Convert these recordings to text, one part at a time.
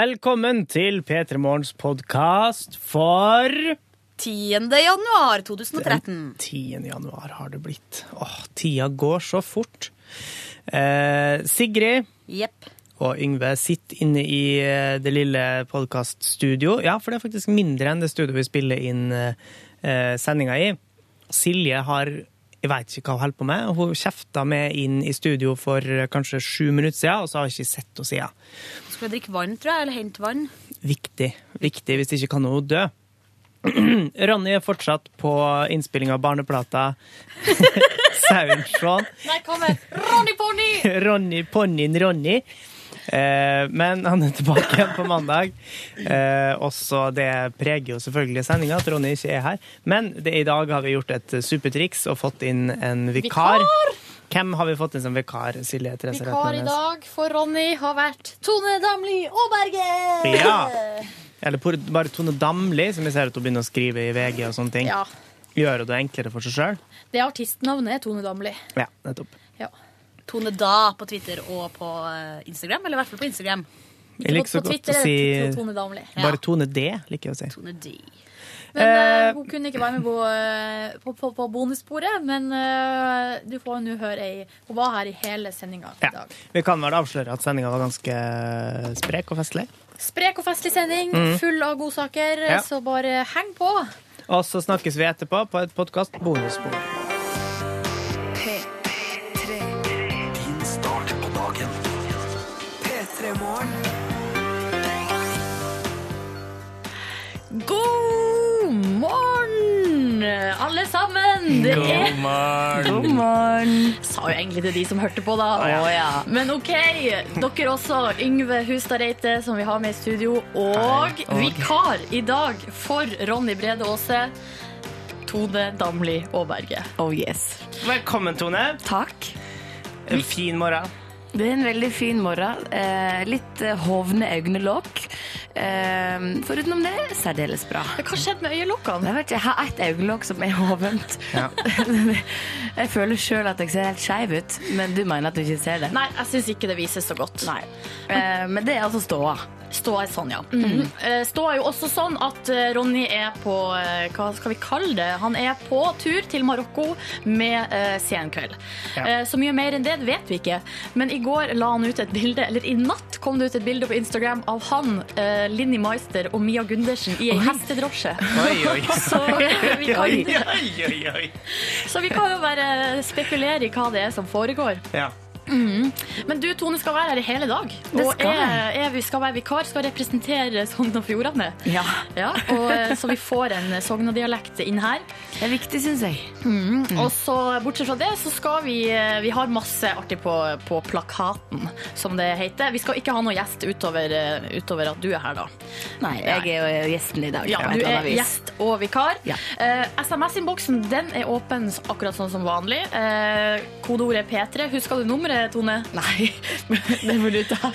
Velkommen til P3 Morgens podkast for 10. januar 2013. 10. januar har det blitt. Åh, tida går så fort. Eh, Sigrid Jepp. og Yngve sitter inne i eh, det lille podkaststudio. Ja, for det er faktisk mindre enn det studioet vi spiller inn eh, sendinga i. Silje har jeg veit ikke hva hun holder på med. Hun kjefta med inn i studio for eh, kanskje sju minutter siden, og så har jeg ikke sett henne siden. Skulle jeg drikke vann, tror jeg, eller hente vann? Viktig. Viktig hvis ikke kan hun dø. Ronny er fortsatt på innspilling av barneplata Sauen Shaun. Nei, kom her. Ronny Ponni! Ronny, ponnien Ronny. Eh, men han er tilbake igjen på mandag. Eh, også det preger jo selvfølgelig sendinga at Ronny ikke er her. Men det, i dag har vi gjort et supertriks og fått inn en vikar. Vikar! Hvem har vi fått inn som vikar? Silje Therese Vikar i Reitnernes? dag for Ronny har vært Tone Damli Aaberge! Ja. Eller por- bare Tone Damli, som vi ser at hun begynner å skrive i VG og sånne ting. Ja, Gjør hun det enklere for seg sjøl? Det artistnavnet er Tone Damli. Ja, nettopp. Ja. Tone Da på Twitter og på eh, Instagram, eller i hvert fall på Instagram. Jeg liker så på godt å Twitter er si det Tone Damli. bare Tone D, liker jeg å si. Tone D. Men Eh, eh, Hun kunne ikke være med på, eh, på, på, på bonussporet, men eh, du får nå høre ei Hun var her i hele sendinga i Ja. dag. Vi kan vel avsløre at sendinga var ganske eh, sprek og festlig. Sprek og festlig sending, full av godsaker, Mm. Ja. så bare heng på. Og så snakkes vi etterpå på et podkast bonusbord. Din start på dagen. P3 Morgen. God morgen, alle sammen! Det er God morgen. Sa jo egentlig til de som hørte på, da. Å ja. Men OK, dere også. Yngve Hustad Reite, som vi har med i studio, og og- vikar i dag for Ronny Brede Aase, Tone Damli Aaberge. Oh yes. Velkommen, Tone. Takk. En fin morgen. Det er en veldig fin morgen. Eh, litt eh, hovne øyelokk. Eh, Foruten det, særdeles bra. Hva skjedde med Jeg øyelokkene? vet ikke, jeg har ett øyelokk som er hovent. jeg føler sjøl at jeg ser helt skeiv ut, men du mener at du ikke ser det? Nei, jeg syns ikke det vises så godt. Nei. Eh, men det er altså ståa. Ståa er sånn, ja. Mm. Eh, Ståa er jo også sånn at eh, Ronny er på eh, Hva skal vi kalle det? Han er på tur til Marokko med eh, Senkveld. Ja. Eh, så mye mer enn det vet vi ikke. Men i går la han ut et bilde, eller i natt kom det ut et bilde på Instagram av han, eh, Linni Meister og Mia Gundersen i ei hestedrosje. Oi, oi. Så eh, vi, Oi, kan, oi, oi. så vi kan jo bare spekulere i hva det er som foregår. Ja. Men du, Tone, skal være her i hele dag. Det og skal er, er, vi skal være vikar, skal representere Sogn og Fjordane. Ja. Ja, og, eh, så vi får en sognadialekt inn her. Det er viktig, syns jeg. Mm. Og så Bortsett fra det så skal vi eh, Vi har masse artig på, på plakaten, som det heter. Vi skal ikke ha noen gjest utover, eh, utover at du er her, da. Nei, jeg er jo gjesten i dag. Ja, på et Du eller annet er vis. gjest og vikar. Ja. Eh, SMS-innboksen den er åpen akkurat sånn som vanlig. Eh, kodeordet er P3. Husker du nummeret, Tone? Nei, det må du ta.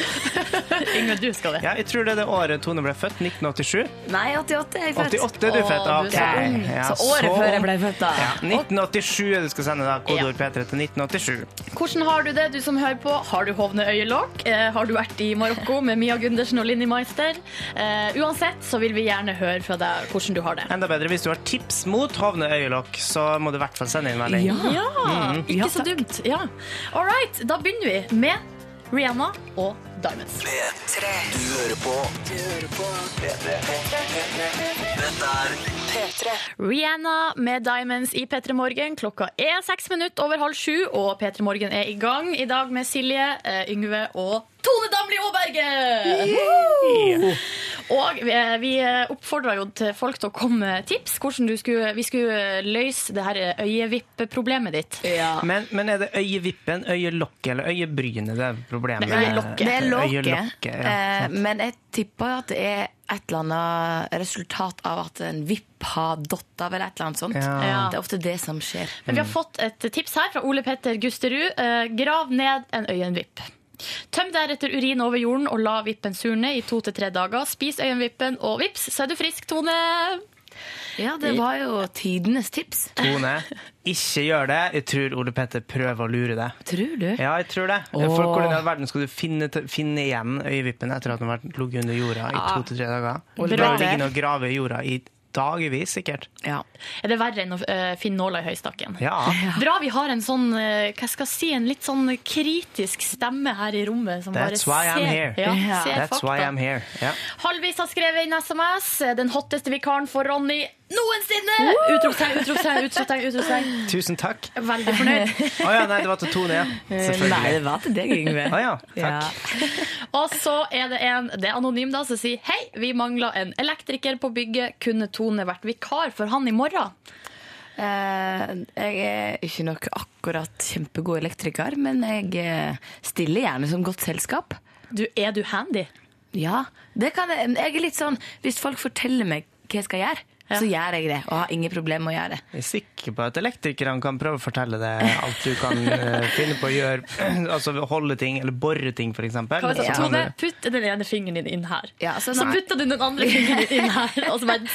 Yngve, du skal det. ja. Jeg tror det er det året Tone ble født. 1987. Nei, 88 er jeg født. 88 er du Å, født. du er så Ok. ung. Ja, Så året så før jeg ung. ble født, da. ja, 1987 er det du skal sende da, kodeord P3 til 1987. Hvordan har du det, du som hører på? Har du hovne øyelokk? Eh, har du vært i Marokko med Mia Gundersen og Linni Meister? Eh, uansett så vil vi gjerne høre fra deg hvordan du har det. Enda bedre hvis du har tips mot hovne øyelokk, så må du i hvert fall sende inn melding. Ja. Mm, Ja, ikke Ja, så takk. dumt. Ja. All right, da begynner vi med Rihanna og Diamonds. P3. Du hører på. Du hører på. P3. Dette er P3. Rihanna med Diamonds i P3 Morgen. Klokka er seks minutter over halv sju, og P3 Morgen er i gang i dag med Silje, eh, Yngve og Tone Damli Aaberge! Woo! Og eh, vi oppfordra jo til folk til å komme med tips hvordan du skulle, vi skulle løse det her øyevippeproblemet ditt. Ja. Men, men er det øyevippen, øyelokket eller øyebrynet det er problemet? Eh, Nei, øyelokket. Det er lokket. Øyelokket, ja. Sånn. eh, men jeg tipper at det er et eller annet resultat av at en vipp har datt av, eller et eller annet sånt. Ja. Det er ofte det som skjer. Men vi Mm. har fått et tips her fra Ole Petter Gusterud. Eh, grav ned en øyenvipp. Tøm deretter urin over jorden og la vippen surne i to til tre dager. Spis øyenvippen, og vips, så er du frisk, Tone! Ja, det var jo tidenes tips. Tone, ikke gjør det. Jeg tror Ole Petter prøver å lure deg. Tror du? Ja, jeg tror det. For hvordan i all verden skal du finne, finne igjen øyevippene etter at den har vært- ligget under jorda i to til tre dager? Ole Du har Petter. liggende og grave i jorda i dagevis, sikkert. Ja. Er det verre enn å eh, finne nåla i høystakken? Ja. Bra vi har en sånn eh, hva skal jeg si, en litt sånn kritisk stemme her i rommet. Som That's why bare I'm ser, here. Ja, Yeah. ser That's fakta. why I'm here. Ja. Halvvis har skrevet inn SMS. Den hotteste vikaren for Ronny noensinne! Utropstegn, utropstegn, utropstegn. utropstegn. Tusen takk. Å Veldig fornøyd. ja, nei, det var til Tone, ja. Eh, Nei, Selvfølgelig. det var til deg, Yngve. Å ja, takk. Og så er det en, det er anonym da, som sier Hei, vi mangler en elektriker på bygget. Kunne Tone vært vikar for han i morgen? Eh, jeg er ikke nok akkurat kjempegod elektriker, men jeg eh, stiller gjerne som godt selskap. Du, er du handy? Ja, det kan jeg. Jeg er litt sånn, hvis folk forteller meg hva jeg skal gjøre, Ja. så gjør jeg det, og har ingen problemer med å gjøre det. Jeg er sikker på at elektrikerne kan prøve å fortelle deg alt du kan eh, finne på å gjøre. altså holde ting, eller bore ting, for eksempel. Hva var det Så kan sånn, Tone, du- putt den ene fingeren din inn her. Ja, så så så nei. putta du den andre fingeren din inn her, og så bare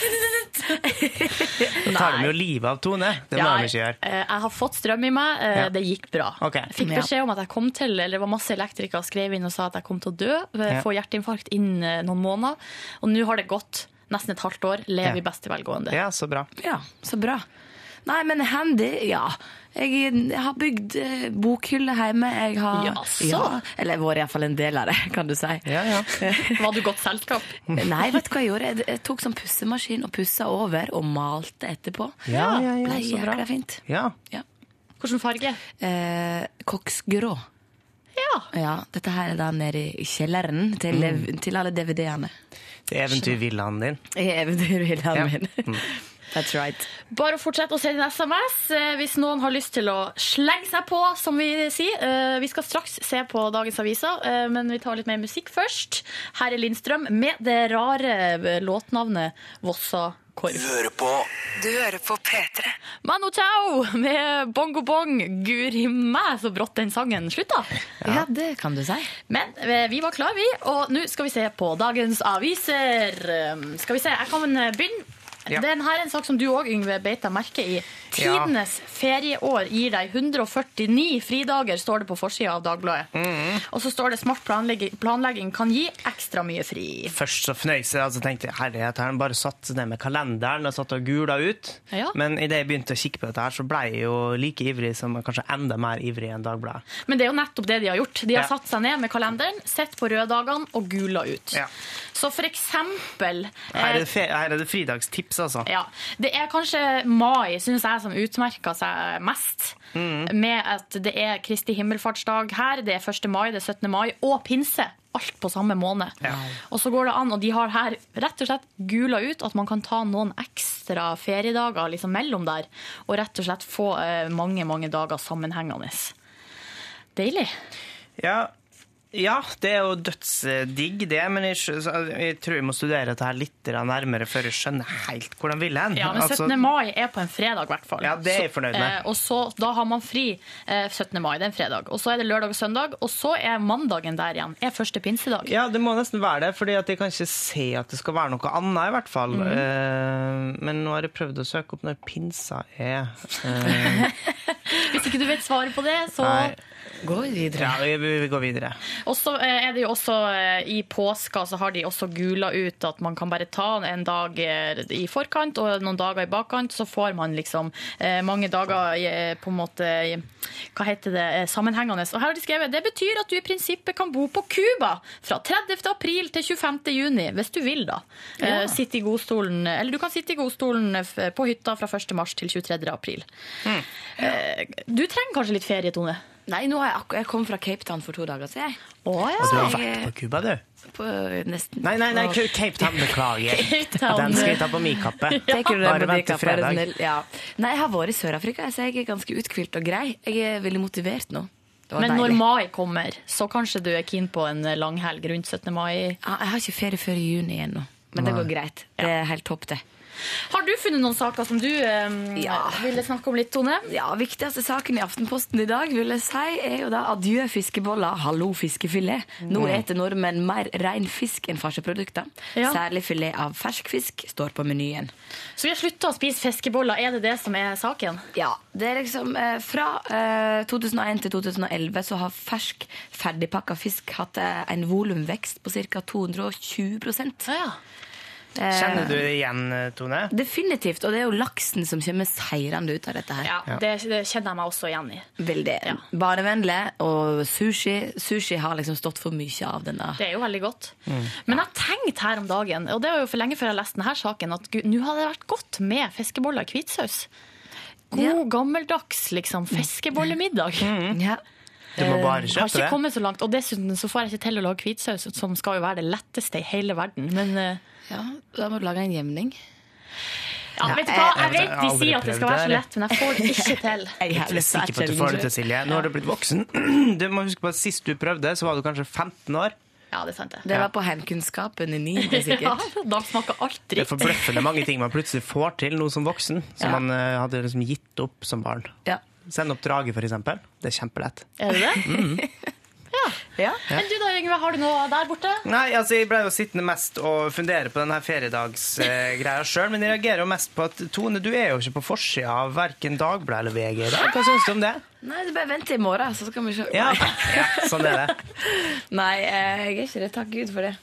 Da tar de jo livet av Tone. Det må de ikke gjøre. eh, Jeg har fått strøm i meg. eh, Ja. Det gikk bra. Ok. Jeg fikk Ja. beskjed om at jeg kom til Eller det var masse elektrikere skrev inn og sa at jeg kom til å dø. eh, Ja. Få hjerteinfarkt innen eh, noen måneder. Og nå har det gått nesten et halvt år. Lever Ja. i beste velgående. Ja, så bra. Ja, så bra. Nei, men handy, ja. Jeg, jeg har bygd eh, bokhylle hjemme. Jeg har, Jaså? eller vært iallfall en del av det, kan du si. Ja, ja. Var du godt selskap? Nei, vet du hva jeg gjorde? Jeg, jeg tok sånn pussemaskin og pussa over, og malte etterpå. Ja, ja, ja, Ble så bra. jækla fint. ja. Ja. Hvilken farge? Eh, koksgrå. Ja. Ja, dette her er da nede i kjelleren til, Mm. til alle DVD-ene. Det er eventyrvillaen din. I eventyrhyllen Ja. min. That's right. Bare fortsett å sende en SMS eh, hvis noen har lyst til å slenge seg på, som vi sier. Eh, Vi skal straks se på dagens aviser, eh, men vi tar litt mer musikk først. Her er Lindstrøm med det rare eh, låtnavnet Vossakorv. Hører på Mano Chao med Bongo Bong. Guri meg, så brått den sangen slutta. Ja. det kan du si. Men eh, vi var klar, vi, og nå skal vi se på dagens aviser. Eh, Skal vi se, jeg kan eh, begynne. Ja. Den her er en sak som du òg, Yngve, beit deg merke i. Ja. Tidenes ferieår gir deg 149 fridager, står det på forsida av Dagbladet. Mm. Og så står det smart planlegging, planlegging kan gi ekstra mye fri. Først så fnøys jeg, og så tenkte jeg herlighet, har han bare satt ned med kalenderen og satt og gula ut? Ja. Men idet jeg begynte å kikke på dette, her, så ble jeg jo like ivrig som kanskje enda mer ivrig enn Dagbladet. Men det er jo nettopp det de har gjort. De har Ja. satt seg ned med kalenderen, sett på røde dagene og gula ut. Ja. Så for eksempel Her er eh, det, fe her er det fridagstips, altså. Ja. Det er kanskje mai, syns jeg, som utmerker seg mest. Mm. Med at det er Kristi himmelfartsdag her, det er 1. mai, det er 17. mai og pinse. Alt på samme måned. Og så går det an, og de har her rett og slett gula ut at man kan ta noen ekstra feriedager liksom mellom der. Og rett og slett få eh, mange, mange dager sammenhengende. Deilig. Ja, ja, det er jo dødsdigg, det, men jeg, skjø- så altså, jeg tror jeg må studere dette her litt grann nærmere før jeg skjønner helt hvor de vil hen. Ja, men 17. Altså, mai er på en fredag, i hvert fall. Ja, det er jeg Så- fornøyd med. eh, og så, da har man fri eh, 17. mai, det er en fredag. Og så er det lørdag og søndag, og så er mandagen der igjen. Er første pinsedag. Ja, det må nesten være det, fordi at jeg kan ikke se at det skal være noe annet, i hvert fall. Mhm. Eh, men nå har jeg prøvd å søke opp når pinsa er. Eh, Hvis ikke du vet svaret på det, så nei. Gå videre. Ja, vi, vi går videre. Og så eh, er det jo også eh, i påska så har de også gula ut at man kan bare ta en dag eh, i forkant og noen dager i bakkant, så får man liksom eh, mange dager i, eh, på en måte i, hva heter det, eh, sammenhengende. Og her har de skrevet det betyr at du i prinsippet kan bo på Cuba fra 30. april til 25. juni, hvis du vil da. Eh, Sitte i godstolen, eller du kan sitte i godstolen eh, f- på hytta fra 1. mars til 23. april. Eh, Du trenger kanskje litt ferie, Tone? Nei, nå har jeg, akkur- jeg kom fra Cape Town for to dager siden. jeg. Å ja. Du har Jeg, vært på Cuba, du? På, eh, nesten. Nei, nei, nei, på- Cape Town, beklager. Cape Town. Den skal jeg ta på min kappe. Tenker du det Bare på vent til Dika, bare fredag. snill? Ja. Nei, jeg har vært i Sør-Afrika, så jeg er ganske uthvilt og grei. Jeg er veldig motivert nå. Det var Men når deilig. mai kommer, så kanskje du er keen på en eh, langhelg rundt 17. mai. Ja, Jeg har ikke ferie før i juni ennå, men det går greit. Det er helt topp, det. Har du funnet noen saker som du eh, Ja. ville snakke om litt, Tone? Ja, Viktigste saken i Aftenposten i dag vil jeg si, er jo da adjø fiskeboller, hallo fiskefilet. Nå eter nordmenn mer ren fisk enn farseprodukter. Ja. Særlig filet av fersk fisk står på menyen. Så vi har slutta å spise fiskeboller. Er det det som er saken? Ja, det er liksom eh, Fra eh, 2001 til 2011 så har fersk, ferdigpakka fisk hatt eh, en volumvekst på ca. 220 Ja. Kjenner du det igjen, eh, Tone? Eh, Definitivt. Og det er jo laksen som kommer seirende ut av dette her. Ja, det, det kjenner jeg meg også igjen i. Veldig Ja. barnevennlig. Og sushi Sushi har liksom stått for mye av denne. Det er jo veldig godt. Mm. Men jeg tenkte her om dagen, og det var jo for lenge før jeg leste denne saken, at gud, nå hadde det vært godt med fiskeboller i hvitsaus. God, Ja. Mm. gammeldags liksom, fiskebollemiddag. Ja. Du må bare Jeg Eh, kjøpe har ikke det. kommet så langt, og dessuten så får jeg ikke til å lage hvitsaus, som skal jo være det letteste i hele verden. Men eh, ja, Da må du lage en jevning. ja, vet du hva, jeg vet de sier at det skal være så lett, men jeg får det ikke til. Jeg er ikke sikker på at du får det til, Silje. Nå har du blitt voksen. Du må huske på at Sist du prøvde, så var du kanskje 15 år. Ja, det er sant, det. Det var på heimkunnskapen i niende, Ja, sikkert. da smaker alt Det er dritt. forbløffende mange ting man plutselig får til nå som voksen, som Ja. man eh, hadde liksom gitt opp som barn. Ja. Send opp drage, for eksempel. Det er kjempelett. Er det det? Ja. Men du da, Yngve, har du noe der borte? Nei, altså Jeg ble jo sittende mest og fundere på denne feriedagsgreia sjøl, men jeg reagerer jo mest på at Tone, du er jo ikke på forsida av verken Dagbladet eller VG i dag. Hva syns du om det? Nei, du bare vent til i morgen, så skal vi se. Ja, ja sånn er det. Nei, eh, jeg er ikke det. Takk Gud for det.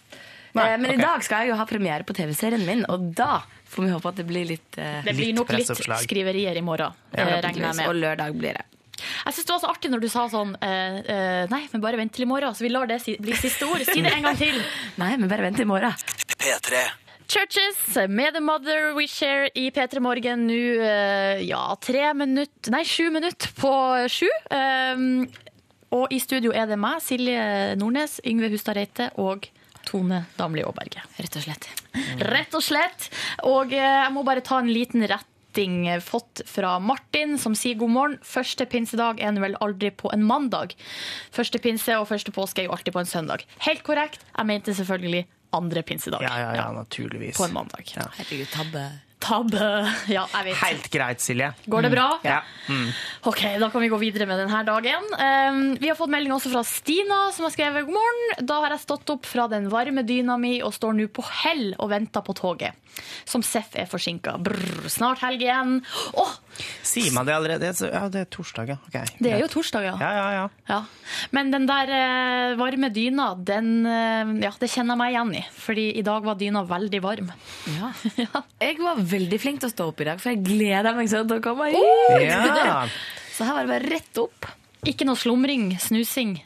Nei, Eh, Men ok. i dag skal jeg jo ha premiere på TV-serien min, og da får vi håpe at det blir litt eh, Det blir Litt nok litt presseoppslag. skriverier i morgen, eh, regner jeg Og med. lørdag blir det. Jeg syns det var så artig når du sa sånn eh, eh, Nei, men bare vent til i morgen, så vi lar det si, bli siste ord. Si det en gang til. Nei, men bare vent til i morgen. P3 Churches med The Mother We Share i P3 Morgen nå eh, ja, tre minutt Nei, sju minutt på sju. Um, og i studio er det meg, Silje Nordnes, Yngve Hustad Reite og Tone Damli Aaberge. Mm. Rett og slett. Rett og slett. Og eh, jeg må bare ta en liten retting eh, fått fra Martin, som sier god morgen. Første pinsedag er nå vel aldri på en mandag. Første pinse og første påske er jo alltid på en søndag. Helt korrekt. Jeg mente selvfølgelig andre pinsedag. Ja, ja, ja, naturligvis. På en mandag. Ja. Herregud, tabbe. Tabbe. Ja, jeg vet. Helt greit, Silje. Går det bra? Ja. Ok, da kan vi gå videre med denne dagen. Um, vi har fått melding også fra Stina, som har skrevet god morgen. Da har jeg stått opp fra den varme dyna mi og står nå på hell og venter på toget. Som Seff er forsinka. Brr, Snart helg igjen. Å, Sier man det allerede? Så- Ja, det er torsdag, ja. Ok. det er jo torsdag, ja. Ja, ja, ja. ja. Men den der eh, varme dyna, den, eh, ja, det kjenner jeg meg igjen i. Fordi i dag var dyna veldig varm. Ja. Jeg var veldig flink til å stå opp i dag, for jeg gleda meg sånn til å komme hit. ja. Så her var det bare rett opp. Ikke noe slumring, snusing.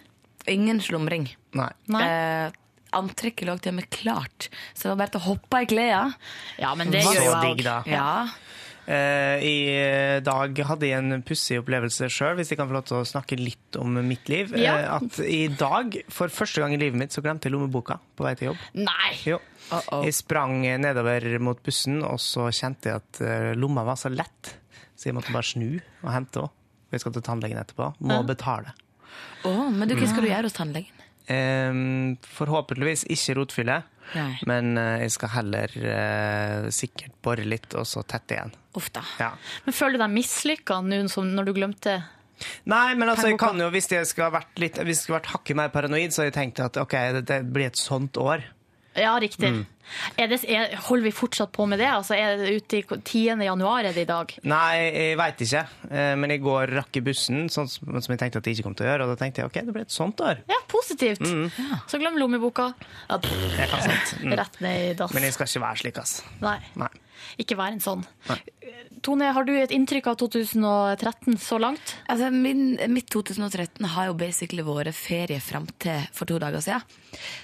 Ingen slumring. Nei. Nei. Eh, antrekket lå til og med klart, så det var bare til å hoppe i klærne. Ja, men det Så gjør jo jeg digg, også. da. Ja. Eh, I dag hadde jeg en pussig opplevelse sjøl, hvis jeg kan få lov til å snakke litt om mitt liv. Ja. Eh, at i dag, for første gang i livet mitt, så glemte jeg lommeboka på vei til jobb. Nei! Jo. Uh-oh. Jeg sprang nedover mot bussen, og så kjente jeg at eh, lomma var så lett, så jeg måtte bare snu og hente henne. Jeg skal til tannlegen etterpå. Må betale. Å, men du, hva skal du gjøre hos tannlegen? Eh, forhåpentligvis ikke rotfylle, Nei. men eh, jeg skal heller eh, sikkert bore litt, og så tette igjen. Uff da. Ja. Men føler du deg mislykka nå som- når du glemte Nei, men altså, jeg Pernboka. kan jo, hvis jeg skulle ha vært, litt- hvis jeg skulle vært hakket mer paranoid, så hadde jeg tenkt at ok, det, det blir et sånt år. Ja, riktig. Mm. Er det, er, holder vi fortsatt på med det? Altså, er det ute i 10. januar er det i dag? Nei, jeg veit ikke. Eh, Men i går rakk jeg bussen, sånn som som jeg tenkte at jeg ikke kom til å gjøre. Og da tenkte jeg ok, det blir et sånt år. Ja, positivt. Så glem lommeboka. Ja, Det er sant. Mm. rett ned i dass. Men jeg skal ikke være slik, altså. ass. Nei, Nei. ikke vær en sånn. Tone, har du et inntrykk av 2013 så langt? Altså, min, mitt 2013 har jo basically vært ferie fram til for to dager siden.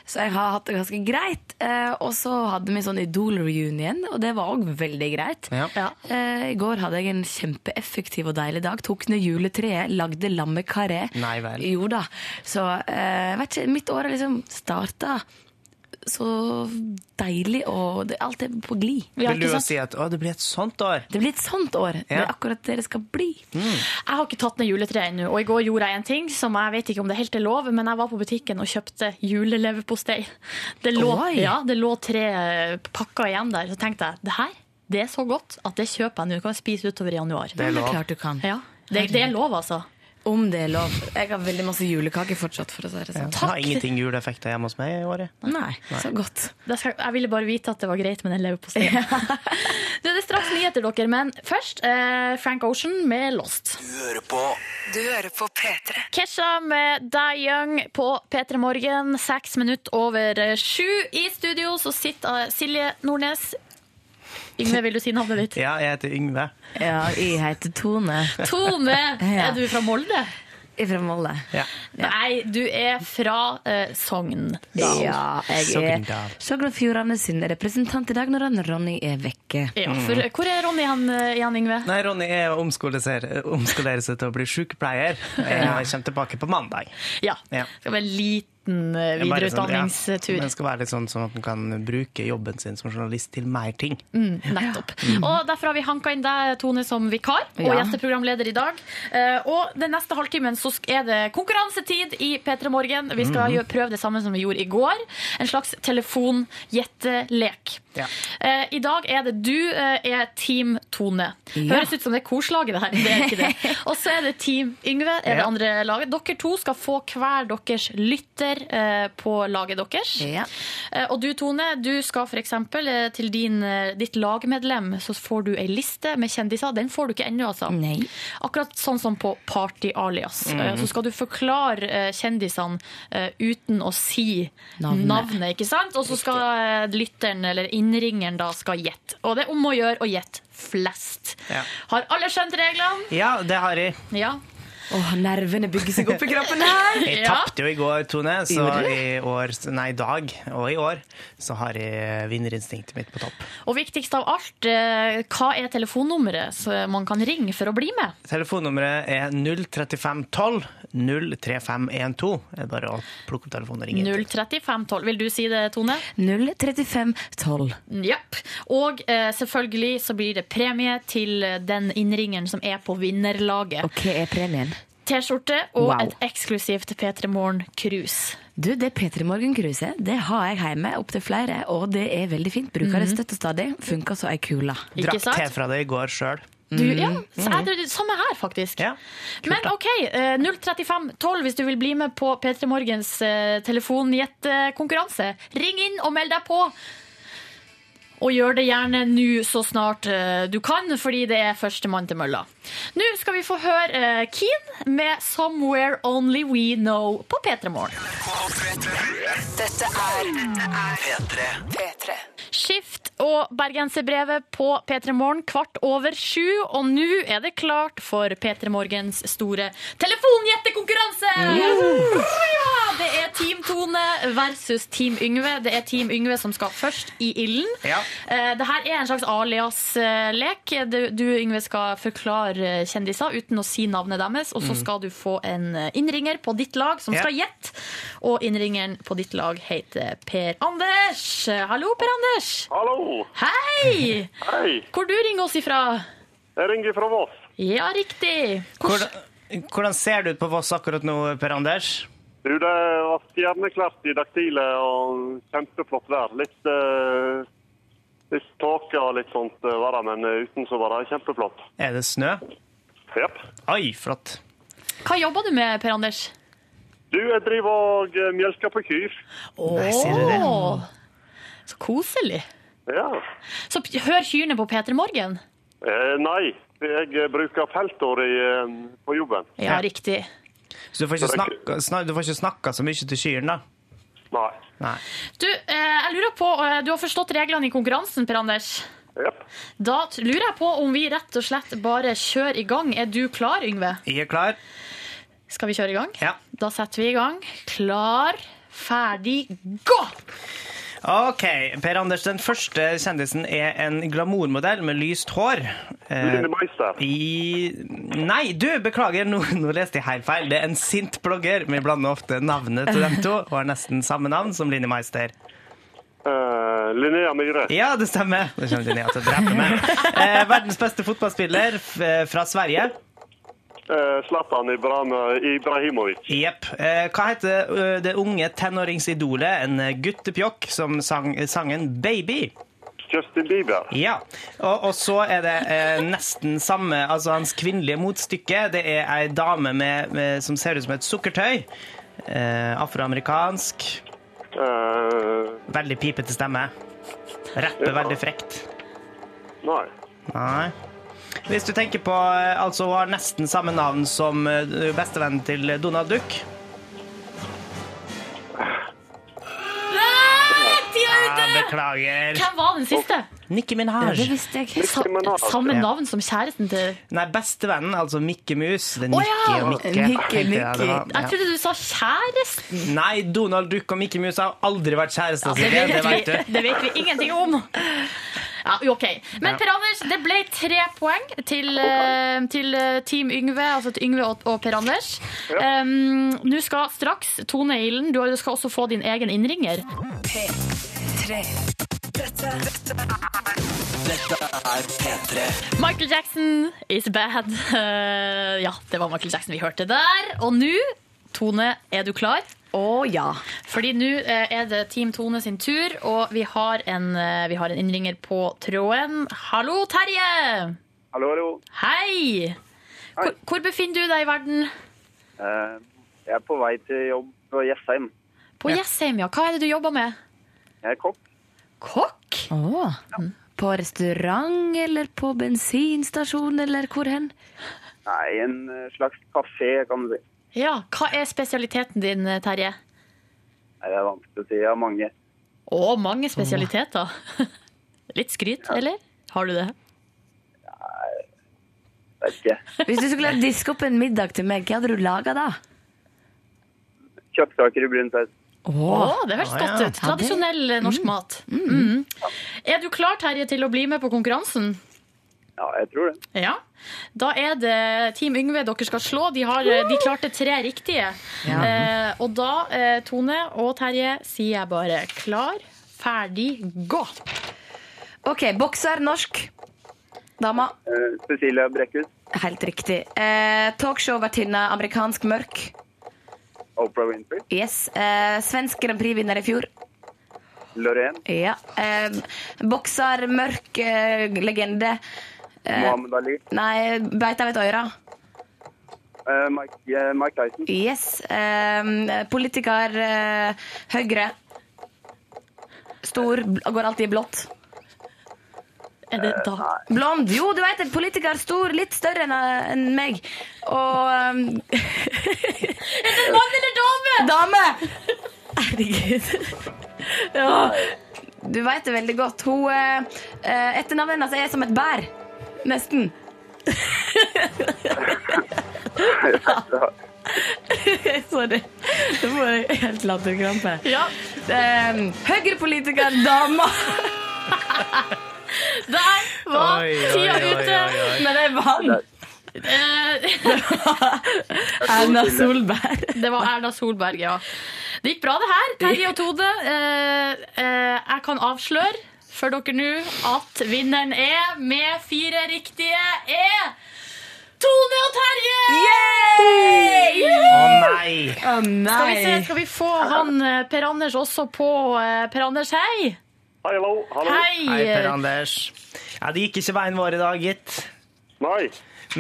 Så jeg har hatt det ganske greit. Eh, og så hadde vi sånn Idol-reunion, og det var òg veldig greit. Ja. Ja. Eh, I går hadde jeg en kjempeeffektiv og deilig dag. Tok ned juletreet, lagde lammekaré. Nei vel. Jo da. Så eh, vet ikke, mitt år har liksom starta så deilig, og det, alt er på glid. Ja, Vil du ikke jo sant? si at å, det blir et sånt år? Det blir et sånt år. Det Ja. Mm. er akkurat det det skal bli. Jeg har ikke tatt ned juletreet ennå, og i går gjorde jeg en ting som jeg vet ikke om det helt er lov, men jeg var på butikken og kjøpte juleleverpostei. Det lå, Oi. ja, det lå tre eh, pakker igjen der, så tenkte jeg det her Det er så godt at det kjøper jeg nå. Kan jeg spise utover i januar. Det er lov. Klart du kan. Ja, det, det er lov, altså. Om det er lov. Jeg har veldig masse julekaker fortsatt, for å si det sånn. Jeg har ingenting juleeffekter hjemme hos meg i året. Nei, så godt. Det skal, jeg ville bare vite at det var greit med den leverposteien. Du, det er straks nyheter, dere, men først eh, Frank Ocean med Lost. Du hører på Du hører på P3. Kesha med Die Young på P3 Morgen, seks minutter over eh, sju. I studio så sitter eh, Silje Nordnes. Yngve, vil du si navnet ditt? Ja, jeg heter Yngve. Ja, jeg heter Tone Tone, Ja. er du fra Molde? fra Molde. Ja. Nei, du er fra eh, Sogn. Ja, jeg Sogndal. er Sogn og Fjordane sin representant i dag når han Ronny er vekke. Ja, Mm. for, hvor er Ronny hen, eh, igjen, Yngve? Nei, Ronny er å omskolere seg- omskolere seg til å bli sykepleier. Eh, Jeg kommer tilbake på mandag. Ja. Ja. Skal være en liten eh, Jeg bare sånn, ja, videreutdanningstur. Den skal være litt sånn sånn at den kan bruke jobben sin som journalist til mer ting. Mm. Nettopp. Og Derfor har vi hanka inn deg, Tone, som vikar og Ja. gjesteprogramleder i dag. Eh, og den neste halvtimen så sk- er det konkurransetid i P3 Morgen. Vi skal gjø- prøve det samme som vi gjorde i går. En slags telefongjettelek. Ja. Eh, I dag er det du eh, er Team Tone. Høres ut som det er korslaget, det her. Det er ikke det. Og så er det Team Yngve, er det Ja. andre laget. Dere to skal få hver deres lytter eh, på laget deres. Ja. Eh, Og du Tone, du skal for eksempel eh, til din, eh, ditt lagmedlem, så får du ei liste med kjendiser. Den får du ikke ennå, altså. Nei. Mhm. Akkurat sånn som på Party Alias. Eh, Så skal du forklare eh, kjendisene eh, uten å si Navnet. navnet, ikke sant? Og så skal eh, lytteren, eller innringeren, da skal gjette. Og det er om å gjøre å gjette flest. Ja. Har alle skjønt reglene? Ja, det har jeg. Ja. Åh, nervene bygger seg opp i kroppen her! Jeg Ja. tapte jo i går, Tone, så Gjorde du? i år, nei, i dag og i år så har jeg vinnerinstinktet mitt på topp. Og viktigst av alt, eh, hva er telefonnummeret så man kan ringe for å bli med? Telefonnummeret er 03512 03512. Det er bare å plukke opp telefonen og ringe. 03512. Vil du si det, Tone? 03512. Jepp. Og eh, selvfølgelig så blir det premie til eh, den innringeren som er på vinnerlaget. Og hva er premien? T-skjorte og Wow. et eksklusivt P3 Morgen-krus. Du, det P3 Morgen-kruset det har jeg hjemme, opptil flere, og det er veldig fint. Bruker det støtt og stadig. Funker så ei kule. Ikke Drakk te sant? fra det i går sjøl. Du, ja, så er det det samme her, faktisk. Ja. Men OK, eh, 03512 hvis du vil bli med på P3 Morgens eh, telefongjettekonkurranse. Ring inn og meld deg på! Og gjør det gjerne nå så snart eh, du kan, fordi det er førstemann til mølla. Nå skal vi få høre eh, Keen med 'Somewhere Only We Know' på P3 Morgen. Dette er P3. P3. Skift og bergenserbrevet på P3 Morgen kvart over sju. Og nå er det klart for P3 Morgens store telefongjettekonkurranse! Ja, det er Team Tone versus Team Yngve. Det er Team Yngve som skal først i ilden. Ja. Eh, Det her er en slags alias-lek. Du, du, Yngve, skal forklare kjendiser uten å si navnet deres. Og så skal du få en eh, innringer på ditt lag som Mm. Ja. skal gjette. Og innringeren på ditt lag heter Per Anders. Eh, Hallo, Per Anders. Hallo, Hei! hei. Hvor du ringer oss ifra? Jeg ringer fra Voss. Ja, riktig. Hvordan, hvordan ser det ut på Voss akkurat nå, Per Anders? Du, det var stjerneklart i daktile og kjempeflott vær. Litt, eh, litt tåke og litt sånt eh, var det, men eh, uten så var det kjempeflott. Er det snø? Japp. Oi, flott. Hva jobber du med, Per Anders? Du, jeg driver og eh, mjølker på kyr. Nei, sier du det? Åh, Så koselig. Ja. Så p- hør kyrne på P3 Morgen. Eh, nei, jeg eh, bruker feltår i, eh, på jobben. Ja, riktig. Så du får ikke snakka, snak, du får ikke snakka så mye til kyrne, da? Nei. Nei. Du, eh, jeg lurer på, eh, du har forstått reglene i konkurransen, Per Anders. Japp. Da t- lurer jeg på om vi rett og slett bare kjører i gang. Er du klar, Yngve? Jeg er klar. Skal vi kjøre i gang? Ja. Da setter vi i gang. Klar, ferdig, gå! OK, Per Anders. Den første kjendisen er en glamourmodell med lyst hår. Eh, Line Meister. i Nei, du, beklager, nå, nå leste jeg helt feil. Det er en sint blogger. Vi blander ofte navnet til dem to og har nesten samme navn som Line Meister. Eh, Linnea Myhre. Ja, det stemmer. Nå kommer Linnea til å drepe meg. Eh, verdens beste fotballspiller f- fra Sverige. Eh, Zlatan Ibram- Ibrahimovic. Jepp. Eh, hva heter eh, det unge tenåringsidolet, en guttepjokk, som sang sangen 'Baby'? Justin Bieber. Ja, og, og så er det eh, nesten samme, altså hans kvinnelige motstykke. Det er ei dame med, med, som ser ut som et sukkertøy. Eh, afroamerikansk. Eh, Veldig pipete stemme. Rapper veldig frekt. nei. Nei. Hvis du tenker på eh, Altså, hun har nesten samme navn som eh, bestevennen til Donald Duck. Tida er Ja, beklager. Hvem var den siste? Nicki Det Minaj. visste jeg. Sa, Nicki Minaj. samme navn som kjæresten til Nei, bestevennen, altså Mikke Mus. Det er Å, Nikke ja. og Mikke. Mikke, tenkte jeg det Mikke. var. Ja. Jeg trodde du sa kjæresten! Nei, Donald Duck og Mikke Mus har aldri vært kjærester. Det Silje, vet, det vi, vet du. det vet vi ingenting om. Ja, jo, ok. Men Per Anders, det ble tre poeng til, eh, til eh, Team Yngve, altså til Yngve og, og Per Anders. Um, Nå skal straks Tone Eilen, du skal også få din egen innringer. P3. Dette, dette Michael Jackson is bad. Eh, ja, det var Michael Jackson vi hørte der. Og nå, Tone, er du klar? Å ja. Fordi nå eh, er det Team Tone sin tur, og vi har en, eh, vi har en innringer på tråden. Hallo, Terje! Hallo, hallo. Hei! Hvor, hvor befinner du deg i verden? Eh, Jeg er på vei til jobb på Jessheim. På Jessheim, ja. Hva er det du jobber med? Jeg er kokk. Kokk? Åh. På restaurant eller på bensinstasjon eller hvor hen? Nei, en eh, slags kafé, kan du si. Ja. Hva er spesialiteten din, eh, Terje? Nei, det er vanskelig å si. Jeg har mange. Å, mange spesialiteter. Litt skryt, eller? Har du det? Vet ikke. Hvis du skulle diske opp en middag til meg, hva hadde du laga da? Kjøttkaker i brun saus. Å, det høres Å, godt ja. ut. Tradisjonell eh, norsk mat. Mm. Er du klar, Terje, til å bli med på konkurransen? Ja, jeg tror det. Ja. Da er det Team Yngve dere skal slå. De, har, eh, de klarte tre riktige. Eh, og da, eh, Tone og Terje, sier jeg bare klar, ferdig, gå. OK, bokser, norsk. Dama. Eh, Cecilia Brekkhus. Helt riktig. Eh, Talkshow-vertinne, amerikansk mørk. Oprah Winfrey. Yes. Eh, svensk Grand Prix-vinner i fjor. Lorraine. Ja. Eh, bokser, mørk eh, legende. Eh, Mohammed Ali. Nei, beit av et øre. eh, Mike, eh, Mike Tyson. Yes. Eh, politiker, eh, Høyre. Stor, bl- går alltid i blått. Eh, Er det da? Blond. Jo, du veit en politiker stor, litt større enn eh, enn meg. Og um, Mann eller dame? Dame! Herregud. Ja. Du veit det veldig godt. Hun eh, eh, Etternavnet hennes er som et bær. Nesten. Sorry. Nå får jeg helt latterkrampe. Ja, Um, Høyre-politiker, dama. der var Oi, oi, tida oi, ute. oi, oi. Men jeg vant. Eh, Erna Solberg. Det var Erna Solberg, ja. Det gikk bra, det her. Terje og Tone, eh, eh, jeg kan avsløre for dere nå at vinneren er, med fire riktige, er Tone og Terje! Å nei! Å Skal vi se, nei. skal vi få han eh, Per Anders også på eh, Per Anders, hei! Hallo, hallo. Hei! Hei, Per Anders. Ja, det gikk ikke veien vår i dag, gitt. Nei,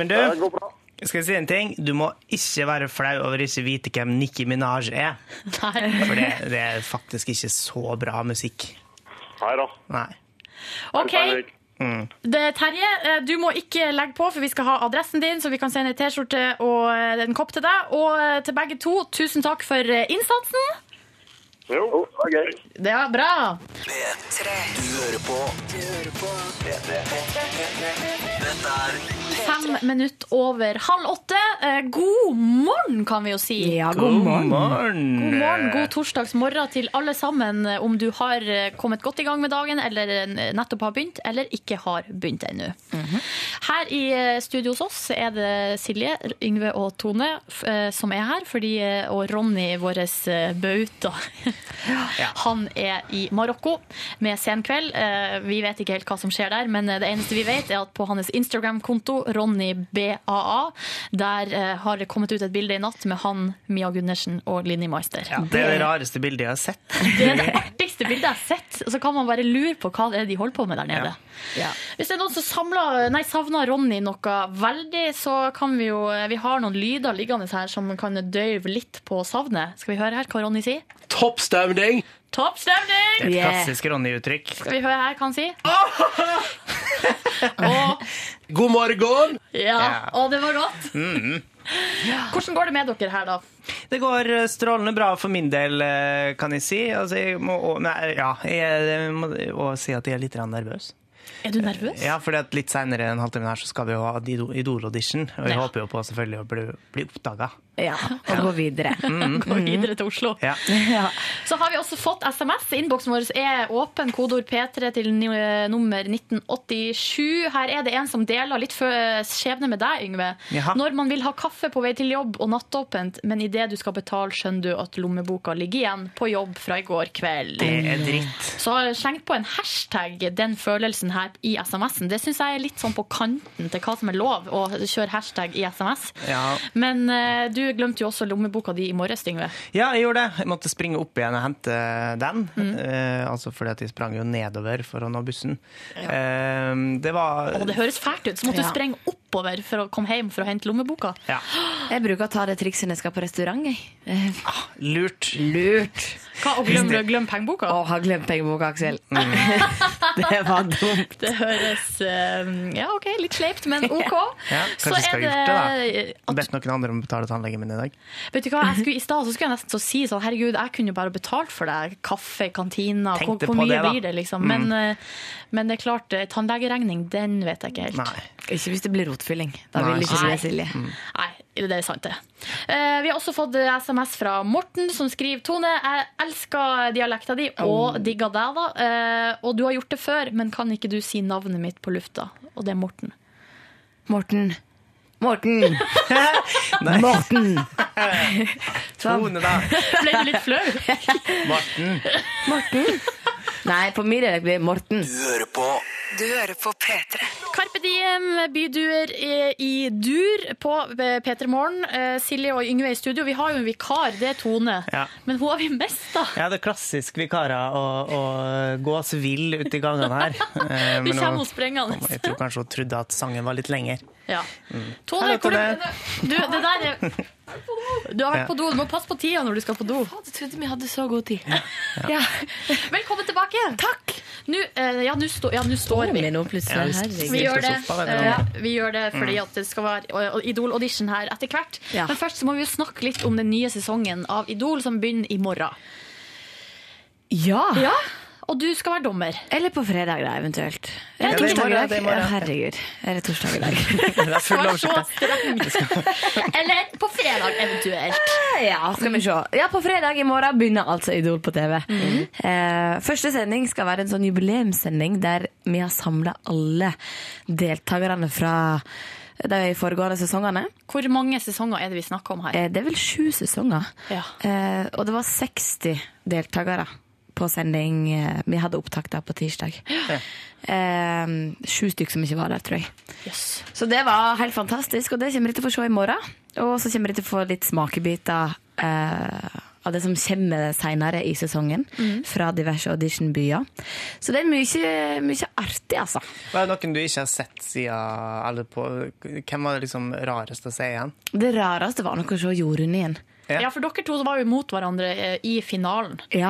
Men du, det går bra. skal jeg si en ting? Du må ikke være flau over ikke vite hvem Nicki Minaj er. Nei. For det, det er faktisk ikke så bra musikk. Hei da. Nei. OK, det, Terje, eh, du må ikke legge på, for vi skal ha adressen din, så vi kan sende ei T-skjorte og eh, en kopp til deg. Og eh, til begge to, tusen takk for eh, innsatsen. Jo, det var gøy. Det var bra. P3. Du hører på P3. Dette er Fem minutter over halv åtte. Eh, God morgen, kan vi jo si. Ja, god morgen. God morgen, god torsdagsmorgen til alle sammen, eh, om du har eh, kommet godt i gang med dagen, eller eh, nettopp har begynt, eller ikke har begynt ennå. Her i eh, studio hos oss er det Silje, Yngve og Tone f- eh, som er her, fordi, eh, og Ronny, vår eh, bauta, han er i Marokko med Senkveld. Eh, Vi vet ikke helt hva som skjer der, men eh, det eneste vi vet er at på hans Instagram-konto, Ronny BAA. Der eh, har det kommet ut et bilde i natt med han, Mia Gundersen og Linni Meister. Det er det rareste bildet jeg har sett. Det er det artigste bildet jeg har sett. Og så kan man bare lure på hva det er de holder på med der nede. Hvis det er noen som samler, nei, savner Ronny noe veldig, så kan vi jo Vi har noen lyder liggende her som kan døyve litt på savnet. Skal vi høre her hva Ronny sier? Topp stemning! Topp stemning! Et Yeah. klassisk Ronny-uttrykk. Skal vi høre her hva han sier? God morgen! Ja. Ja. Mm-hmm. Å, det var godt. Hvordan går det med dere her, da? Det går eh, strålende bra for min del, eh, kan jeg si. Altså, jeg må, og- nei, ja, jeg må og si at jeg er litt grann nervøs. Er du nervøs? Ja, for litt seinere enn halvtimen her så skal vi jo ha Idol- Idol-audition. Og jeg Ja. håper jo på selvfølgelig å bli, bli oppdaga. Ja, og gå videre. Mm. Gå videre til Oslo. Mm-hmm. Ja. Så har vi også fått SMS. Innboksen vår er åpen. Kodeord P3 til ni- eh, nummer 1987. Her er det en som deler litt fø- eh, skjebne med deg, Yngve. Jaha. Når man vil ha kaffe på vei til jobb og nattåpent, men idet du skal betale, skjønner du at lommeboka ligger igjen på jobb fra i går kveld. Det er dritt. Så sleng på en hashtag den følelsen her i SMS-en. Det syns jeg er litt sånn på kanten til hva som er lov å kjøre hashtag i SMS. Ja. Men eh, du glemte jo også lommeboka di i morges, Yngve. Ja, jeg gjorde det. Jeg måtte springe opp igjen og hente den. Mm. Eh, altså fordi at jeg sprang jo nedover for å nå bussen. Eh, det var Og det høres fælt ut. Så måtte du sprenge oppover for å komme hjem for å hente lommeboka. ja, Jeg bruker å ta det trikset når jeg skal på restaurant. Jeg. Eh, lurt. Lurt Hva, og glem, glem pengeboka? å ha glemt pengeboka, Aksel. Det var dumt. Det høres eh, ja, ok, litt sleipt, men ok. Ja, kanskje jeg skal ha gjort at- Bedt noen andre om å betale tannlegen min i dag. Vet du hva, jeg skulle, I stad så skulle jeg nesten så si sånn Herregud, jeg kunne jo bare betalt for deg. Kaffe, kantina. Hvor, Tenkte hvor på mye det, da. Mm. blir det, liksom? Men, eh, men det er klart, eh, tannlegeregning, den vet jeg ikke helt. Nei. Ikke hvis det blir rotfylling. Da Nei, Mm. vil ikke du nei. Mm. det, Silje. Nei, det er sant det. Eh, vi har også fått eh, SMS fra Morten som skriver Tone, jeg elsker dialekta di Oh. og digger deg da. Eh, og du har gjort det før, men kan ikke du si navnet mitt på lufta? Og det er Morten. Morten. Morten! Nei. Morten! Tone, da. Ble du litt flau? Morten. Morten. Nei, på min dialekt blir det Morten. Du hører på Du hører på P3. Carpe Diem, byduer eh, i dur på P3 Morgen. Eh, Silje og Yngve i studio. Vi har jo en vikar, det er Tone. Ja. Men hun har vi mest, da. Ja, det er klassisk vikarer å, å gå oss vill ute i gangene her. Eh, Vi men kommer nå- henne sprengende. Jeg tror kanskje hun trodde at sangen var litt lenger. Ja. Mm. Hei, Tone, Tone. hvor er du, det der er Du har vært på do. Du må passe på tida når du skal på do. Jeg trodde vi hadde så god tid. Velkommen tilbake. Takk. Nå, eh, ja, nå stå, ja, nå står vi. nå plutselig. Vi Herregud. gjør det, Sofa, det er eh, vi gjør det Mm. fordi at det skal være eh, Idol-audition her etter hvert. Ja. Men først så må vi jo snakke litt om den nye sesongen av Idol som begynner i morgen. Ja. Ja, Og du skal være dommer. Eller på fredag, da, eventuelt. Ja, Er det det er i torsdag i morgen, det er i dag? morgen. Ja, herregud. Er det torsdag i dag? Det er full Du er så oversikt. streng. Eller på fredag eventuelt. Ja, skal vi se. Ja, på fredag i morgen begynner altså Idol på TV. eh, første sending skal være en sånn jubileumssending der vi har samla alle deltakerne fra de foregående sesongene. Hvor mange sesonger er det vi snakker om her? Eh, det er vel sju sesonger. Ja. Eh, og det var 60 deltakere på sending. eh, Vi hadde opptak da på tirsdag. Eh, sju stykker som ikke var der, tror jeg. Yes. Så det var helt fantastisk, og det kommer dere til å få se i morgen. Og så kommer dere til å få litt smakebiter eh, av det som kommer senere i sesongen. Fra diverse auditionbyer. Så det er mye, mye artig, altså. Hva er det noen du ikke har sett siden alle på Hvem var det liksom rarest å se igjen? Det rareste var nok å se Jorunn igjen. Ja. Ja, for dere to var jo mot hverandre eh, i finalen. Ja,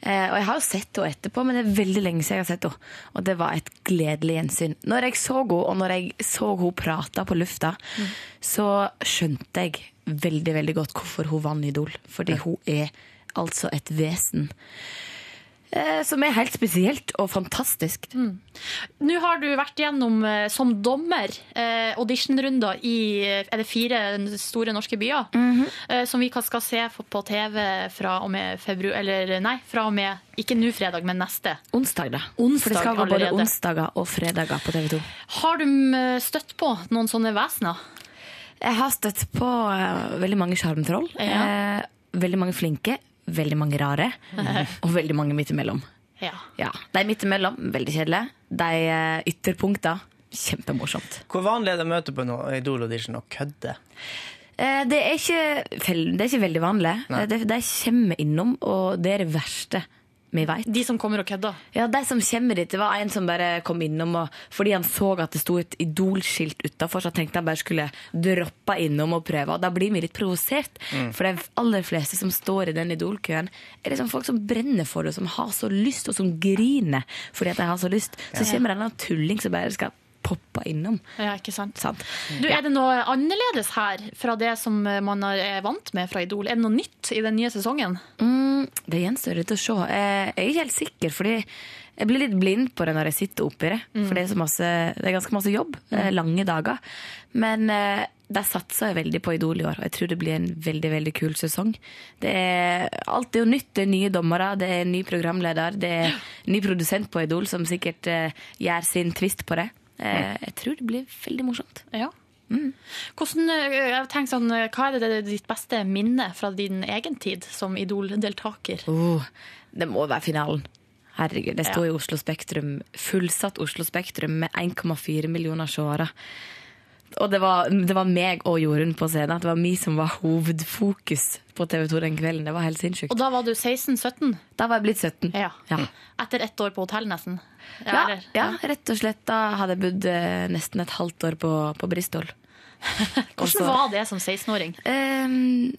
eh, og jeg har jo sett henne etterpå, men det er veldig lenge siden jeg har sett henne. Og det var et gledelig gjensyn. Når jeg så henne, og når jeg så henne prate på lufta, så skjønte jeg veldig, veldig godt hvorfor hun vant Idol. Fordi hun er altså et vesen. eh, Som er helt spesielt og fantastisk. Mm. Nå har du vært gjennom eh, som dommer eh, auditionrunder i eh, er det fire store norske byer. eh, som vi kan- skal se f- på TV fra og med februar Eller nei, fra og med ikke nå fredag, men neste. Onsdag, da. For Onsdag det skal gå både allerede. onsdager og fredager på TV 2. Har du mm, støtt på noen sånne vesener? Jeg har støtt på eh, veldig mange sjarmtroll. Ja. eh, veldig mange flinke, veldig mange rare. Og veldig mange midt imellom. Ja. Ja, De midt imellom, veldig kjedelige. De eh, ytterpunkta, kjempemorsomt. Hvor vanlig er det å møte på noe Idol-audition og kødde? Eh, Det er ikke, fel- det er ikke veldig vanlig. Nei. Eh, Det, de kommer innom, og det er det verste vi vet. De som kommer og kødder? Ja, de som kommer dit. Det var en som bare kom innom og, fordi han så at det sto et Idol-skilt utafor, så tenkte han bare skulle droppe innom og prøve. Og da blir vi litt provosert. Mm. For de aller fleste som står i den Idol-køen, er liksom folk som brenner for det, og som har så lyst, og som griner fordi at de har så lyst. Så Ja. kommer det en eller annen tulling som bare skal poppe innom. Ja, ikke sant? Sant? Du, Er det noe annerledes her fra det som eh, man er vant med fra Idol? Er det noe nytt i den nye sesongen? Mm, det gjenstår litt å se. Eh, Jeg er ikke helt sikker, fordi jeg blir litt blind på det når jeg sitter oppi det. Mm. For det er, så masse, det er ganske masse jobb. eh, Lange dager. Men eh, der satser jeg veldig på Idol i år, og jeg tror det blir en veldig veldig kul sesong. Det er, alt er jo nytt. Det er nye dommere, det er ny programleder, det er ny produsent på Idol som sikkert eh, gjør sin twist på det. Eh, jeg tror det blir veldig morsomt. Ja. Hvordan, eh, jeg tenker sånn, eh, hva er det, det er ditt beste minne fra din egen tid som Idol-deltaker? Oh, det må være finalen. Herregud, det sto Ja. i Oslo Spektrum. Fullsatt Oslo Spektrum med 1,4 millioner seere. Og det var, det var meg og Jorunn på scenen. Det var vi som var hovedfokus på TV 2 den kvelden. Det var helt sinnssykt. Og da var du 16-17? Da var jeg blitt 17. Ja. Ja. Etter ett år på hotell, nesten? Ja, eller? ja, rett og slett. Da hadde jeg bodd eh, nesten et halvt år på, på Bristol. Altså- Hvordan var det som 16-åring? Ehm,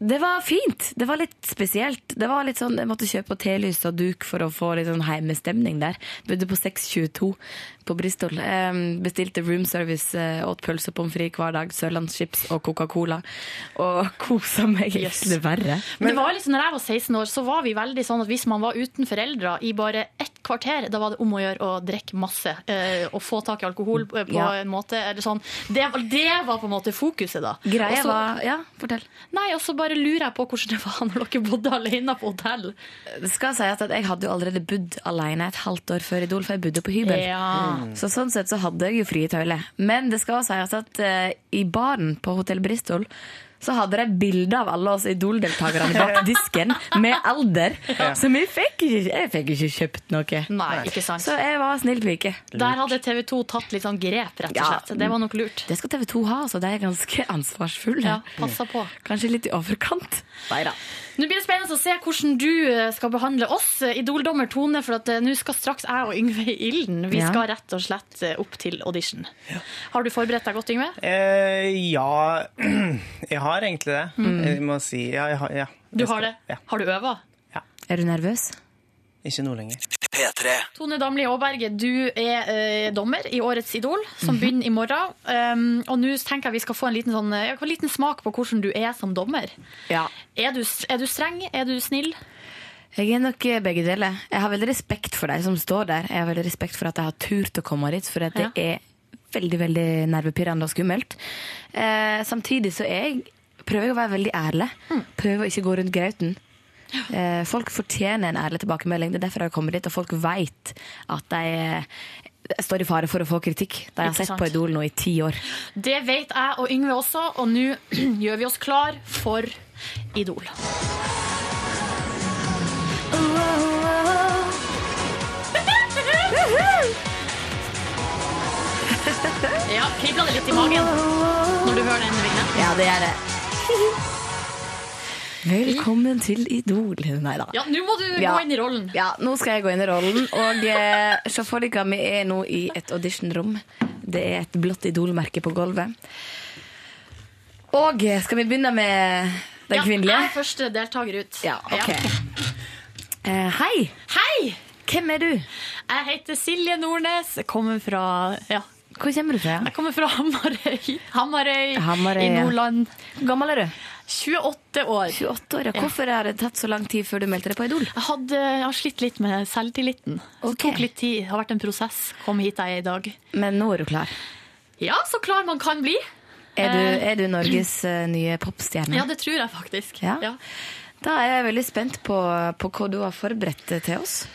det var fint. Det var litt spesielt. Det var litt sånn, Jeg måtte kjøpe telys og duk for å få litt sånn heimestemning der. Bodde på 622 på Bristol. Ehm, bestilte room service, eh, åt pølse og pommes frites hver dag. Sørlandschips og Coca-Cola. Og kosa meg Yes. dessverre. Men det var liksom, når jeg var 16 år, så var vi veldig sånn at hvis man var uten foreldre i bare ett kvarter, da var det om å gjøre å drikke masse eh, og få tak i alkohol eh, på Ja. en måte. Eller sånn. det, var- det var på en måte fokuset, da. Greia Og så- var Ja, fortell. Nei, og så bare lurer jeg på hvordan det var når dere bodde alene på hotell. Det skal sies at jeg hadde jo allerede bodd alene et halvt år før Idol, for jeg bodde på hybel. Ja. Mm. Så sånn sett så hadde jeg jo frie tøyler. Men det skal sies at eh, i baren på Hotell Bristol så hadde de bilde av alle oss Idol-deltakerne bak disken med alder. Ja. Så vi fikk ikke, jeg fikk ikke kjøpt noe. Nei, ikke sant. Så jeg var snill pike. Der hadde TV 2 tatt litt sånn grep, rett og slett. Det var nok lurt. Det skal TV 2 ha, så de er ganske ansvarsfulle. Ja, Mm. passa på. Kanskje litt i overkant. Neida. Nå blir det spennende å se hvordan du eh, skal behandle oss, eh, idoldommer Tone, for at eh, nå skal straks jeg og Yngve i ilden. Vi Ja. skal rett og slett eh, opp til audition. Har du forberedt deg godt, Yngve? Eh, ja Jeg har egentlig det. Mm. Jeg må si ja. Jeg har, ja. Du Jeg skal- har det? Har du øva? Er du nervøs? Ikke nå lenger. Tone Damli Aaberge, du er eh, dommer i årets Idol, som Mhm. begynner i morgen. Um, og nå tenker jeg vi skal få en liten, sånn, eh, en liten smak på hvordan du er som dommer. Ja. Er du, er du streng? Er du snill? Jeg er nok eh, begge deler. Jeg har veldig respekt for de som står der. Jeg har veldig respekt for at jeg har turt å komme dit, for at det er veldig veldig nervepirrende og skummelt. Eh, samtidig så er jeg, prøver jeg å være veldig ærlig. Prøver å ikke gå rundt grauten. Eh, folk fortjener en ærlig tilbakemelding. Det er derfor jeg har kommet dit, og folk veit at de eh, står i fare for å få kritikk. De har Ikke sett sant. på Idol nå i ti år. Det vet jeg og Yngve også, og nå gjør vi oss klar for Idol. Ja, kribler det litt i magen når du hører den vignetten? Ja, det gjør det. Velkommen til Idol. Nei da. Ja, nå må du Ja. gå inn i rollen. Ja, nå skal jeg gå inn i rollen. Og eh, se for dere vi er nå i et auditionrom. Det er et blått Idol-merke på gulvet. Og eh, skal vi begynne med den Ja, kvinnelige? Jeg er første deltaker ut. Ja, ok. Eh, hei! Hei! Hvem er du? Jeg heter Silje Nordnes. Jeg kommer fra ja. Hvor kommer du fra? Jeg kommer fra Hamarøy, Hamarøy, Hamarøy, i ja. Nordland. Hvor gammel er du? 28 år. 28 år, ja. Hvorfor har det tatt så lang tid før du meldte deg på Idol? Jeg, hadde, jeg har slitt litt med selvtilliten. Så Det tok litt tid. Det har vært en prosess. Kom hit jeg er i dag. Men nå er du klar. Ja, så klar man kan bli. Er du, Eh, er du Norges eh, nye popstjerne? Ja, det tror jeg faktisk. Ja. Ja. Da er jeg veldig spent på, på hva du har forberedt eh, til oss.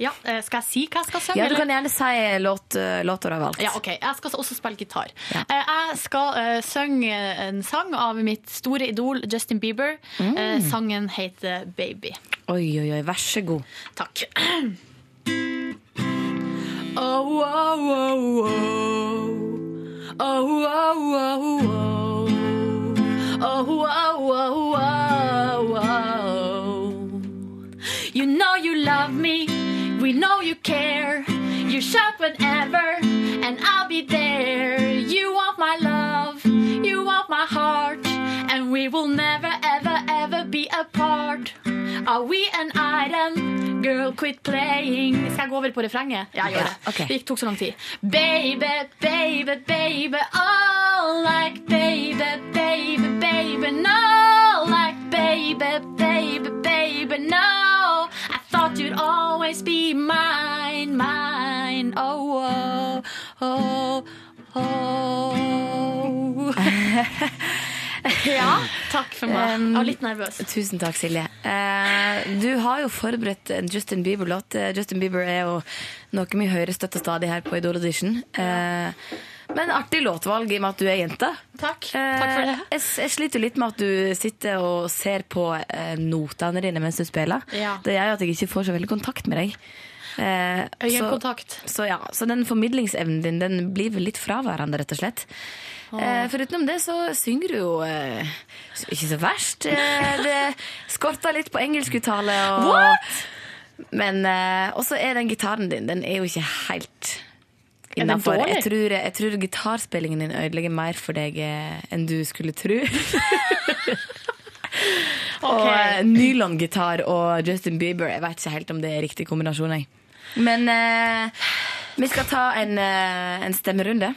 Ja, eh, Skal jeg si hva jeg skal synge? Ja, du eller? kan gjerne si låt, eh, låter du har valgt. Ja, ok. Jeg skal også spille gitar. Eh, Jeg skal eh, synge en sang av mitt store idol Justin Bieber. Mm. Eh, sangen heter Baby. Oi, oi, oi, vær så god. Takk. Oh, oh, oh, oh. Oh, oh, oh, oh. Oh, oh, oh, oh, oh. You know you love me. We know you care. You shout whenever, and I'll be there. You want my love. You want my heart. And we will never, ever, ever be apart. Are we an item? Girl, quit playing. Skal jeg gå over på refrenget? Ja, jeg gjør det. Det gikk- tok så lang tid. Baby, baby, baby, oh, like baby, baby, baby, no, like baby, baby, baby, no. I thought you'd always be mine, mine, oh, oh, oh, oh. ja, takk for meg. Jeg var litt nervøs. Tusen takk, Silje. Eh, du har jo forberedt en Justin Bieber-låt. Eh, Justin Bieber er jo noe mye høyere støtt og stadig her på Idol Audition. Eh, men artig låtvalg i og med at du er jente. Takk. Takk for det. Eh, Jeg, s- jeg sliter jo litt med at du sitter og ser på eh, notene dine mens du spiller. Ja. Det gjør jo at jeg ikke får så veldig kontakt med deg. Eh, Øyekontakt. Så, så ja, så den formidlingsevnen din den blir vel litt fraværende, rett og slett. Eh, for utenom det så synger du jo eh, ikke så verst. Eh, det skorter litt på engelskuttale. Og, Men eh, også er den gitaren din, den er jo ikke helt Er den innenfor. dårlig? Jeg tror, jeg tror gitarspillingen din ødelegger mer for deg eh, enn du skulle tro. Og eh, nylongitar og Justin Bieber, jeg vet ikke helt om det er riktig kombinasjon. Jeg. Men eh, vi skal ta en, eh, en stemmerunde.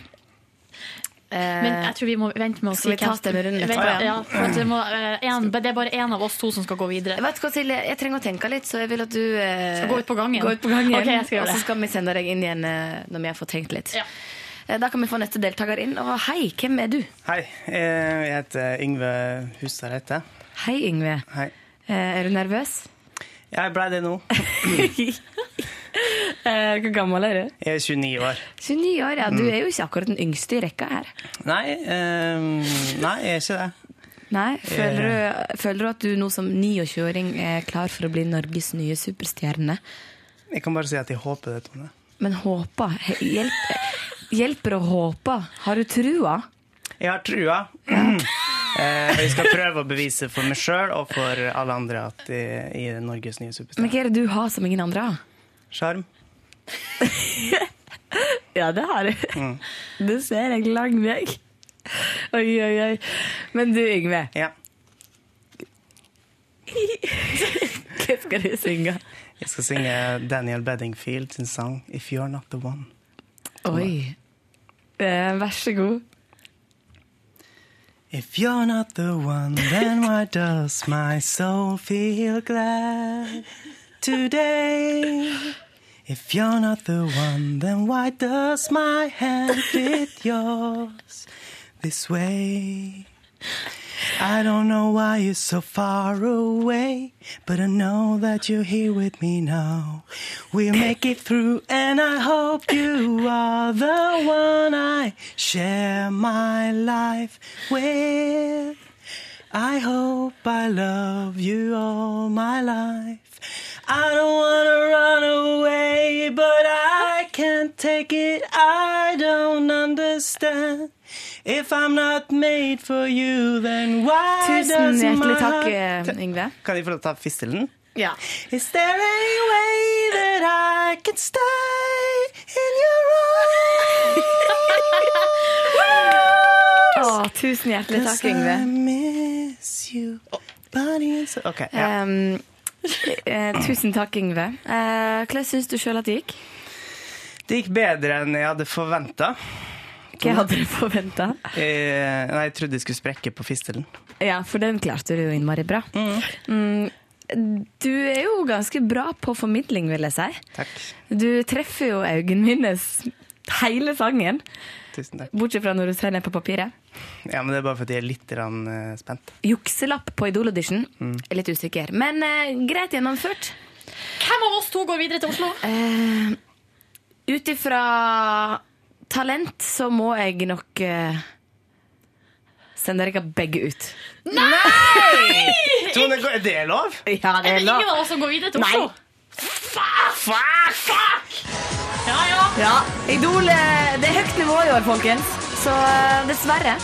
Eh, Men jeg tror vi må vente med å Skal vi si hvem ta stemmerunden Vent, etterpå, ja? ja, for at det, må, eh, en, det er bare én av oss to som skal gå videre. Vet du hva, Silje? Jeg trenger å tenke litt, så jeg vil at du eh, Skal gå ut på gangen. går ut på gangen, Ok, jeg skal gjøre og så det. skal vi sende deg inn igjen eh, når vi har fått tenkt litt. Eh, Da kan vi få neste deltaker inn. Og hei, hvem er du? Hei, eh, jeg heter Yngve Hustad Reite. Hei, Yngve. Hei. Eh, Er du nervøs? Jeg blei det nå. Eh, Hvor gammel er du? Jeg er 29 år. 29 år, ja. Du Mm. er jo ikke akkurat den yngste i rekka her. Nei, eh, nei, jeg er ikke det. Nei, føler Eh. du, føler du at du nå som 29-åring er klar for å bli Norges nye superstjerne? Jeg kan bare si at jeg håper det, Tone. Men håper hjelp, Hjelper å håpe? Har du trua? Jeg har trua. Eh, Jeg skal prøve å bevise for meg sjøl og for alle andre at jeg jeg er Norges nye Men superstjerne. hva er det du har som ingen andre har? Sjarm. Ja, det har du. Mm. Det ser jeg lang vei. Oi, oi, oi. Men du, Yngve. Hva skal du synge? Jeg skal synge Daniel Beddingfield sin sang 'If You're Not The One'. Oi. Eh, vær så god. If you're not the one, then why does my soul feel glad today? If you're not the one, then why does my hand fit yours this way? I don't know why you're so far away, but I know that you're here with me now. We'll make it through, and I hope you are the one I share my life with. I hope I love you all my life. I don't wanna run away, but I can't take it. I don't understand. If I'm not made for you, then why Tusen does my hjertelig takk, heart- eh, Yngve. Kan jeg få lov til å ta fistelen? Ja. Is there any way that I can stay in your arms? Å, tusen hjertelig takk, Yngve. I miss you. Body is- Ok, ja. Ehm, eh, tusen takk, Yngve. Eh, hvordan syns du sjøl at det gikk? Det gikk bedre enn jeg hadde forventa. Hva hadde du forventa? Eh, nei, jeg trodde jeg skulle sprekke på fistelen. Ja, for den klarte du jo innmari bra. Mm. Du er jo ganske bra på formidling, vil jeg si. Takk. Du treffer jo øynene mine s- hele sangen, Tusen takk. bortsett fra når du ser ned på papiret. Ja, men det er bare fordi jeg er litt grann, eh, spent. Jukselapp på Idol Audition. Mm. Jeg er litt usikker, men eh, greit gjennomført. Hvem av oss to går videre til Oslo? Uh, Ut ifra talent så må jeg nok eh, sende dere begge ut. Nei! Tone, går- er det lov? Ja, Ah, Er det ingen av oss som går videre til Oslo? Fuck, fuck, fuck! Ja, ja. Ja, Idol eh, Det er høyt nivå i år, folkens. Så eh, dessverre.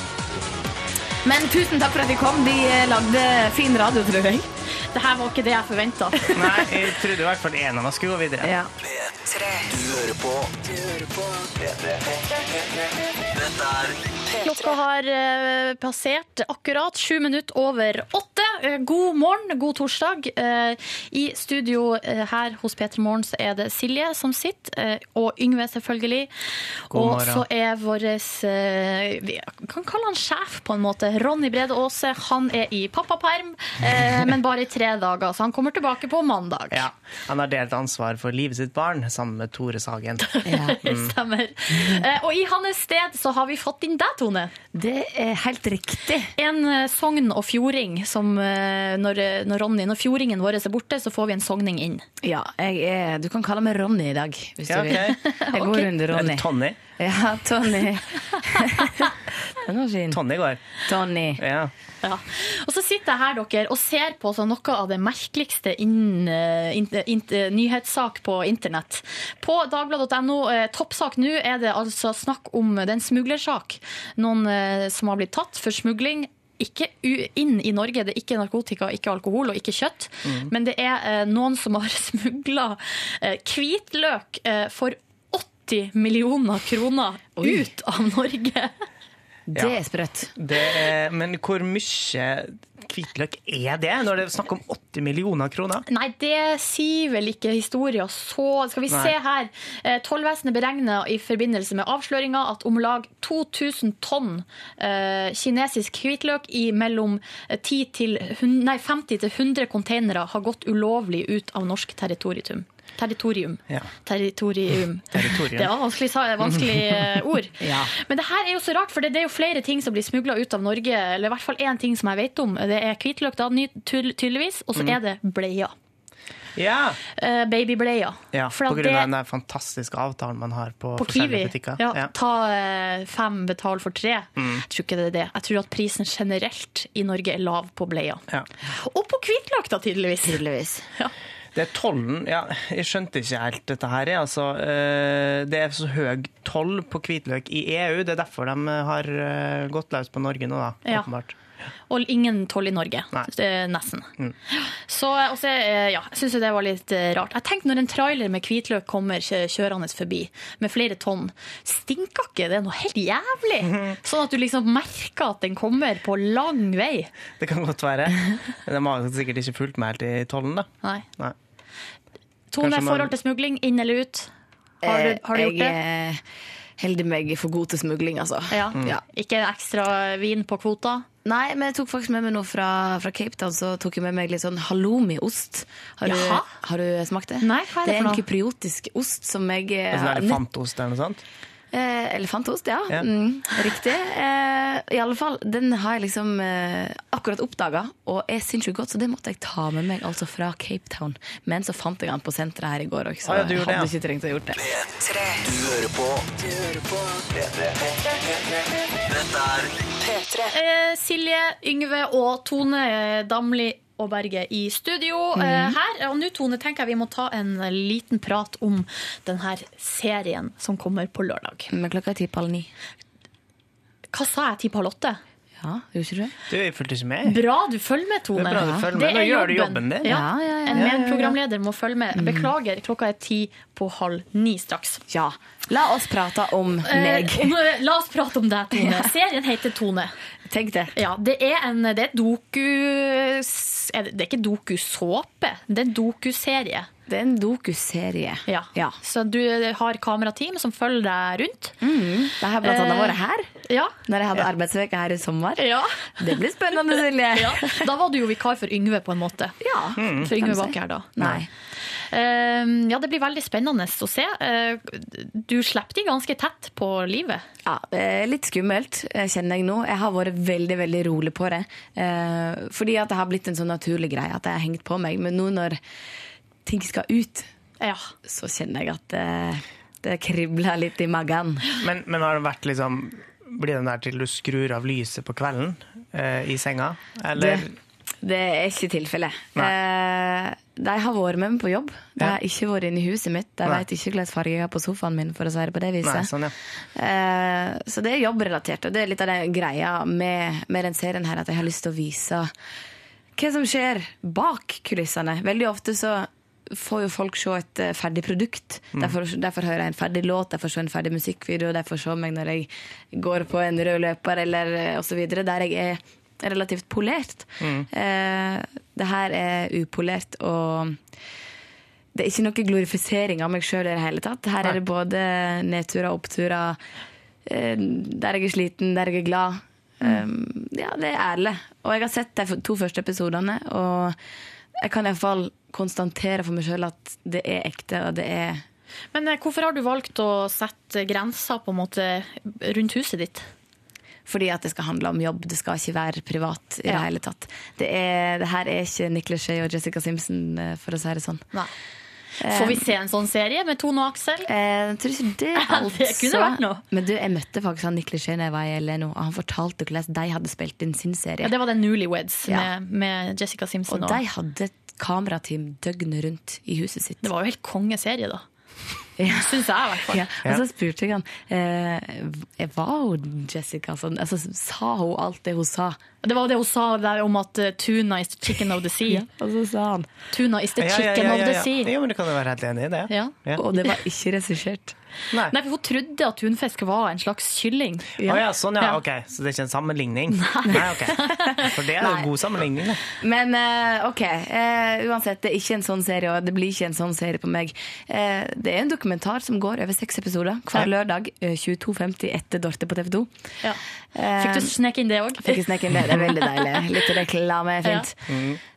Men tusen takk for at vi kom. Vi eh, lagde fin radio, tror jeg. Det her var ikke det jeg forventa. Nei, jeg trodde i hvert fall en av oss skulle gå videre. Ja. Du hører på P3. Dette er Klokka har eh, passert akkurat sju minutter over åtte. Eh, god morgen, god torsdag. Eh, I studio eh, her hos P3 Morgen så er det Silje som sitter, eh, og Yngve selvfølgelig. God og morgen. så er vår eh, Vi kan kalle han sjef, på en måte. Ronny Brede Aase. Han er i pappaperm, eh, men bare i tre dager, så han kommer tilbake på mandag. Ja. Han har delt ansvar for livet sitt barn sammen med Tore Sagen. Mm. Stemmer. Eh, Og i hans sted så har vi fått inn deg, Tone. Det er helt riktig. En eh, sogn og fjording som eh, når, eh, når Ronny, når fjordingen vår er borte, så får vi en sogning inn. Ja, jeg er, du kan kalle meg Ronny i dag, hvis Ja, du vil. ok. Jeg går Ok. under Ronny. Er det Tonny? Ja, Tonny. Den var fin. Tonny går. Tonny. Ja. Ja. Og så sitter jeg her dere, og ser på sånn noe av det merkeligste innen eh, in- in- eh, nyhetssak på internett. På dagbladet.no, eh, toppsak nå, er det altså snakk om eh, det er en smuglersak. Noen eh, som har blitt tatt for smugling. Ikke u inn i Norge, det er ikke narkotika, ikke alkohol og ikke kjøtt. Mhm. Men det er eh, noen som har smugla eh, hvitløk eh, for 80 millioner kroner ut av Norge. Det Ja. er sprøtt. Det er, men hvor mye hvitløk er det, når det er snakk om 80 millioner kroner? Nei, det sier vel ikke historien så Skal vi Nei. se her. Eh, Tollvesenet beregner i forbindelse med avsløringa at om lag 2000 tonn eh, kinesisk hvitløk i mellom 10 til, hun- nei, 50 til 100 containere har gått ulovlig ut av norsk territorium. Territorium. Ja. Territorium. Territorium. Det var vanskelig, sa- vanskelig eh, ord. Ja. Men det her er jo så rart, for det det er jo flere ting som blir smugla ut av Norge. Eller i hvert fall én ting som jeg vet om. Det er hvitløk, da, ny, tydel- tydeligvis. Og så Mm. er det bleier. Ja, Eh, babybleier. ja For På at grunn det- av den der fantastiske avtalen man har på, på Kiwi. forskjellige butikker. Ja, ta eh, fem, betal for tre. Mm. Jeg tror ikke det er det. Jeg tror at prisen generelt i Norge er lav på bleier. Ja. Og på hvitløk, da, tydeligvis. Ja. Det er tollen Ja, jeg skjønte ikke helt dette her. jeg, Altså, Eh, det er så høy toll på hvitløk i EU. Det er derfor de har eh, gått løs på Norge nå, da. Ja. Åpenbart. Og ingen toll i Norge. Eh, Nesten. Mm. Så eh, også, eh, ja, jeg syns jo det var litt eh, rart. Jeg tenkte når en trailer med hvitløk kommer kjø- kjørende forbi med flere tonn, stinker ikke det noe helt jævlig? Mhm. Sånn at du liksom merker at den kommer på lang vei. Det kan godt være. De har sikkert ikke fulgt med helt i tollen, da. Nei. Nei. Tone, Kanskje man- forhold til smugling, inn eller ut? Har du, har du gjort det? Jeg eh, holder meg for god til smugling, altså. Ja. Mm. Ikke ekstra vin på kvota? Nei, men jeg tok faktisk med meg noe fra, fra Cape Town. Så tok jeg med meg litt sånn halloumiost. Har, du- Jaha? har du smakt det? Nei, hva er det er for en noe? kypriotisk ost som jeg eh, En sånn har elefantost eller noe sånt? Eh, elefantost, ja. Ja. Mm, riktig. Eh, I alle fall, den har jeg liksom eh, akkurat oppdaga, og er sinnssykt godt, så det måtte jeg ta med meg altså fra Cape Town. Men så fant jeg den på senteret her i går òg, så Ah, ja, du jeg gjorde det, hadde ja. ikke trengt å gjort det. Du hører på P3. Dette er Eh, Silje, Yngve og Tone eh, Damli og Berge i studio Mhm. eh, her. Og nå, Tone, tenker jeg vi må ta en eh, liten prat om denne serien som kommer på lørdag. Men klokka er ti på halv ni. Hva sa jeg? Ti på halv åtte? Ja, gjorde ikke du det? Du, jeg fulgte ikke med. Bra du følger med, Tone. Det er bra du følger med. Det Nå er gjør du jobben din. Ja, Ja. ja, ja, En ja, Mm. ja, ja. medprogramleder må følge med. Beklager, klokka er ti på halv ni straks. Ja. La oss prate om meg. Eh, om, eh, la oss prate om deg, Tone. Serien heter Tone. Tenk det. Ja, det er en det er doku... er Det det er ikke dokusåpe, det er en dokuserie. Det er en dokuserie. Ja. Så du har kamerateam som følger deg rundt. Det Mm. har blant annet Eh, vært her, Ja. når jeg hadde arbeidsveke her i sommer. Ja. Det blir spennende, Silje. ja. Da var du jo vikar for Yngve, på en måte. Ja, Mm. For Yngve kan var du si. ikke her da. Nei. Ehm, ja, det blir veldig spennende å se. Eh, Du slipper de ganske tett på livet. Ja, eh, litt skummelt, eh, kjenner jeg nå. Jeg har vært veldig veldig rolig på det. Eh, Fordi at det har blitt en sånn naturlig greie at det har hengt på meg. Men nå når ting skal ut, så kjenner jeg at eh, det kribler litt i magen. Men, men har det vært liksom Blir den der til du skrur av lyset på kvelden eh, i senga? Eller Det- Det er ikke tilfellet. Eh, de har vært med meg på jobb. De har ikke vært inne i huset mitt. De Nei. vet ikke hvilken farge jeg har på sofaen min, for å si det på det viset. Nei, sånn, ja. Eh, så det er jobbrelatert, og det er litt av den greia med, med den serien her, at jeg har lyst til å vise hva som skjer bak kulissene. Veldig ofte så får jo folk se et eh, ferdig produkt. Mm. De, får, de får høre en ferdig låt, de får se en ferdig musikkvideo, de får se meg når jeg går på en rød løper eller eh, og så videre, der jeg er relativt polert. Mm. Eh, det her er upolert, og det er ikke noe glorifisering av meg sjøl i det hele tatt. Her er det både nedturer og oppturer. eh, Der jeg er sliten, der jeg er glad. Um, ja, det er ærlig. Og jeg har sett de to første episodene, og jeg kan iallfall konstatere for meg sjøl at det er ekte, og det er Men eh, hvorfor har du valgt å sette grenser på en måte rundt huset ditt? fordi at det skal handle om jobb, det skal ikke være privat i det Ja. hele tatt. Det, er, det her er ikke Niklas Skjei og Jessica Simpson, eh, for å si det sånn. Får vi se en sånn serie med Tone og Aksel? Eh, jeg tror ikke det Det kunne vært noe. Men du, jeg møtte faktisk han Niklas Skjei da jeg var i LA nå, og han fortalte hvordan de hadde spilt inn sin serie. Ja, det var den Newlyweds Ja. med, med Jessica Simpson. og de hadde et kamerateam døgnet rundt i huset sitt. Det var jo helt kongeserie, da. Syns jeg, i hvert fall. Ja. Og så spurte jeg han eh, Var hun Jessica sånn? Altså, sa hun alt det hun sa? Det var det hun sa der om at eh, tuna is the chicken of the sea. og så sa han Tuna is the Ja, chicken ja, ja, ja, of the ja. sea. Jo, men det kan jo være helt enig i det. Ja. Og det var ikke regissert. Nei. Nei, for Hun trodde at tunfisk var en slags kylling. Å ja, sånn ja, ok. Så det er ikke en sammenligning? Nei, ok. For det er jo Nei. en god sammenligning, det. Men eh, ok, eh, uansett, det er ikke en sånn serie, og det blir ikke en sånn serie på meg. Eh, det er en dokumentar som går over seks episoder hver lørdag eh, 22.50 etter Dorte på TV 2. Fikk du sneke inn det òg? Eh, Fikk Um, jeg snekke inn det? Det er veldig deilig. Litt reklame er fint.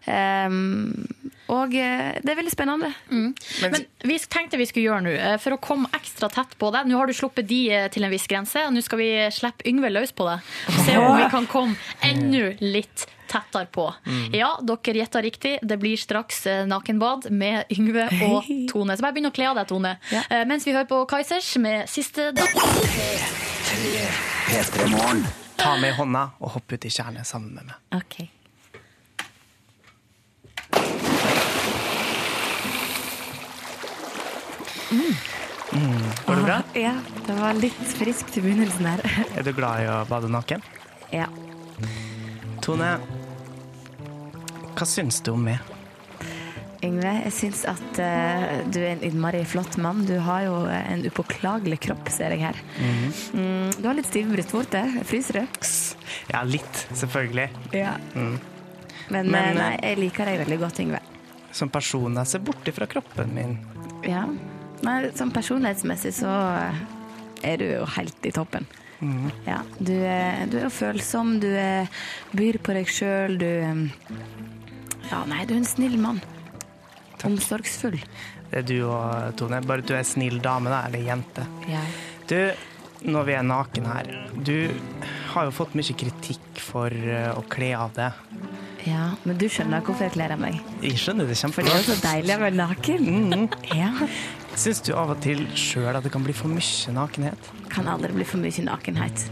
Um, og eh, det er veldig spennende. Men, vi tenkte vi skulle gjøre nå, eh, for å komme ekstra tett på deg Nå har du sluppet de eh, til en viss grense, og nå skal vi slippe Yngve løs på deg. Og se om vi kan komme enda litt tettere på. Mm. Ja, dere gjetta riktig. Det blir straks eh, nakenbad med Yngve og Tone. Så bare begynn å kle av deg, Tone. Eh, Mens vi hører på Kaizers med siste dag. P3 Morgen. Ta med hånda og hopp ut i tjernet sammen med meg. Ok. Mm. Går det bra? Ja, det var litt friskt i begynnelsen her. Er du glad i å bade naken? ja. Tone, hva syns du om meg? Yngve, jeg syns at eh, du er en innmari flott mann. Du har jo eh, en upåklagelig kropp, ser jeg her. Mm, du har litt stiv brystvorte. Fryser du? Ja, litt, selvfølgelig. Ja. Mm. Men, Men, eh, eh, nei, jeg liker deg veldig godt, Yngve. Som person jeg ser bort ifra kroppen min. Ja. Nei, sånn personlighetsmessig så eh, er du jo helt i toppen. Mm. Ja, du er, du er jo følsom, du er, byr på deg sjøl, du eh, Ja, nei, du er en snill mann. Omsorgsfull. Det er du og Tone. Bare du er snill dame, da, eller jente. Du, når vi er naken her, du har jo fått mye kritikk for eh, å kle av deg. Ja, men du skjønner hvorfor jeg kler av meg. Jeg skjønner det For det er jo så kjempegodt. deilig å være naken. Mm, Ja. Syns du av og til sjøl at det kan bli for mye nakenhet? Kan aldri bli for mye nakenhet.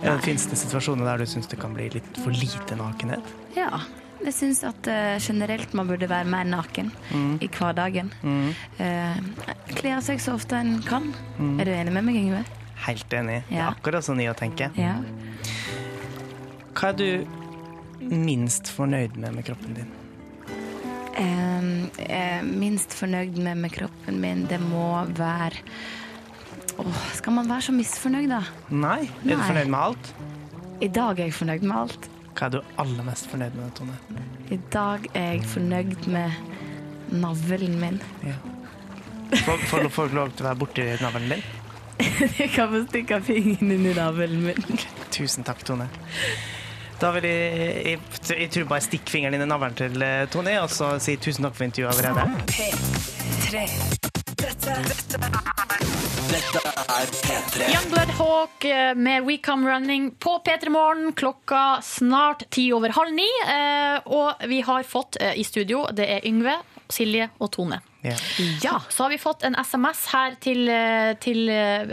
Ja, Fins det situasjoner der du syns det kan bli litt for lite nakenhet? Ja. Jeg syns at eh, generelt man burde være mer naken Mm. i hverdagen. Mm. Uh, Kle av seg så ofte en kan. Mm. Er du enig med meg, Yngve? Helt enig. Det er Ja. akkurat sånn jeg tenker. Ja. Hva er du minst fornøyd med med kroppen din? Ehm, jeg er minst fornøyd med, med kroppen min, det må være Åh, skal man være så misfornøyd, da? Nei? Er du Nei. fornøyd med alt? I dag er jeg fornøyd med alt. Hva er du aller mest fornøyd med, Tone? I dag er jeg fornøyd med navlen min. Får- Får folk lov til å være borti navlen din? du kan få stikke fingeren inn i navlen min. Tusen takk, Tone. Da vil jeg, jeg, jeg tror bare jeg stikker fingeren inn i navlen til eh, Tone, og så si tusen takk for intervjuet allerede. P3. Dette, dette Dette er P3. Youngblood Hawk eh, med We Come Running på P3 Morgen klokka snart ti over halv ni. eh, Og vi har fått eh, i studio, det er Yngve, Silje og Tone. Ja. Ja, så har vi fått en SMS her til, eh, til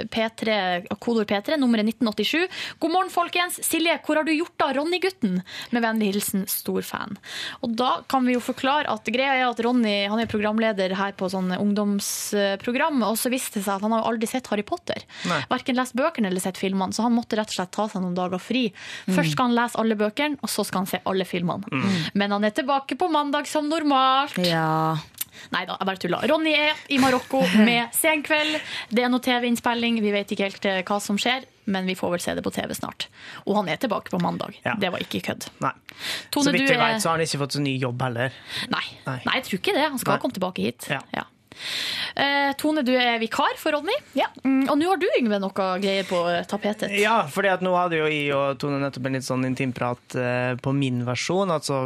P3, kodord P3, nummeret 1987. God morgen, folkens. Silje, hvor har du gjort av Ronny-gutten? Med vennlig hilsen stor fan. Og da kan vi jo forklare at greia er at Ronny han er programleder her på sånn ungdomsprogram, og så viste det seg at han har jo aldri sett Harry Potter. Nei. Verken lest bøkene eller sett filmene, så han måtte rett og slett ta seg noen dager fri. Mm. Først skal han lese alle bøkene, og så skal han se alle filmene. Men han er tilbake på mandag som normalt. Nei da, jeg bare tulla. Ronny er i Marokko med Senkveld. Det er noe TV-innspilling, vi vet ikke helt eh, hva som skjer, men vi får vel se det på TV snart. Og han er tilbake på mandag. Det var ikke kødd. Nei. Tone, så vidt du jeg er- vet, så har han ikke fått så ny jobb heller. Nei, Nei. jeg tror ikke det. Han skal Nei. komme tilbake hit. Ja. Eh, Tone, du er vikar for Ronny. Mm, og nå har du, Yngve, noe greier på eh, tapetet. Ja, fordi at nå hadde jo jeg og Tone nettopp en litt sånn intimprat eh, på min versjon, altså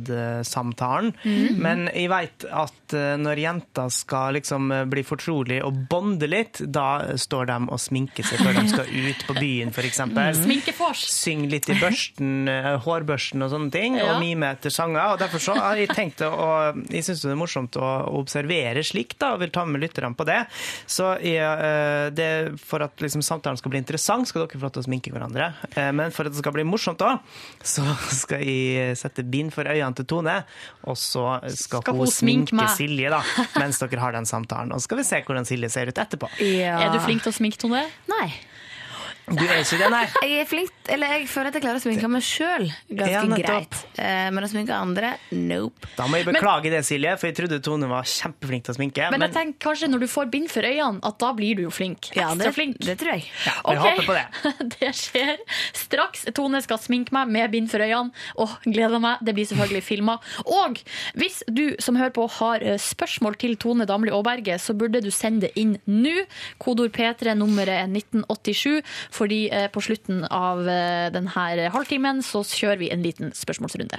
nakenbadsamtalen. Mhm. Men jeg veit at eh, når jenter skal liksom eh, bli fortrolig og bonde litt, da står de og sminker seg før de skal ut på byen, f.eks. Mm. Sminkefors. Syng litt i børsten, eh, hårbørsten og sånne ting, Ja. og mime etter sanger. Og derfor så har jeg tenkt å Jeg syns det er morsomt å observere slikt, da, og vil ta med lytterne på det. Så jeg, eh, det, for at liksom, samtalen skal bli interessant, skal dere få lov til å sminke hverandre. Eh, Men for at det skal bli morsomt òg, så skal jeg sette bind for øynene til Tone, og så skal, Skal hun hun sminke sminke meg? Silje, da, mens dere har den samtalen. Og så skal vi se hvordan Silje ser ut etterpå. Er du flink til å sminke, Tone? Nei. Du er ikke det, nei? Jeg er flink, eller jeg føler at jeg klarer å sminke meg sjøl ganske Ja, nettopp. greit. Eh, Men å sminke andre, nope. Da må jeg beklage det, Silje, for jeg trodde Tone var kjempeflink til å sminke. Men, jeg tenker kanskje når du får bind for øynene, at da blir du jo flink. Ekstra det- flink. det tror jeg. Ja, jeg håper på det. det skjer straks. Tone skal sminke meg med bind for øynene. Åh, gleder meg. Det blir selvfølgelig filma. Og hvis du som hører på har eh, spørsmål til Tone Damli Aaberge, så burde du sende det inn nå. Kodord P3, nummeret er 1987. Fordi eh, på slutten av eh, denne halvtimen så kjører vi en liten spørsmålsrunde.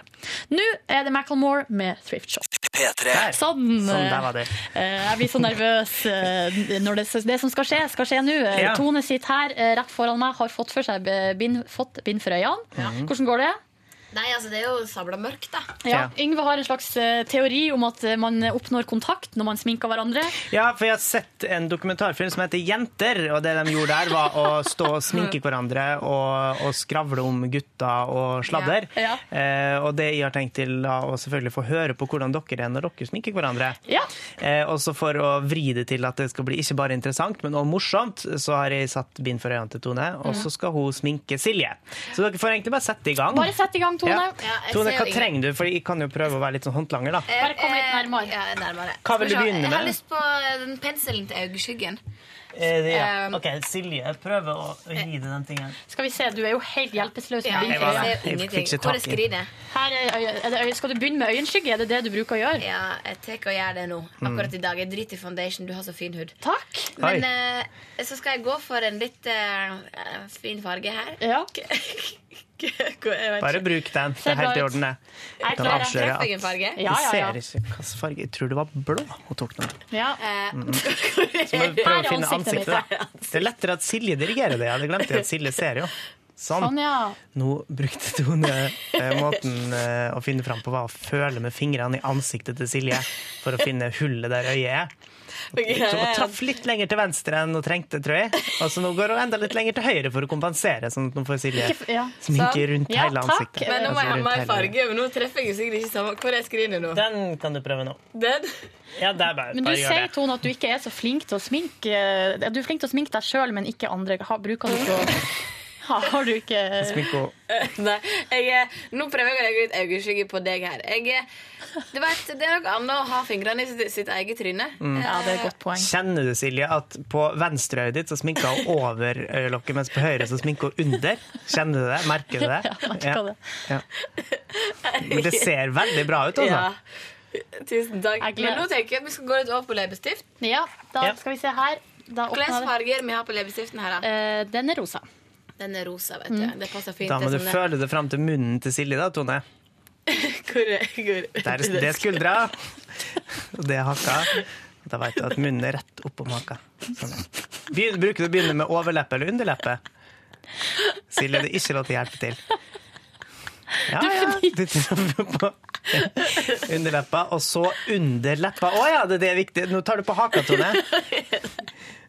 Nå er det Macclemore med Thrift Shop. P3. Sånn. Sånn, der var det. Eh, Jeg blir så nervøs eh, når det, det som skal skje, skal skje nå. Eh, Ja. Tone sitter her eh, rett foran meg, har fått for seg eh, bind, fått bind for øynene. Ja. Hvordan går det? Mhm. Nei, altså det er jo sabla mørkt, da. Ja. Yngve har en slags eh, teori om at eh, man oppnår kontakt når man sminker hverandre. Ja, for jeg har sett en dokumentarfilm som heter Jenter, og det de gjorde der var å stå og sminke hverandre og, og skravle om gutter og sladder. Ja. Eh, og det jeg har tenkt til da, å selvfølgelig få høre på hvordan dere er når dere sminker hverandre. Ja. Eh, også for å vri det til at det skal bli ikke bare interessant, men også morsomt, så har jeg satt bind for øynene til Tone, og så skal hun sminke Silje. Så dere får egentlig bare sette i gang. Bare sett i gang, Tone. Ja. jeg Tone, ser Eh, hva jo ingen- trenger du? For jeg kan jo prøve å være litt sånn håndlanger, da. Bare kom litt nærmere. Ja, nærmere. Hva vil Skal vi du se. begynne Jeg har med? lyst på den penselen til øyeskyggen. Eh, ja. Um, OK, Silje, prøv å eh, gi det den tingen. Skal vi se, du er jo helt hjelpeløs. Ja, jeg med bind for var- øynene. jeg fikk Ingenting. ikke Hvor er tak i den. skrinet? Her er, øye- er det, øye- skal du begynne med øyenskygge? Er det det du bruker å gjøre? Ja, jeg tar og gjør det nå. Mm. Akkurat i dag. Jeg driter i foundation. Du har så fin hud. Takk. Men Oi. eh, så skal jeg gå for en litt eh, fin farge her. Ja. Bare bruk den. Det Ser er helt i bra ut. orden, det. Jeg Jeg kan klarer. avsløre at Treff egen farge. jeg Ja, ja, ja. ser ikke hvilken farge Jeg tror det var blå hun tok den. Ja. Mm. Eh, Så må vi prøve å finne ansiktet. da. Det er lettere at Silje dirigerer det. Jeg hadde glemt at Silje ser jo. Sånn. Sånn, ja. Nå brukte Tone eh, måten eh, å finne fram på var å føle med fingrene i ansiktet til Silje for å finne hullet der øyet er. Så hun traff litt lenger til venstre enn hun trengte, tror jeg. Og så nå går hun enda litt lenger til høyre for å kompensere, sånn at nå får Silje Ikke f- ja. sminke Sånn. rundt Ja, hele takk. ansiktet. Men nå må Altså jeg ha rundt meg i hele- farge. men Nå treffer jeg jo sikkert ikke samme. Hvor er skrinet nå? Den kan du prøve nå. Den? Ja, det er bare, Men du bare gjør sier det. Tone, at du ikke er så flink til å sminke eh, Du er flink til å sminke deg sjøl, men ikke andre. Har, bruker du ikke å Ha- Har du ikke Sminko. Nei, jeg, er- nå prøver jeg å legge ut øyeskygge på deg her. Jeg, er- du vet, Det er noe annet å ha fingrene i sitt, sitt eget tryne. Mm. Ja, det er et godt poeng. Kjenner du, Silje, at på venstre øyet ditt så sminker hun over øyelokket, mens på høyre så sminker hun under? Kjenner du det? Merker du det? Ja, merker det. Ja. Men det ser veldig bra ut, altså. Tusen takk. Men nå tenker jeg at vi skal gå litt over på leppestift. Ja, da Ja. skal vi se her. Da åpner jeg Hvilke det. farger vi har på leppestiften her, da? den er rosa. Den er rosa, vet du. Mm. Det passer fint. Da må du det er sånn føle det fram til munnen til Silje, da, Tone. det- Der, det er skuldra, og det er hakka. Da veit du at munnen er rett oppom haka. Sånn. Begyn- Bruker du å begynne med overleppe eller underleppe? Silje, det er ikke lov til å hjelpe til. Ja, ja. Du, Underleppa, og så underleppa. Å ja, det, det er viktig. Nå tar du på haka, Tone.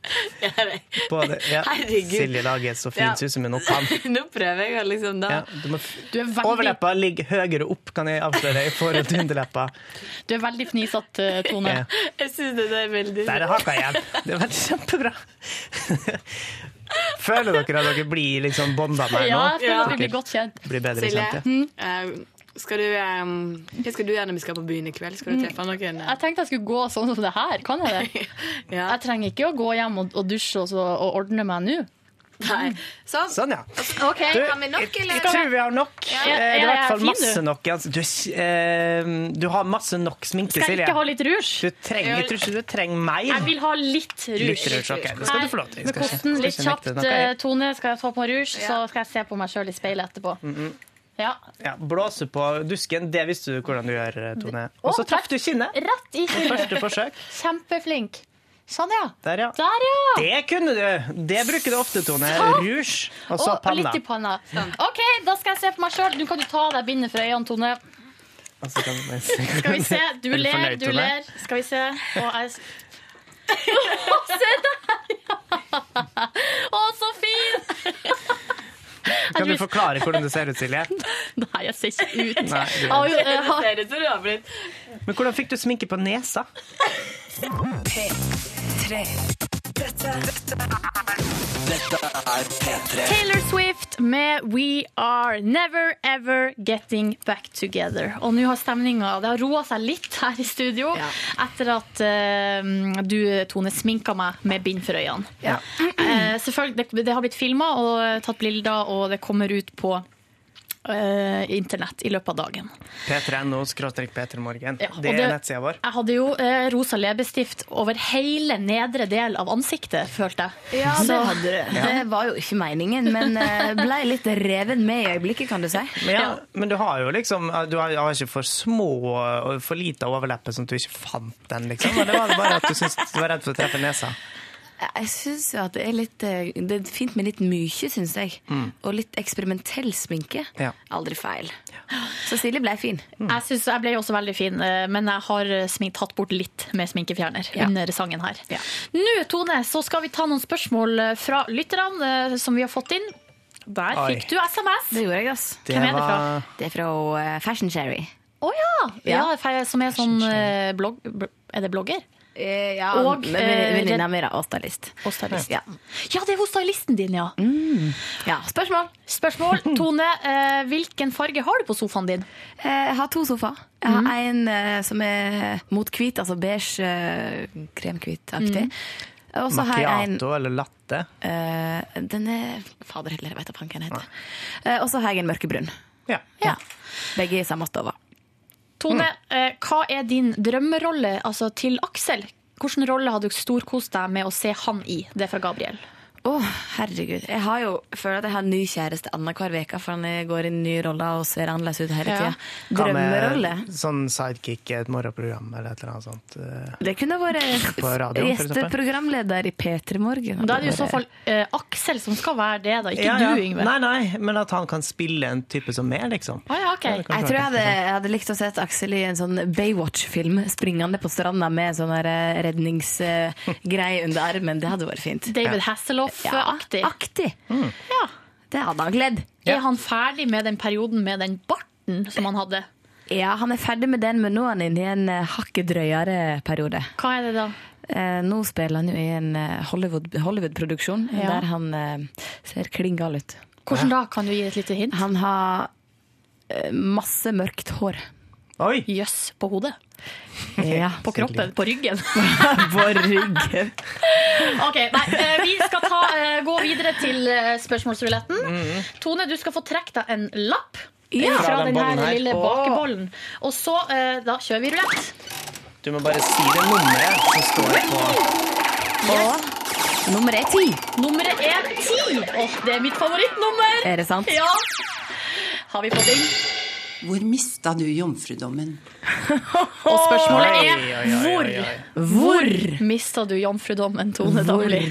På det- ja. Herregud. Silje lager et så fint Ja. hus som hun nå kan. Nå prøver jeg å liksom da. Ja, du må f- Du er veldig- Overleppa ligger høyere opp, kan jeg avsløre, i forhold til underleppa. Du er veldig fnisete, eh, Tone. Ja. Jeg syns det er veldig Der er haka igjen. Det var kjempebra. Føler dere at dere blir liksom bonda med nå? Ja, jeg føler at vi Dere blir godt kjent. Blir bedre Silje, kjent, ja. Mm. eh, skal du, eh, hva skal du gjøre når vi skal på byen i kveld? Skal Mm. du treffe noen? eh? Jeg tenkte jeg skulle gå sånn som det her. Kan jeg det? Jeg trenger ikke å gå hjem og, og dusje og, så, og ordne meg nå. Nei. Sånn. ja. Ok, Du, kan vi nok, eller? Jeg tror vi har nok. Eh, Ja. Det er i Ja, ja, hvert fall fin, masse du. nok. Altså, du, eh, du har masse nok sminke, Skal jeg Silje. ikke ha litt rouge? Du trenger, jeg tror ikke du trenger Jeg mer. vil ha litt rouge. Litt rouge, ok. Det skal du få lov til. Jeg Med skal ikke- kosten, skal litt ikke nekte kjapt, noe, jeg. eh, Tone. Skal jeg ta på rouge, så skal jeg se på meg sjøl i speilet etterpå. Mhm. Ja. Ja, blåse på dusken, det visste du hvordan du gjør, eh, Tone. Og så Å, traff du kinnet. Rett i På første kinnet. forsøk. Kjempeflink. Sånn, ja. Der, ja. Der, ja. Det kunne du! Det bruker du ofte, Tone. Sant. Rouge og så Og litt panna. i panna. OK, da skal jeg se på meg sjøl. Nå kan du ta av deg bindet fra øynene, Tone. Og så kan man- Skal vi se. Du Er ler, fornøyd, du Tone? ler. Skal vi se. Og jeg Å, se der, ja! Å, så fin! Kan du forklare hvordan du ser ut, Silje? Nei, jeg ser ikke ut. Nei, du- Jeg har jo, eh, har- Men hvordan fikk du sminke på nesa? P3. Dette, dette er Dette er P3. Taylor Swift med We Are Never Ever Getting Back Together. Og nå har stemninga Det har roa seg litt her i studio etter at eh, du, Tone, sminka meg med bind for øynene. Eh, selvfølgelig, det, det har blitt filma og tatt bilder, og det kommer ut på eh, internett i løpet av dagen. P3.no skråstrek P3morgen. Ja, og det er nettsida vår. Jeg hadde jo eh, rosa leppestift over hele nedre del av ansiktet, følte jeg. Ja, det Så- hadde du. Det var jo ikke meningen, men eh, ble litt reven med i øyeblikket, kan du si. Men, ja, men du har jo liksom Du har, har ikke for små og for lite overleppe sånn at du ikke fant den, liksom. Eller var det bare at du syntes du var redd for å treffe nesa? Jeg syns at det er litt eh, Det er fint med litt mye, syns jeg. Mm. Og litt eksperimentell sminke. Ja. Aldri feil. Så Silje ble fin. Jeg, synes, jeg ble jo også veldig fin, eh, men jeg har smink, tatt bort litt med sminkefjerner under sangen her. Nå, Tone, så skal vi ta noen spørsmål eh, fra lytterne eh, som vi har fått inn. Der Oi. fikk du SMS. Det gjorde jeg, ass. Det Hvem er det var- fra? Det er fra eh, Fashion Sherry. Å ja. ja! fe- Som er sånn eh, blogg... bl- Er det blogger? Eh, ja, Og men venninna eh, mi, da. Og stylist. Og stylist. Ja. Ja, det er hos stylisten din, ja. ja. Spørsmål. Mm. Spørsmål. Tone, eh, hvilken farge har du på sofaen din? Eh, Jeg har to sofaer. Jeg Mhm. har en eh, som er mot hvit, altså beige, eh, kremhvit-aktig. Mhm. Og så har jeg en Macchiato eller latte? eh, Den er Fader heller, jeg vet da faen hva den heter. Eh, Og så har jeg en mørkebrun. Ja. Begge i samme stova. Tone, eh, hva er din drømmerolle altså, til Aksel? Hvilken rolle hadde du storkost deg med å se han i? Det er fra Gabriel. Å, herregud. Jeg har jo føler at jeg har ny kjæreste annenhver uke, for han går i nye roller og ser annerledes ut hele tida. Ja. Hva med Drømmerolle. Sånn sidekick i et morgenprogram eller et eller annet sånt. eh, Det kunne vært På radioen, for eksempel. gjesteprogramleder i P3 Morgen. Da er det i så fall eh, Aksel som skal være det, da. Ikke Ja, ja. du, Yngve. Nei, nei, men at han kan spille en type som meg, liksom. Ah, ja, ok. Ja, det kan Jeg være tror jeg hadde, jeg hadde likt å sett Aksel i en sånn Baywatch-film, springende på stranda med sånn her, eh, redningsgreie under armen. Det hadde vært fint. David Hasselhoff-aktig. aktig. Det hadde han gledd. Er han ferdig med den perioden med den barten som han hadde? Ja, han er ferdig med den, men nå er han inne i en eh, hakket drøyere periode. Hva er det da? Eh, nå spiller han jo i en eh, Hollywood- Hollywood-produksjon Ja. der han eh, ser klin gal ut. Hvordan da? Kan du gi et lite hint? Han har eh, masse mørkt hår. Oi! Jøss, på hodet. Ja. På kroppen? På ryggen? på ryggen. Ok, nei, eh, Vi skal ta, eh, gå videre til eh, spørsmålsruletten. Tone, du skal få trekke deg en lapp eh, Ja. fra, Mm-hmm. Fra den den bollen her. her lille Åh. bakebollen. Og så, eh, da kjører vi rulett. Du må bare si det nummeret som står på Og nummer er ti. Nummeret er ti. Åh, det er mitt favorittnummer. Er det sant? Ja. Har vi fått inn? Hvor mista du jomfrudommen? Og spørsmålet Oi, er oi, oi, hvor? oi, oi. Hvor mista du jomfrudommen, Tone Damli?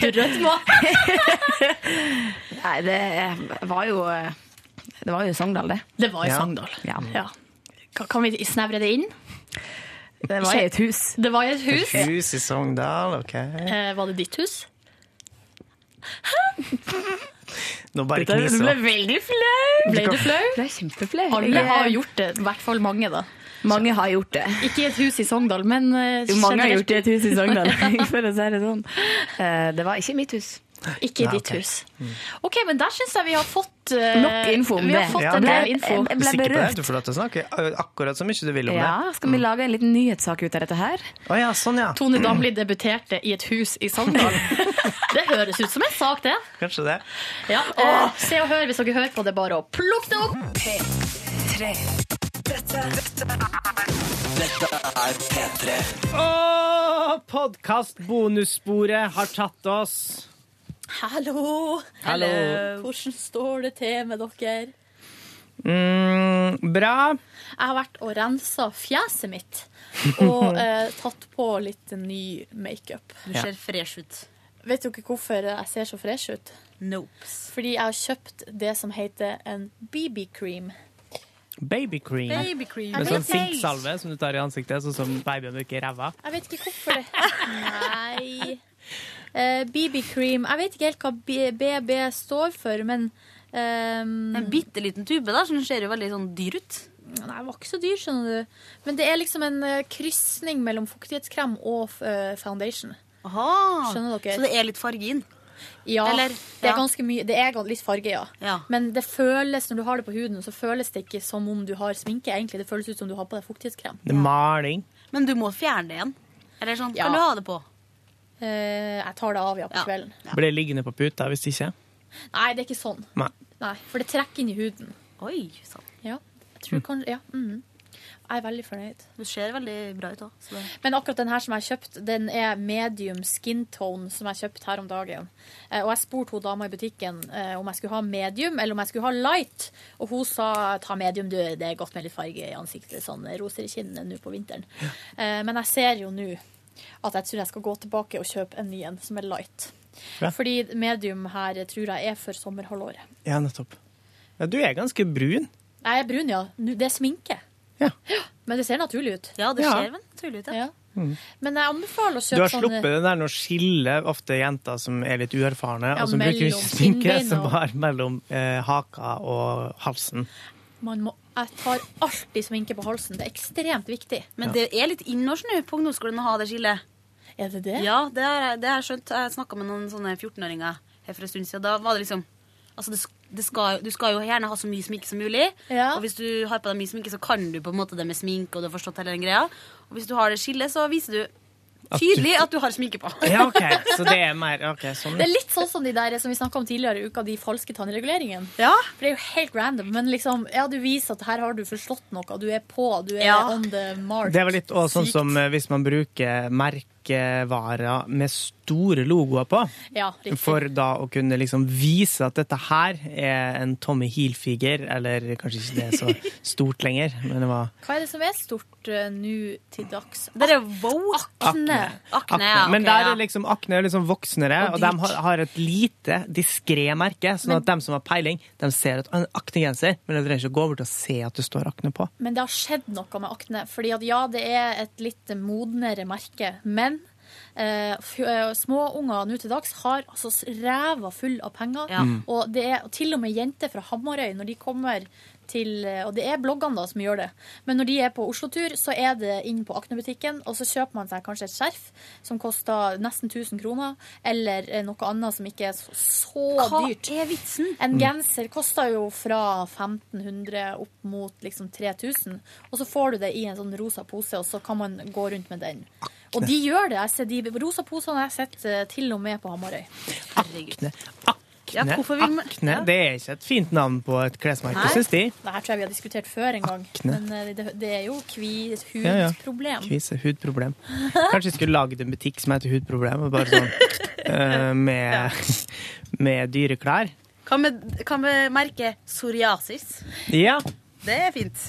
Du rødma. Nei, det var jo eh, Det var jo i Sogndal, det. Det var i Sogndal. Ja. Ja. Ka- Kan vi snevre det inn? Det var i et hus. Det var i et hus. Et hus i Sogndal, OK. Eh, var det ditt hus? Nå bare Dette- kniser du ble hun. veldig flau. Ble du flau? Ble kjempeflau. Alle har jo gjort det. I hvert fall mange, da. Mange har gjort det. Ikke i et hus i Sogndal, men eh, Jo, mange har generelt- gjort det i et hus i Sogndal, for å si det sånn. Eh, Det var ikke mitt hus. Ikke i Nei, ditt ok. hus. OK, men der syns jeg vi har fått eh, Nok info om vi det. Har fått Ja, en men- del info. Jeg ble Du er sikker på det? berørt. Du får lov til å snakke akkurat så mye du vil om Ja, det. skal vi lage en liten nyhetssak ut av dette her? Å ja, sånn, ja. Tone Damli debuterte i et hus i Sogndal. det høres ut som en sak, det. Kanskje det. Ja, eh, se og hør hvis dere hører på det, bare å plukke det opp. P3. Dette, dette Dette er P3. Åh, Podkast-bonussporet har tatt oss. Hallo. Hallo. Hvordan står det til med dere? Mm, bra. Jeg har vært og rensa fjeset mitt og eh, tatt på litt ny makeup. Du ser Ja. fresh ut. Vet dere hvorfor jeg ser så fresh ut? Fordi jeg har kjøpt det som heter en BB-cream. Baby cream. Baby cream. Med sånn Jeg vet ikke. sinksalve som du tar i ansiktet, sånn som babyen bruker i ræva. Jeg vet ikke hvorfor det Nei. Eh, BB-cream. Jeg vet ikke helt hva B- BB står for, men ehm, En bitte liten tube der som ser jo veldig sånn dyr ut. Nei, den var ikke så dyr, skjønner du. Men det er liksom en eh, krysning mellom fuktighetskrem og eh, foundation. Skjønner dere? Så det er litt farge inn? Ja, Eller- det ja. er ganske mye. Det er gan- litt farge, ja. Men det føles, når du har det på huden, så føles det ikke som om du har sminke. egentlig. Det føles ut som du har på deg fuktighetskrem. Det er maling. Men du må fjerne det igjen. Eller sånn, kan du ha det på? Eh, jeg tar det av, ja, på kvelden. Blir det liggende på puta hvis ikke? Nei, det er ikke sånn. Nei. Nei, For det trekker inn i huden. Oi, sånn. Ja, jeg tror kanskje, ja. mhm. Jeg er veldig fornøyd. Du ser veldig bra ut òg. Men akkurat den her som jeg har kjøpt, den er medium skin tone som jeg kjøpte her om dagen. Eh, Og jeg spurte hun dama i butikken eh, om jeg skulle ha medium eller om jeg skulle ha light. Og hun sa ta medium, du. Det er godt med litt farge i ansiktet. Sånn roser i kinnene nå på vinteren. Eh, Men jeg ser jo nå at jeg tror jeg skal gå tilbake og kjøpe en ny en som er light. Ja. Fordi medium her tror jeg er for sommerhalvåret. Ja, nettopp. Ja, du er ganske brun. Jeg er brun, ja. Nu- Det er sminke. Ja, Men det ser naturlig ut. Ja, det Ja. ser vel naturlig ut, ja. Men jeg anbefaler å Mm. Du har kjøpe sluppet sånne den der med å skille ofte jenter som er litt uerfarne, Ja, og som bruker mellom sminke kinnbeina. som var mellom eh, haka og halsen. man må, Jeg tar alltid sminke på halsen. Det er ekstremt viktig. Men Ja. Det er litt innårs nå på ungdomsskolen å ha det skillet. Er det det? Ja, det har jeg- det har jeg skjønt. Jeg snakka med noen sånne 14-åringer her for en stund siden. Da var det liksom Altså, det, sk- det skal, du skal jo gjerne ha så mye sminke som mulig. Og hvis du har på deg mye sminke, så kan du på en måte det med sminke, og du har forstått hele den greia. Og hvis du har det skillet, så viser du tydelig at du har sminke på. Ja, OK. Så det er mer OK, sånn. Det er litt sånn som de der som vi snakka om tidligere i uka, de falske tannreguleringene. For det er jo helt random, men liksom, ja, du viser at her har du forstått noe. Du er på, du er Ja. on the mark. Det er vel litt også sånn som eh, hvis man bruker merkevarer med store logoer på. Ja, riktig. For da å kunne liksom vise at dette her er en Tommy Hilfiger, eller kanskje ikke det er så stort lenger, men det var Hva er det som er stort eh, nå til dags? Det er wow. Akne. Akne. Men der er liksom akne er liksom voksnere, og, Og de dyrt. har, har et lite, diskré merke. Sånn at dem som har peiling, de ser at en aknegenser, men de trenger ikke å gå bort og se at det står akne på. Men det har skjedd noe med akne. Fordi at ja, det er et litt modnere merke. Men eh, f- eh, små unger nå til dags har altså s- ræva full av penger. Ja. Mm. Og det er og til og med jenter fra Hamarøy, når de kommer til eh, Og det er bloggene da som gjør det. Men når de er på Oslo-tur, så er det inn på Akne-butikken, og så kjøper man seg kanskje et skjerf som koster nesten 1000 kroner, eller eh, noe annet som ikke er så, så Hva dyrt. Hva er vitsen? Mm. En genser koster jo fra 1500 opp mot liksom 3000, og så får du det i en sånn rosa pose, og så kan man gå rundt med den. Og de gjør det. Jeg ser de rosa posene har jeg sett eh, til og med på Hamarøy. Akne. Akne, hvorfor vil man- akne det er ikke et fint navn på et klesmerke, syns de. Det her tror jeg vi har diskutert før en gang. Akne. Men eh, det, det er jo kvi, Ja, ja. hudproblem. Kvise, hudproblem. Kanskje jeg skulle lagd en butikk som heter Hudproblem, og bare sånn eh, med, med dyre klær. Hva med, hva med merket psoriasis? Ja. Det er fint.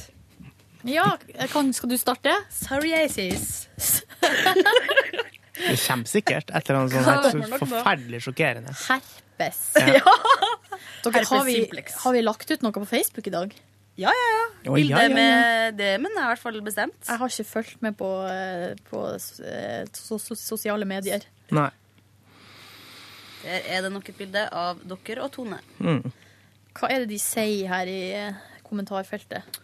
Ja, skal du starte? Psoriasis. Du Det kommer sikkert et eller annet sånt Kommer helt nok så nå. forferdelig sjokkerende. Herpes. Ja. Dere, Herpes har, vi, simplex. har vi lagt ut noe på Facebook i dag? Ja, ja, ja. Oi, ja, ja, ja. Bildet med DM-en er i hvert fall bestemt. Jeg har ikke fulgt med på, eh, på eh, so- so- sosiale medier. Nei. Der er det nok et bilde av dere og Tone. Mm. Hva er det de sier her i eh, kommentarfeltet?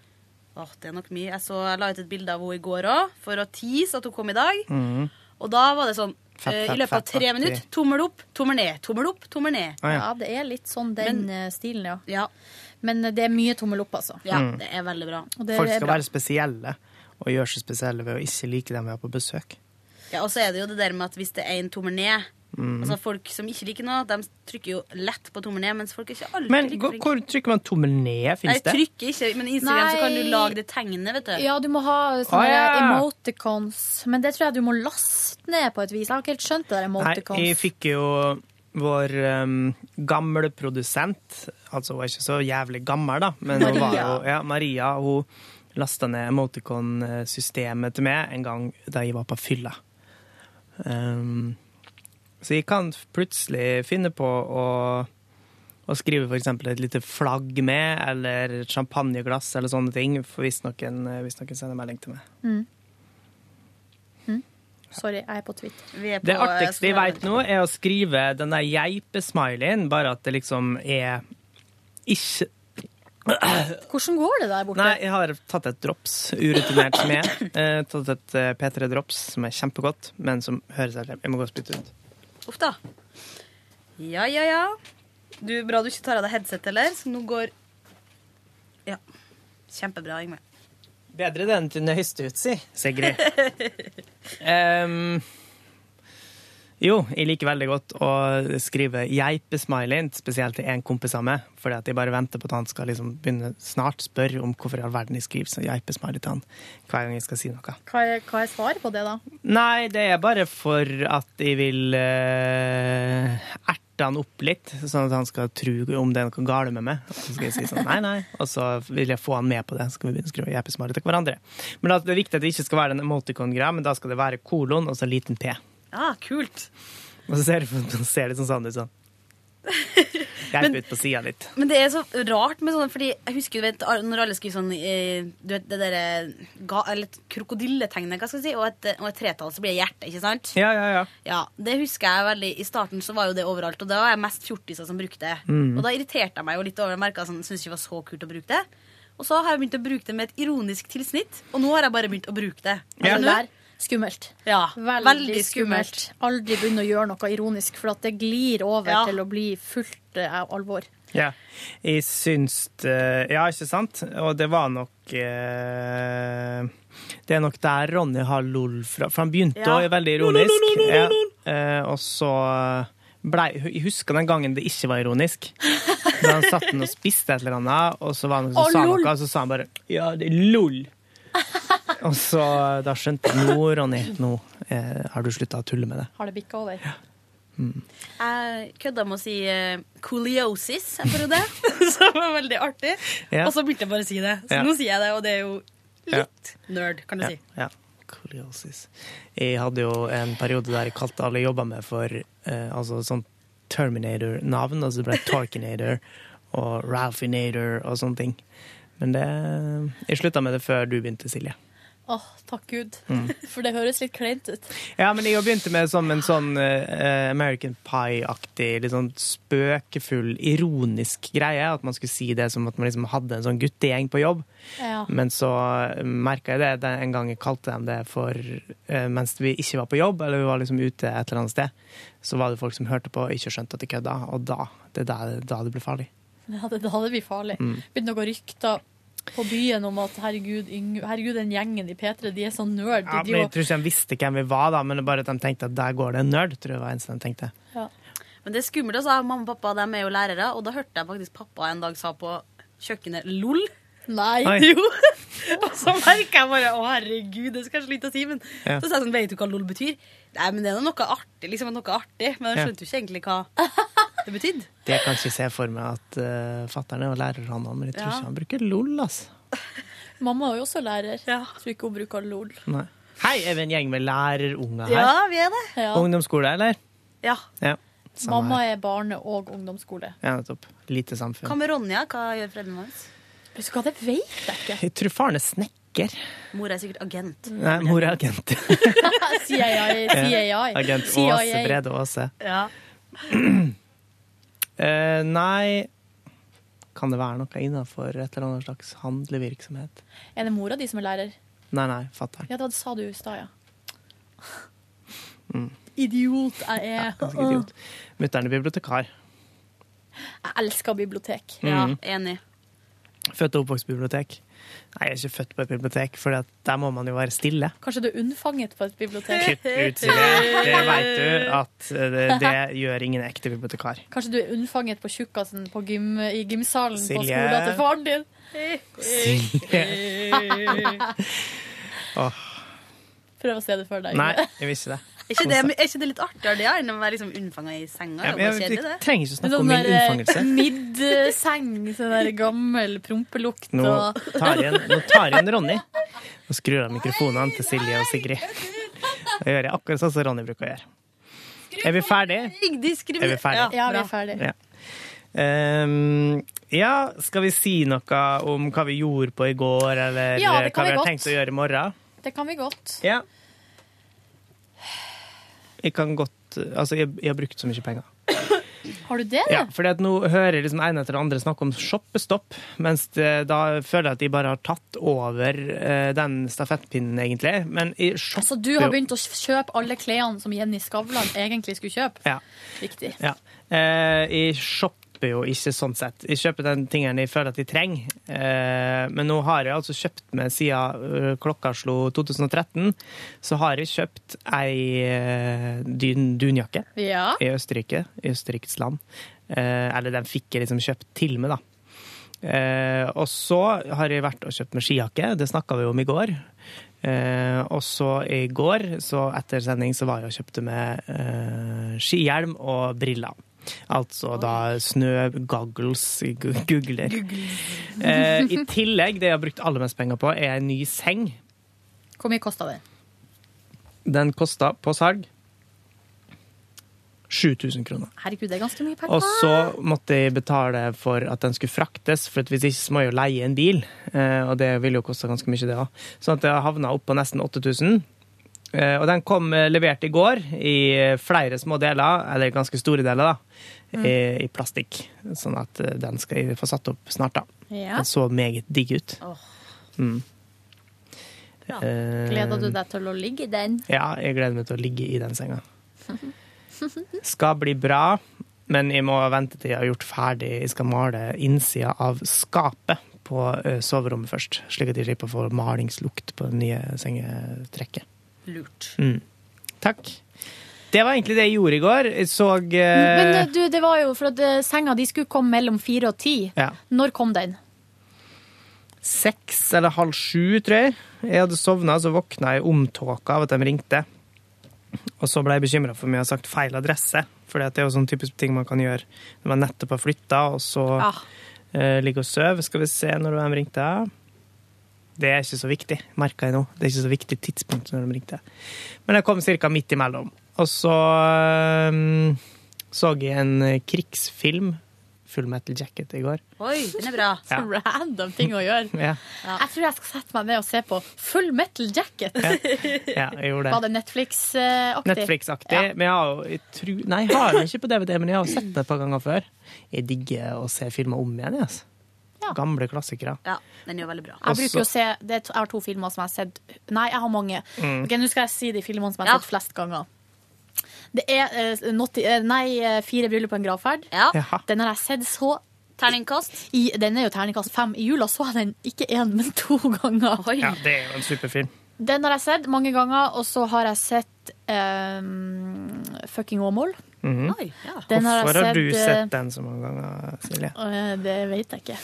Åh, det er nok mye. Jeg, så, jeg la ut et bilde av henne i går òg, for å tease at hun kom i dag. Mm. Og da var det sånn Fett, eh, fett, I løpet av fett, tre fett. minutter tommel opp, tommel ned, tommel opp, tommel ned. Ah, ja. det er litt sånn den eh, stilen, ja. Men eh, det er mye tommel opp, altså. Ja, Mm. det er veldig bra. Og det Folk er skal bra. være spesielle, og gjøre seg spesielle ved å ikke like dem vi har på besøk. Ja, og så er det jo det der med at hvis det er en tommel ned Mm. Altså Folk som ikke liker noe, de trykker jo lett på tommel ned, mens folk er ikke alltid Men like gå- flinke. hvor trykker man tommel ned? Nei, Fins det? trykker ikke, men i Instagram så kan du Nei. lage det tegnet, vet du. Ja, du må ha Å, sånne Ah, ja. emoticons, men det tror jeg du må laste ned på et vis. Jeg har ikke helt skjønt det der Nei, emoticons. jeg fikk jo vår um, gamle produsent, altså hun er ikke så jævlig gammel da, men hun var jo, Maria. ja, Maria, hun lastet ned emoticon-systemet til meg en gang da jeg var på fylla. Um, så jeg kan plutselig finne på å, å skrive for eksempel et lite flagg med, eller et champagneglass, eller sånne ting, for hvis noen, hvis noen sender melding til meg. Mm. Mm. Sorry, jeg er på Twitter. Det eh, artigste sånn jeg veit nå, er å skrive den der geipe-smileyen, bare at det liksom er ikke Hvordan går det der borte? Nei, jeg har tatt et drops, urutinert som jeg er. Eh, tatt et eh, P3 Drops som er kjempegodt, men som høres helt Jeg må gå og spytte ut. Uff da. Ja, ja, ja. Du, bra du ikke tar av deg headset, eller? Så nå går Ja. Kjempebra, Ingve. Bedre det enn til høste ut, si. Sigrid. Ehm, jo, jeg liker veldig godt å skrive geipe-smiley, spesielt til en kompis av meg, fordi at jeg bare venter på at han skal liksom begynne snart spørre om hvorfor i all verden jeg skriver sånn geipe-smiley til han hver gang jeg skal si noe. Hva er, hva er svaret på det, da? Nei, det er bare for at jeg vil eh, erte han opp litt, sånn at han skal tro om det er noe gale med meg. Og så skal jeg si sånn nei, nei, og så vil jeg få han med på det. Så skal vi begynne å skrive jeppesmarre til hverandre. Men altså, det er viktig at det ikke skal være en emoticon-greie, men da skal det være kolon og så liten p. Ah, kult. Og så ser det, så ser det sånn sånn ut sånn. Hjelp ut på sida litt. Men det er så rart med sånne, fordi jeg husker du vet, når alle skriver sånn eh, du vet, det derre ga- eller krokodilletegnet, hva skal jeg si, og et, og et tretall, så blir det hjerte, ikke sant? Ja, ja, ja. Ja, Det husker jeg veldig. I starten så var jo det overalt, og da var jeg mest fjortiser som brukte det. Mm. Og da irriterte jeg meg jo litt over det. merket, sånn, syntes ikke det var så kult å bruke det. Og så har jeg begynt å bruke det med et ironisk tilsnitt, og nå har jeg bare begynt å bruke det. Ja. Skjønner du? Skummelt. Ja, Veldig, skummelt. Aldri begynn å gjøre noe ironisk, for at det glir over til å bli fullt eh, av alvor. Ja. Jeg syns det Ja, ikke sant? Og det var nok eh, Det er nok der Ronny har lol fra. For han begynte Ja. å være veldig Lol, lol, ironisk. lol, lol, lol, Ja. Eh, og så blei Jeg husker den gangen det ikke var ironisk. Da han satt den og spiste et eller annet, og så var han som Å, sa lol. noe, og så sa han bare Ja, det er lol. og så da skjønte jeg Nå, Ronny, nå eh, har du slutta å tulle med det. Har det bikka over? Jeg kødda med å si eh, cooliosis en periode, som var veldig artig. Ja. Og så begynte jeg bare å si det. Så Ja. nå sier jeg det, og det er jo Ja. litt nerd, kan du si. Ja. Koliosis. Jeg hadde jo en periode der jeg kalte alle jeg jobba med, for eh, altså sånn Terminator-navn. Altså det ble Torkinator og Ralphinator og sånne ting. Men det Jeg slutta med det før du begynte, Silje. Åh, takk Gud. Mm. For det høres litt kleint ut. Ja, men jeg begynte med som en sånn eh, American Pie-aktig, litt sånn spøkefull, ironisk greie. At man skulle si det som at man liksom hadde en sånn guttegjeng på jobb. Ja. Men så merka jeg det den- en gang jeg kalte dem det for eh, mens vi ikke var på jobb, eller vi var liksom ute et eller annet sted, så var det folk som hørte på og ikke skjønte at de kødda, og da, det er da, da det ble farlig. Ja, det, da hadde det blitt farlig. Mm. Begynte å gå rykter på byen om at herregud, Yngve- herregud den gjengen i P3, de er sånn nerd. de Ja, men jeg driver- tror ikke de visste hvem vi var, da, men det er bare at de tenkte at der går det en nerd, tror jeg var det eneste de tenkte. Men det er skummelt. Altså. Mamma og pappa de er jo lærere, og da hørte jeg faktisk pappa en dag sa på kjøkkenet LOL. Nei. Oi. Jo. og så merka jeg bare å herregud, det skal jeg slutte å si. Men Ja. så sa jeg sånn, vet du hva LOL betyr? Nei, men det er noe artig, liksom noe artig. Men jeg Ja. skjønte jo ikke egentlig hva det betydde. Det kan ikke se for meg at uh, fatter'n er jo lærer, han òg, men jeg tror Ja. ikke han bruker LOL, altså. Mamma er jo også lærer. Tror ikke hun bruker LOL. Nei. Hei, er vi en gjeng med lærerunger her? Ja, vi er det. Ja. Ungdomsskole, eller? Ja. ja. Samme Mamma her. er barne- og ungdomsskole. Ja, nettopp. Lite samfunn. Hva med Ronja? Hva gjør foreldrene hans? Vet du hva, det vet jeg ikke. Jeg tror faren er snekker. Mor er sikkert agent. Nei, mor er agent. CIA. Agent Åse Brede Aase. Ja. Eh, nei Kan det være noe innenfor et eller annet slags handlevirksomhet? Er det mora di som er lærer? Nei, nei, fatter'n. Ja, det var- sa du i stad, ja. Mm. Idiot jeg er. Ganske idiot. Mutter'n er bibliotekar. Jeg elsker bibliotek. Ja, Mhm. enig. Født og oppvokst på bibliotek. Nei, jeg er ikke født på et bibliotek, for der må man jo være stille. Kanskje du er unnfanget på et bibliotek? Kutt ut til det. Det vet du at eh, det, det gjør ingen ekte bibliotekar. Kanskje du er unnfanget på tjukkasen på gym, i gymsalen på Silje. skolen til faren din? Åh, Prøv å se det for deg. nei, jeg vil ikke det. Er ikke, det, er ikke det litt artigere det, enn å være liksom unnfanga i senga? Ja, Det men er jo jeg, kjedelig, vi det. trenger ikke å snakke om Sånn min der, eh, unnfangelse. Middseng, sånn der gammel prompelukt Nå og tar jeg en, nå tar jeg en Ronny og skrur av mikrofonene til Silje og Sigrid. Da gjør jeg akkurat sånn som Ronny bruker å gjøre. Er vi ferdige? Er vi ferdige? Ja, vi er ferdige. Ja. Ehm, ja, skal vi si noe om hva vi gjorde på i går, eller eh, Ja, det hva kan vi vi har godt. tenkt å gjøre i morgen? Det kan vi godt. Ja. Jeg kan godt Altså, jeg, jeg har brukt så mye penger. Har du det? Ja, fordi at nå hører jeg liksom en etter den andre snakke om shoppestopp, mens det, da føler jeg at de bare har tatt over eh, den stafettpinnen, egentlig. Men i shopper Altså, du har begynt å kjøpe alle klærne som Jenny Skavlan egentlig skulle kjøpe. Ja. Riktig. ja. Eh, jeg shopper jo ikke sånn sett. Jeg kjøper den tingen jeg føler at jeg trenger. Eh, men nå har jeg altså kjøpt meg siden eh, klokka slo 2013, så har jeg kjøpt ei eh, dyn, dunjakke. Ja. i Østerrike, i Østerrikes land. Eh, eller den fikk jeg liksom kjøpt til meg, da. Eh, og så har jeg vært og kjøpt meg skijakke, det snakka vi om i går. Eh, og så i går, så etter sending, så var jeg og kjøpte meg eh, skihjelm og briller. Altså da snøgoggles, gu- googler. Eh, I tillegg, det jeg har brukt aller mest penger på, er en ny seng. Hvor mye kosta det? Den kosta på salg 7000 kroner. Herregud, det er ganske mye penger. Og så måtte jeg betale for at den skulle fraktes, for at hvis ikke så må jeg jo leie en bil. eh, Og det ville jo koste ganske mye, det òg. Sånn at det havna opp på nesten 8000. Eh, Og den kom eh, levert i går i eh, flere små deler, eller ganske store deler, da, Mm. Eh, i- i plastikk. Sånn at eh, den skal jeg få satt opp snart, da. Ja. Den så meget digg ut. Åh. Mm. Bra. Eh, Gleder du deg til å ligge i den? Ja, jeg gleder meg til å ligge i den senga. skal bli bra, men jeg må vente til jeg har gjort ferdig. Jeg skal male innsida av skapet på ø, soverommet først, slik at jeg slipper å få malingslukt på det nye sengetrekket. Lurt. Mm. Takk. Det var egentlig det jeg gjorde i går. Jeg så ø, Men eh, du, det var jo for at eh, senga di skulle komme mellom fire og ti. ja, Når kom den? seks eller halv sju, tror jeg. Jeg hadde sovna, så våkna jeg omtåka av at de ringte. Og så ble jeg bekymra for om jeg hadde sagt feil adresse. For det er jo sånn typisk ting man kan gjøre når man nettopp har flytta, og så Ah. eh, ligger og sover. Skal vi se når de ringte. Det er ikke så viktig, merka jeg nå. Det er ikke så viktig tidspunkt når de ringte. Men jeg kom ca. midt imellom. Og så eh, så jeg en krigsfilm, Full Metal Jacket, i går. Oi, den er bra. Så random ting å gjøre. Ja. Jeg tror jeg skal sette meg ned og se på Full Metal Jacket. Ja, jeg gjorde det. Var det Netflix-aktig? Netflix-aktig. Men jeg har jo jeg tror, Nei, jeg har den ikke på DVD, men jeg har jo sett den et par ganger før. Jeg digger å se filmer om igjen. jeg, Altså. Gamle klassikere. Ja, den er jo veldig bra. Jeg bruker jo å se det er to, Jeg har to filmer som jeg har sett Nei, jeg har mange. Mm. Ok, Nå skal jeg si de filmene som jeg har sett flest ganger. Det er eh, Naughty- eh, Nei, eh, Fire bryllup på en gravferd. Jaha. Den har jeg sett så Terningkast? I, den er jo terningkast fem. I jula så jeg den ikke én, men to ganger. Ja, det er jo en superfilm. Den har jeg sett mange ganger, og så har jeg sett eh, Fucking Åmål. Mhm. Den har jeg Hvorfor har du sett, eh, sett den så mange ganger, Silje? Eh, Det vet jeg ikke.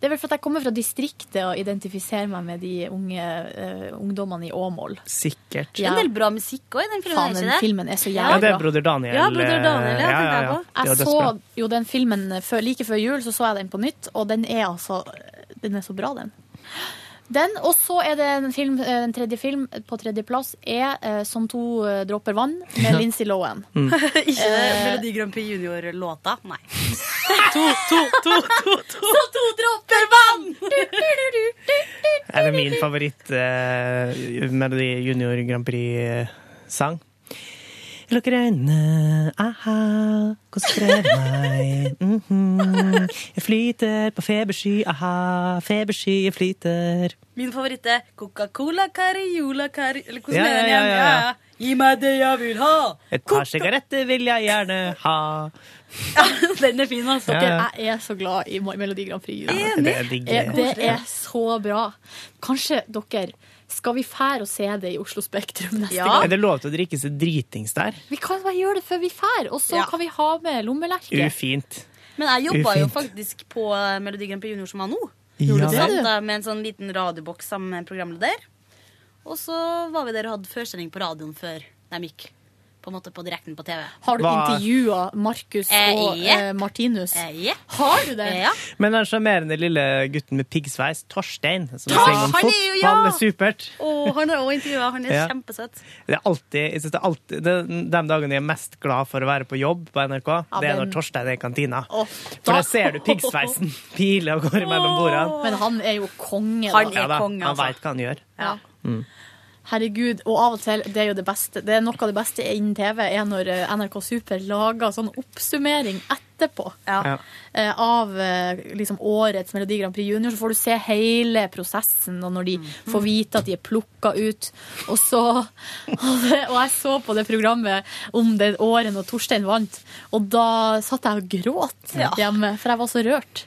Det er vel for at jeg kommer fra distriktet og identifiserer meg med de unge eh, ungdommene i Åmål. Sikkert. Det er en del bra musikk òg i den filmen. Faen, er ikke den det? filmen er så Ja, jævlig det bra. er Broder Daniel. Ja, Broder eh, Daniel, ja, ja, tenkte ja, jeg ja. Det er Jeg så dødsbra. jo den filmen før, like før jul, så så jeg den på nytt, og den er altså Den er så bra, den. Den, og så er det en, film, eh, en tredje film på tredjeplass er eh, 'Som to eh, dråper vann' med Lindsay Lohan. Mm. Ikke Eh, Melodi Grand Prix Junior-låta. Nei. To, to, to, to, to. Så to dråper vann! Er det min favoritt eh, Melodi Junior Grand Prix-sang? Lukker øynene, aha, konsentrer meg. mhm. Jeg flyter på febersky, aha, febersky, jeg flyter. Min favoritt er Coca-Cola Cariola Cari... Eller hvordan Ja, er den ja, igjen? ja, ja. Gi meg det jeg vil ha! Et par sigaretter vil jeg gjerne ha. Den er fin, altså. Ja, ja. Jeg er så glad i Melodi Grand Prix. Ja, det er digg. Eh, Det er så bra. Kanskje dere skal vi fære og se det i Oslo Spektrum neste Er gang? det lov til å drikke seg dritings der? Vi kan bare gjøre det før vi fær, og så Ja. kan vi ha med lommelerke. Ufint. Men jeg jobba jo Ufint. faktisk på eh, Melodi Grand Prix Junior som var nå. Gjorde Så du satt det? jeg med en sånn liten radioboks sammen med en programleder. Og så var vi der og hadde førsending på radioen før de gikk. På en måte på direkten på TV. Har du Hva- intervjua Markus Eh, og eh, jepp. Martinus? Eh, ja. Har du det? Ja. Men den sjarmerende lille gutten med piggsveis, Torstein, som Ja, synger om han er jo- fotball, ja. er supert. Og han har òg intervjua. Han er Ja. kjempesøt. Det er alltid, jeg synes det er alltid det, De dagene jeg er mest glad for å være på jobb på NRK, Ja, det er den- når Torstein er i kantina. Å, For da ser du piggsveisen pile av gårde mellom bordene. Men han er jo konge. da. Ja da, Han veit hva han gjør. Ja. Mm. Herregud, og av og til, det er jo det beste Det er noe av det beste innen TV er når eh, NRK Super lager sånn oppsummering etterpå Ja. eh, av eh, liksom årets Melodi Grand Prix Junior. Så får du se hele prosessen, og når de Mm. får vite at de er plukka ut. Og så og, det, og jeg så på det programmet om det året når Torstein vant, og da satt jeg og gråt Ja. hjemme, for jeg var så rørt.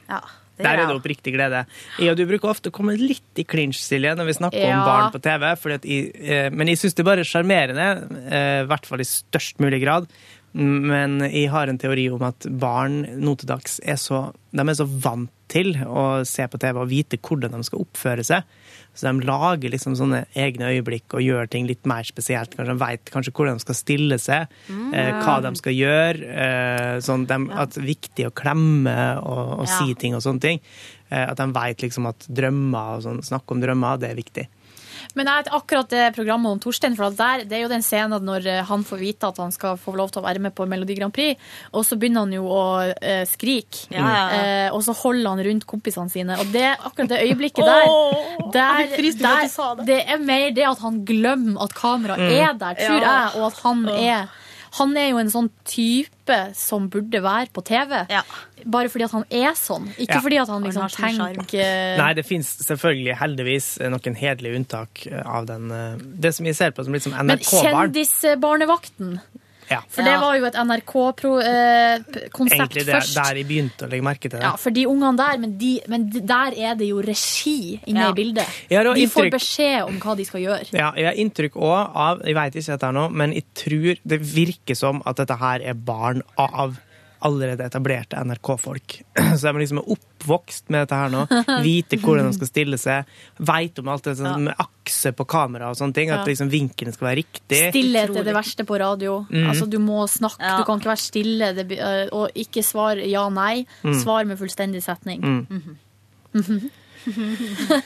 Der er det oppriktig glede. Jeg og du bruker ofte å komme litt i clinch, Silje, når vi snakker om Ja. barn på TV. Fordi at jeg, eh, men jeg syns det er bare sjarmerende, eh, i hvert fall i størst mulig grad. Men jeg har en teori om at barn nå til dags er så, de er så vant til å se på TV og vite hvordan de skal oppføre seg. Så de lager liksom sånne egne øyeblikk og gjør ting litt mer spesielt. Kanskje de vet kanskje hvordan de skal stille seg, Mm. eh, hva de skal gjøre. eh, Sånn de, at det er viktig å klemme og, og Ja. si ting og sånne ting. Eh, At de vet liksom at drømmer og sånn, snakk om drømmer, det er viktig. Men jeg vet akkurat det programmet om Torstein, for at der, det er jo den scenen når eh, han får vite at han skal få lov til å være med på Melodi Grand Prix, og så begynner han jo å eh, skrike. Ja, ja, ja. Eh, og så holder han rundt kompisene sine, og det akkurat det øyeblikket der, Åh, jeg der, fikk frysninger at du sa det. er mer det at han glemmer at kamera Mm. er der, tror Ja. jeg, og at han er han er jo en sånn type som burde være på TV, bare fordi at han er sånn. Ikke Ja. fordi at han liksom har sin sjarm. tenker Nei, det fins selvfølgelig heldigvis noen hederlige unntak av den eh, Det som jeg ser på som litt som Men NRK-barn. Kjendisbarnevakten Ja. For det var jo et NRK-konsept Egentlig det, først. der jeg begynte å legge merke til det. Ja, for de ungene der, men, de, men de- der er det jo regi inne Ja. i bildet. Ja, det var de får inntrykk- beskjed om hva de skal gjøre. Ja, jeg har inntrykk òg av Jeg vet ikke dette her nå, men jeg tror det virker som at dette her er barn av allerede etablerte NRK-folk. Så de liksom er oppvokst med dette her nå. Vite hvordan de skal stille seg. Veit om alt det sånn, med akse på kamera og sånne ting. At Ja. liksom vinkelen skal være riktig. Stillhet er det verste på radio. Mm. Altså, du må snakke, du kan ikke være stille. Det, be- øh, og ikke svar ja-nei. Mm. Svar med fullstendig setning. Mm. Mhm. Mhm.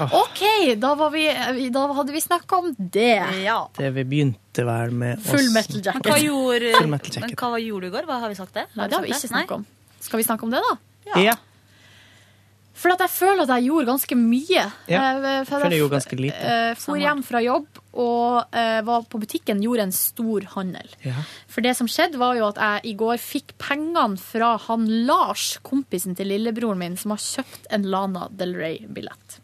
Ah. OK, da, var vi, da hadde vi snakka om det. Det vi begynte vel med å- Full metal jacket. Men hva gjorde, Full metal jacket. men hva gjorde du i går? Hva har vi sagt det? Nei, det har vi sagt ikke snakket om. Skal vi snakke om det, da? Ja. For at jeg føler at jeg gjorde ganske mye. Ja, Eh, for føler jeg gjorde ganske lite. eh, for hjem fra jobb og eh, var på butikken, gjorde en stor handel. Ja. For det som skjedde, var jo at jeg i går fikk pengene fra han Lars, kompisen til lillebroren min, som har kjøpt en Lana Del Rey-billett.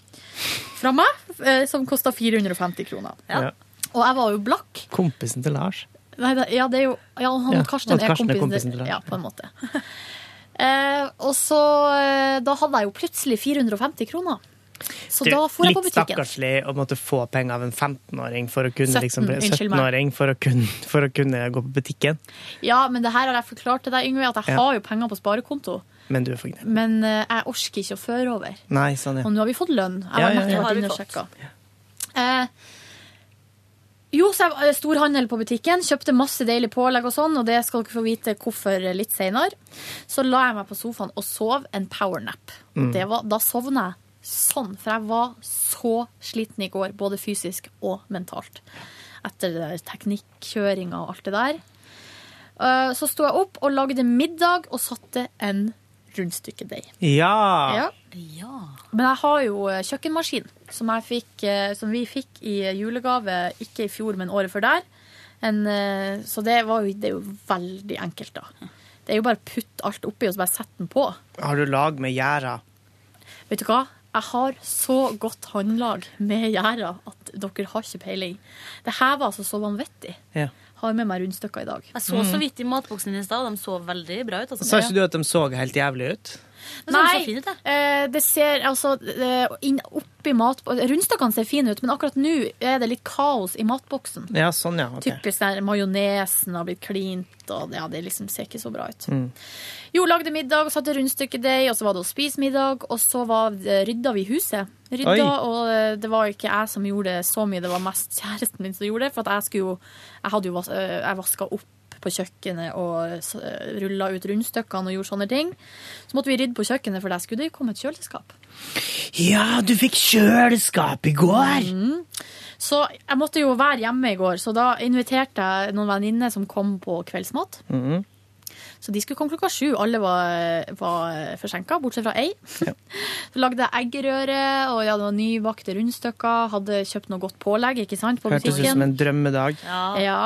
Fra meg, eh, som kosta 450 kroner. Ja. Og jeg var jo blakk. Kompisen til Lars. Nei, det, ja, det er jo ja, han, Ja, Karsten, han er Karsten er kompisen, kompisen til til deg. Ja, på en måte. Eh, og så eh, Da hadde jeg jo plutselig 450 kroner. Så Du, da for jeg på litt butikken. stakkarslig å måtte få penger av en 15-åring for å kunne 17, liksom, unnskyld meg. 17-åring for, å kunne- for å kunne gå på butikken. Ja, men det her har jeg forklart til deg, Yngve, at jeg Ja. har jo penger på sparekonto. Men du er for gnedig. Men eh, jeg orker ikke å føre over. Nei, sånn, ja. Og nå har vi fått lønn. Jeg Ja, har ja, nettopp ja. vært Har vi inne og fått. sjekket. Eh, jo, så jeg eh, storhandel på butikken, kjøpte masse deilig pålegg og sånn, og det skal dere få vite hvorfor eh, litt senere. Så la jeg meg på sofaen og sov en powernap. Og Mm. det var, da sovna jeg sånn, for jeg var så sliten i går, både fysisk og mentalt. Etter det der teknikkjøringa og alt det der. Eh, Så sto jeg opp og lagde middag og satte en rundstykkedeig. Ja. Men jeg har jo eh, kjøkkenmaskin, som, jeg fikk, eh, som vi fikk i julegave, ikke i fjor, men året før der. En, eh, så det, var jo, det er jo veldig enkelt, da. Det er jo bare å putte alt oppi og så bare sette den på. Har du lag med gjerder? Vet du hva? Jeg har så godt håndlag med gjerda at dere har ikke peiling. Det her var altså så vanvittig. Ja. Har med meg rundstykker i dag. Jeg så så vidt i matboksen din i stad, og de så veldig bra ut. Altså. Sa ikke du at de Mm. så helt jævlig ut? Nei, eh, det ser altså eh, inn, oppi mat... Rundstykkene ser fine ut, men akkurat nå er det litt kaos i matboksen. Ja, sånn, ja. ok. Typisk der majonesen har blitt klint, og ja, det liksom ser ikke så bra ut. Mm. Jo, lagde middag, satte rundstykkedeig, og så var det å spise middag, og så var, eh, rydda vi huset. Rydda, Oi. og eh, det var jo ikke jeg som gjorde det så mye, det var mest kjæresten min som gjorde det, for at jeg skulle jo, jeg hadde jo vas- eh, jeg vasket opp på kjøkkenet og s- eh, rullet ut rundstykkene og gjorde sånne ting. Så måtte vi rydde på kjøkkenet, for der skulle det jo komme et kjøleskap. Ja, du fikk kjøleskap i går! Mm. Så jeg måtte jo være hjemme i går, så da inviterte jeg noen venninner som kom på kveldsmat. Mhm. Så de skulle komme klokka sju. Alle var, var forsinka, bortsett fra ei. Så lagde jeg eggerøre, og ja, det var nybakte rundstykker. Hadde kjøpt noe godt pålegg, ikke sant, på Hørtes ut butikken. som en drømmedag. Ja,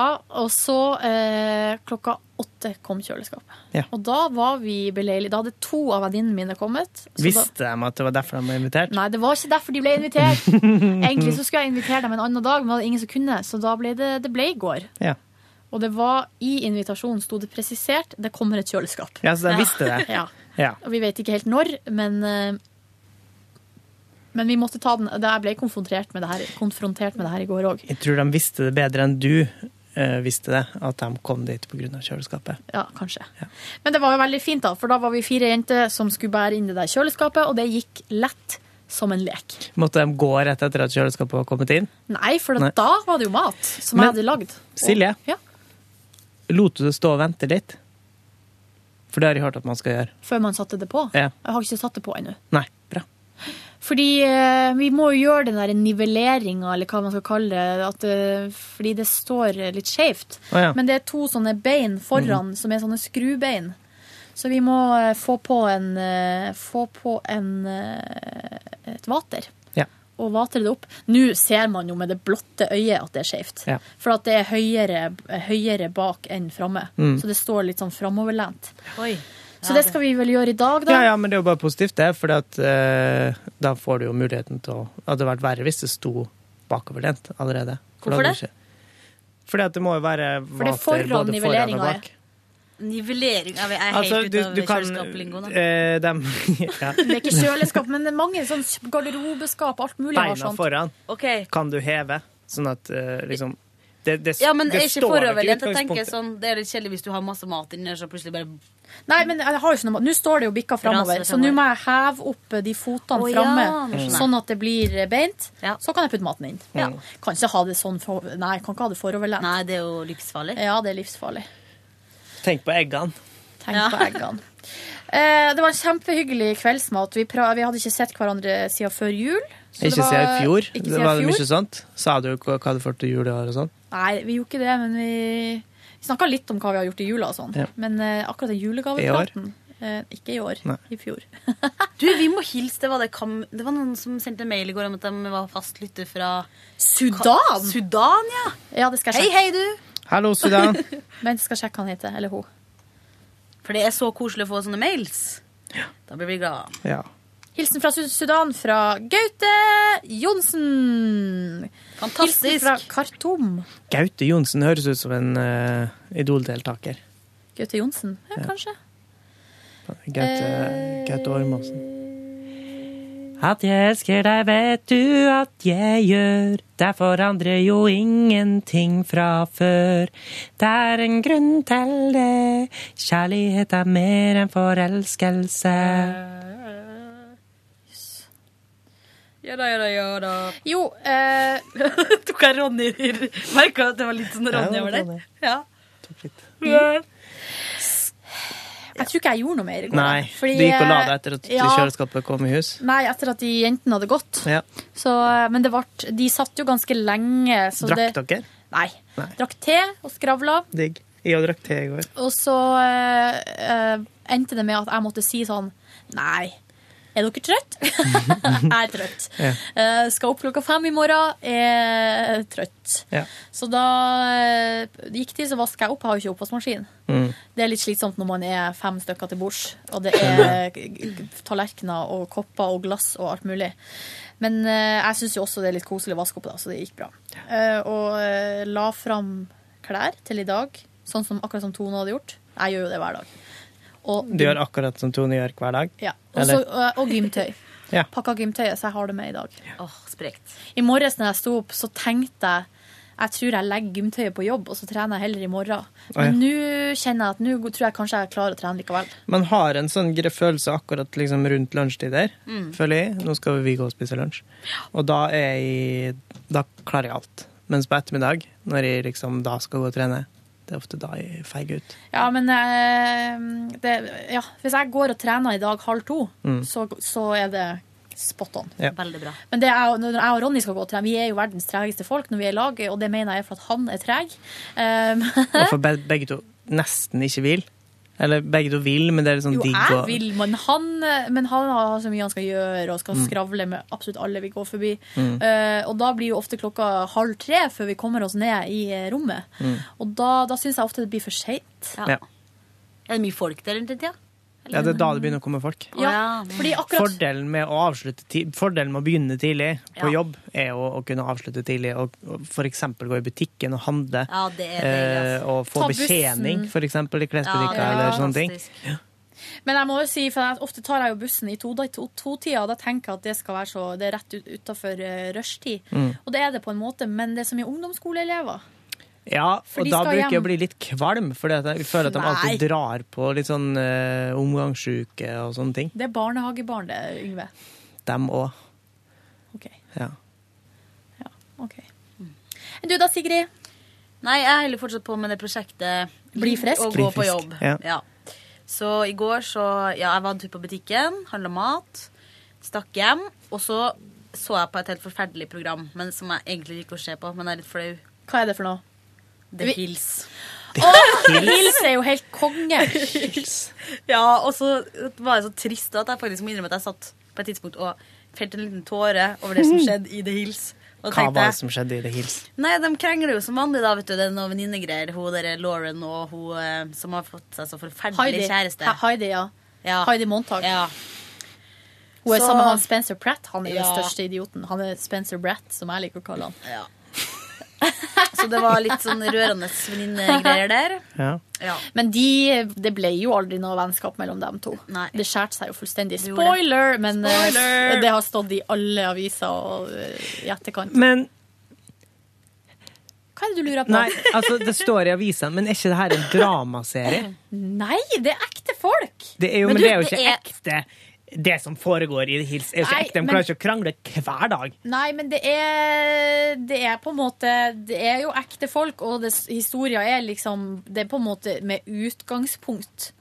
og så eh, klokka åtte kom kjøleskapet. Ja. Og da var vi beleilige. Da hadde to av venninnene mine kommet. så Visste de at det var derfor de var invitert? Nei, det var ikke derfor de ble invitert. Egentlig så skulle jeg invitere dem en annen dag, men det var ingen som kunne, så da ble det, det ble i går. Ja. Og det var i invitasjonen sto det presisert 'det kommer et kjøleskap'. Ja, så de visste det. Ja. Ja. Og vi vet ikke helt når, men eh, men vi måtte ta den. Jeg ble konfrontert med det her, konfrontert med det her i går òg. Jeg tror de visste det bedre enn du eh, visste det, at de kom dit pga. kjøleskapet. Ja, kanskje. Men det var jo veldig fint, da, for da var vi fire jenter som skulle bære inn det der kjøleskapet, og det gikk lett som en lek. Måtte de gå rett etter at kjøleskapet var kommet inn? Nei, for Nei. da var det jo mat som Men- jeg hadde lagd. Og- Silje? Ja. Lot du det stå og vente litt? For det har jeg hørt at man skal gjøre. Før man satte det på. Ja. Jeg har ikke satt det på ennå. Nei, bra. Fordi eh, vi må jo gjøre den der nivelleringa, eller hva man skal kalle det, at, eh, fordi det står eh, litt skjevt. Å ja. Men det er to sånne bein Mhm. foran, som er sånne skrubein. Så vi må eh, få på en, eh, få på en eh, et vater. Ja. Og vater det opp. Nå ser man jo med det blotte øyet at det er skjevt. Ja. For at det er høyere, høyere bak enn framme. Mm. Så det står litt sånn framoverlent. Oi. Så det skal vi vel gjøre i dag, da. Ja, ja, men det er jo bare positivt, det. For eh, da får du jo muligheten til å Det hadde vært verre hvis det sto bakoverlent allerede. For da Hvorfor hadde du ikke- Fordi at det må jo være For det er vater foran både foran og nivelleringa, bak. Nivellering Jeg er helt Altså, ute du, av du kan kjøleskaplingoen. da. eh, dem- ja. Det er ikke kjøleskap, men det er mange sånn garderobeskap, alt mulig. har Beina sånt. sånn. foran Ok. kan du heve, sånn at eh, liksom det, det, Ja, men det er ikke står nok i foroverlent. Jeg tenker utgangspunktet. sånn, Det er litt kjedelig hvis du har masse mat inni der, så plutselig bare Nei, men jeg har jo ikke noe mat. Nå står det jo bikka framover, Raser så nå må jeg heve opp eh, de fotene Å, ja, framme, nå skjønner jeg. sånn at det blir beint. Så kan jeg putte maten inn. Ja. Kan ikke ha det sånn for, Nei, kan ikke ha det foroverlent. Nei, det er jo livsfarlig. Ja, det er livsfarlig. Tenk på eggene. Tenk på eggene. Eh, det var en kjempehyggelig kveldsmat. Vi, pra vi hadde ikke sett hverandre siden før jul. så det Ikke var- siden i fjor. Ikke det siden var i mye fjor. sånt. Sa du hva hva du får til jul i år og sånn? Nei, vi gjorde ikke det, men vi, vi snakka litt om hva vi har gjort i jula og sånn. Ja. Men eh, akkurat den julegavepraten eh, Ikke i år. Nei. I fjor. Du, vi må hilse. Det var, det, Kam det var noen som sendte mail i går om at de var fast lytter fra Sudan? Sudan, ja. Ja, det skal jeg Hei, sjekke. hei, du. Hallo, Sudan. Men jeg skal sjekke hva han heter. Eller hun. For det er så koselig å få sånne mails. Da blir vi glad. Ja. Hilsen fra Sud- Sudan fra Gaute Johnsen. Fantastisk. Hilsen fra Khartoum. Gaute Johnsen høres ut som en eh, Idol-deltaker. Gaute Johnsen, ja, Ja. kanskje. Gaute, Gaute Ormåsen. Eh. At jeg elsker deg, vet du at jeg gjør. Der forandrer jo ingenting fra før. Det er en grunn til det. Kjærlighet er mer enn forelskelse. Ja da, ja da, ja da. Jo eh... Tok jeg Ronny Merka at det var litt sånn Ronny Ja, over det var der. Ja. Mm. Jeg tror ikke jeg gjorde noe mer i går. Nei, fordi- eh, du gikk og la deg etter at Ja. kjøleskapet kom i hus. Nei, etter at de jentene hadde gått. Ja. Så, eh, men det vart, de satt jo ganske lenge. Så Drakk det, dere? Nei. Nei. Drakk te og skravla. Digg. Jeg drakk te i går. Og så eh, eh, endte det med at jeg måtte si sånn Nei, er dere trøtt? jeg er trøtt. Ja. Eh, skal opp klokka fem i morgen. Er trøtt. Ja. Så da eh, gikk de, så vaska jeg opp. Jeg har jo ikke oppvaskmaskin. Mm. Det er litt slitsomt når man er fem stykker til bords, og det er g- g- tallerkener og kopper og glass og alt mulig. Men eh, jeg syns jo også det er litt koselig å vaske opp, da, så det gikk bra. Eh, og eh, la fram klær til i dag, sånn som akkurat som Tone hadde gjort. Jeg gjør jo det hver dag. Og, Mm. Du gjør akkurat som Tone gjør hver dag? ja. Og Eller? så- eh, og gymtøy. Ja. Pakka gymtøyet, så jeg har det med i dag. sprekt. I morges når jeg sto opp, så tenkte jeg jeg tror jeg legger gymtøyet på jobb, og så trener jeg heller i morgen. Men nå kjenner jeg at nå tror jeg kanskje jeg klarer å trene likevel. Man har en sånn gre- følelse akkurat liksom rundt lunsjtider, Mm. føler jeg. Nå skal vi gå og spise lunsj. Og da, er jeg, da klarer jeg alt. Mens på ettermiddag, når jeg liksom da skal gå og trene, det er ofte da jeg feiger ut. Ja, men eh, det, ja, hvis jeg går og trener i dag halv to, Mm. så, så er det spot on. Ja. Veldig bra. Men det er, jo- når jeg og Ronny skal gå og trene, vi er jo verdens tregeste folk når vi er i lag, og det mener jeg er for at han er treg. Um, Og for be- begge to nesten ikke vil. Eller begge to vil, men det er litt sånn jo, digg jeg å- vil, men han, men han har så mye han skal gjøre, og skal Mm. skravle med absolutt alle vi går forbi. Mm. Eh, og da blir jo ofte klokka halv tre før vi kommer oss ned i eh, rommet. Mm. Og da, da syns jeg ofte det blir for seint. Ja. Er det mye folk der rundt den tida? ja, det er da det begynner å komme folk. Ja, fordi akkurat Fordelen med å avslutte ti- Fordelen med å begynne tidlig på Ja. jobb, er jo å kunne avslutte tidlig og og for eksempel gå i butikken og handle. Ja, det er deilig, altså. eh, og få Ta bussen. betjening, for eksempel, i klesbutikker Ja, eller ja. sånne ting. Men jeg må jo si, for jeg, ofte tar jeg jo bussen i to- da- i to- to-tida, og da tenker jeg at det skal være så Det er rett ut, utafor uh, rushtid. Mm. Og det er det på en måte, men det er så mye ungdomsskoleelever. Ja, For og de da skal bruker jeg hjem. å bli litt kvalm, for jeg føler at de alltid Nei. drar på litt sånn eh, omgangssjuke og sånne ting. Det er barnehagebarn, det, Yngve. Dem òg. Ok. Ja. OK. Du da, Sigrid? Nei, jeg holder fortsatt på med det prosjektet. Bli frisk. Og Bli gå på frisk, jobb. ja. Ja. Så i går så Ja, jeg var en tur på butikken, handla mat, stakk hjem, og så så jeg på et helt forferdelig program men som jeg egentlig liker å se på, men jeg er litt flau. Hva er det for noe? The Vi- Hills. Å, Hils er jo helt konge! Ja, og så var jeg så trist at jeg faktisk må innrømme at jeg satt på et tidspunkt og felte en liten tåre over det som skjedde i The Hills. Og da Hva tenkte var jeg- det som skjedde i det hils? Nei, de krangler jo som vanlig, da, vet du. Det er noen venninnegreier. Hun derre Lauren og hun eh, som har fått seg så forferdelig Heidi. kjæreste. He- Heidi, ja. Heidi Montag. Ja. Hun er Så- sammen med han Spencer Pratt. Han er jo Ja. den største idioten. Han er Spencer Bratt, som jeg liker å kalle han. Ja. Så det var litt sånn rørende venninnegreier der. Ja. Ja. Men de, det ble jo aldri noe vennskap mellom dem to. Det skjærte seg jo fullstendig. Spoiler! Men eh, Spoiler! det har stått i alle aviser og eh, i etterkant. Men Hva er det du lurer på? Nei, altså, det står i avisa, men er ikke det her en dramaserie? Nei, det er ekte folk! Det er jo, Men men, du, det er jo det ikke ekte det som foregår i Hils. Er jo ikke Nei, ekte. De men- klarer ikke å krangle hver dag. Nei, men det er, det er på en måte Det er jo ekte folk, og det, historia er liksom Det er på en måte med utgangspunkt.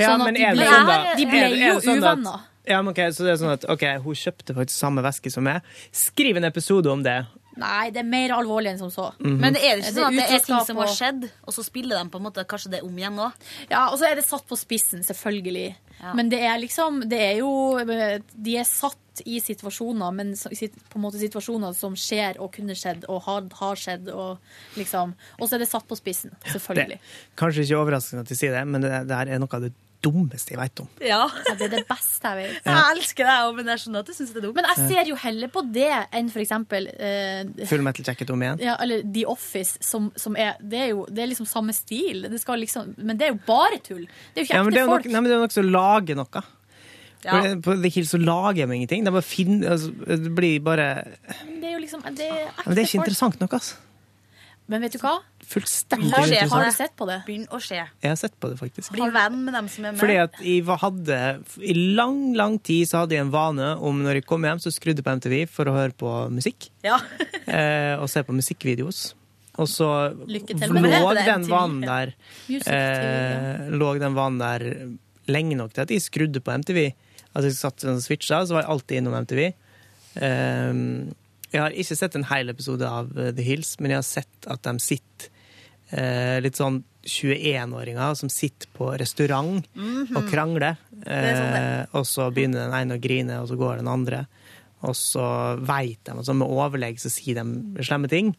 Ja, sånn at men de er ble, det sånn da- de ble er det- er jo det sånn at- uvenner. Ja, men ok, så det er sånn at ok, hun kjøpte faktisk samme veske som meg. Skriv en episode om det. Nei, det er mer alvorlig enn som så. Mhm. Men det er det ikke sånn at det er ting utroskap som har og- skjedd, og så spiller de på en måte kanskje det om igjen nå? Ja, og så er det satt på spissen, selvfølgelig. Men det er liksom Det er jo eh, De er satt i situasjoner, men så- sit- på en måte situasjoner som skjer og kunne skjedd og har, har skjedd, og liksom Og så er det satt på spissen, selvfølgelig. det. Kanskje ikke overraskende at de sier det, men det, det her er noe av det dummeste jeg vet om. Ja. Det er det beste jeg vet. Ja. Jeg elsker deg òg, men jeg skjønner at du syns det er dumt. Men jeg ser jo heller på det enn for eksempel eh, Full metal jacket om igjen. ja, eller The Office, som, som er Det er jo det er liksom samme stil. Det skal liksom, men det er jo bare tull. Det er jo ikke Ja, men ekte det er jo folk. nok- nei, men det er jo noe som lager noe. Ja. For det- På The Hills så lager de ingenting. Det, bare fin, altså, det blir bare Men det er jo liksom det er ekte Men det er ikke folk. interessant nok, altså. Men vet du hva? Fullstendig Har, interessant. har du sett på det? Begynn å se. Jeg har sett på det, faktisk. Bli venn med dem som er med. Fordi at jeg var- hadde, I lang lang tid så hadde jeg en vane om når jeg kom hjem, så skrudde jeg på MTV for å høre på musikk. Ja. eh, og se på musikkvideoer. Og så Lykke til med det. lå Det er den MTV, vanen der Music TV, eh, Lå den vanen der lenge nok til at jeg skrudde på MTV. Altså jeg satt og switcha, så var jeg alltid innom MTV. Ehm, jeg har ikke sett en hel episode av eh, The Hills, men jeg har sett at de sitter eh, litt sånn 21-åringer som sitter på restaurant Mhm. og krangler. er sånn det er. Eh, og så begynner den ene å grine, og så går den andre. Og så veit de, og så med overlegg så sier de slemme ting.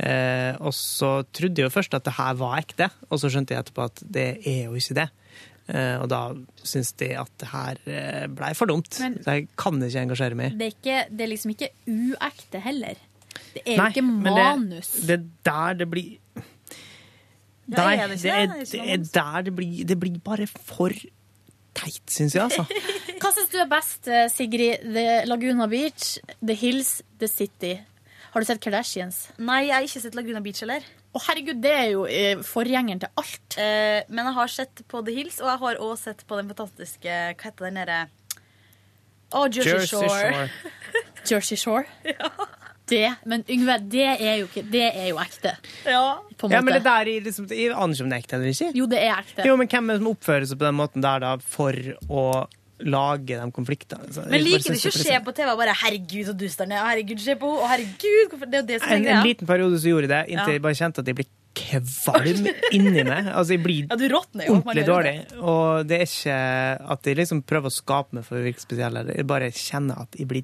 Eh, og så trodde jeg jo først at det her var ekte, og så skjønte jeg etterpå at det er jo ikke det. Eh, og da syns de at det her eh, blei for dumt. Men- så jeg kan ikke engasjere meg i. Det er, ikke, det er liksom ikke uekte heller. Det er jo Nei, ikke men manus. Det, det der det blir Ja, Nei, er det ikke det er, det? Sånn. Det er det ikke er der det blir Det blir bare for teit, syns jeg, altså. Hva syns du er best, eh, Sigrid? The Laguna Beach, The Hills, The City. Har du sett Kardashians? Nei, jeg har ikke sett Laguna Beach heller. Å herregud, det er jo eh, forgjengeren til alt. Eh, men jeg har sett på The Hills, og jeg har også sett på den fantastiske Hva heter den derre Å, Jersey, Shore. Jersey Shore. Det, men Yngve, det er jo, ikke, det er jo ekte. På en Ja, men måte. det der i liksom, Jeg aner ikke om det er ekte eller ikke. Jo, det er ekte. Jo, men hvem er det som oppfører seg på den måten der, da, for å lage de konfliktene? Så jeg Men bare liker du synes ikke å det er se på TV og bare 'herregud, så dust han er', og 'herregud, se på henne', og 'herregud'? Hvorfor? Det er jo det som er en, en greia. liten periode så gjorde jeg det, inntil Ja. jeg bare kjente at jeg ble kvalm inni meg. Altså, jeg blir Ja, du råtner jo. man ordentlig gjør dårlig. det. Og det er ikke at jeg liksom prøver å skape meg for å virke spesiell, eller jeg bare kjenner at jeg blir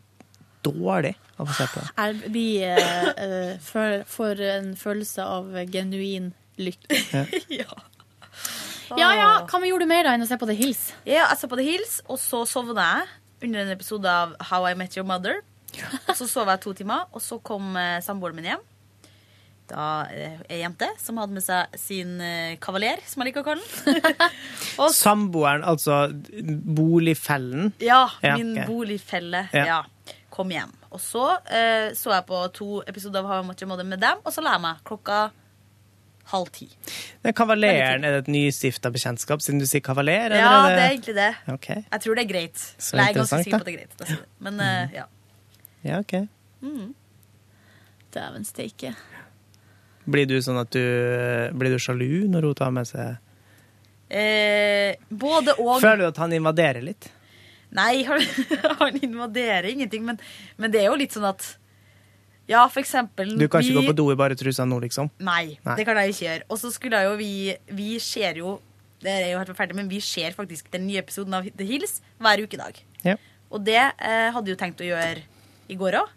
dårlig av å se på det. Jeg blir eh, eh, for, for en følelse av genuin lykke. Ja ja, hva vi gjorde mer da enn å se på The Hills? Ja, jeg så på The Hills, og så sovna jeg under en episode av How I Met Your Mother. Og så sov jeg to timer, og så kom eh, samboeren min hjem. Da eh, ei jente som hadde med seg sin eh, kavaler, som jeg liker å kalle den. Samboeren, altså boligfellen. Ja, Ja, min ok. boligfelle. Ja. Ja. Kom hjem. Og så eh, så jeg på to episoder av How I Met Your Mother med dem, og så la jeg meg klokka halv ti. Den kavaleren, er det et nystifta bekjentskap, siden du sier kavaler? Ja, eller det er egentlig det. Ok. Jeg tror det er greit. Så Nei, jeg er ganske interessant, sikker på da. Mm. at det er greit. da sier jeg det. Men eh, ja. Ja, ok. Mm. Dæven steike. Blir du sånn at du Blir du sjalu når hun tar med seg Eh, både og. Føler du at han invaderer litt? Nei, han, han invaderer ingenting, men, men det er jo litt sånn at Ja, for eksempel Du kan ikke vi- gå på do i bare trusa nå, liksom? Nei, Nei. det kan jeg ikke gjøre. Og så skulle jeg jo vi Vi ser jo Det er jo helt forferdelig, men vi ser faktisk den nye episoden av The Hills hver ukedag. Ja. Og det eh, hadde jeg jo tenkt å gjøre i går òg.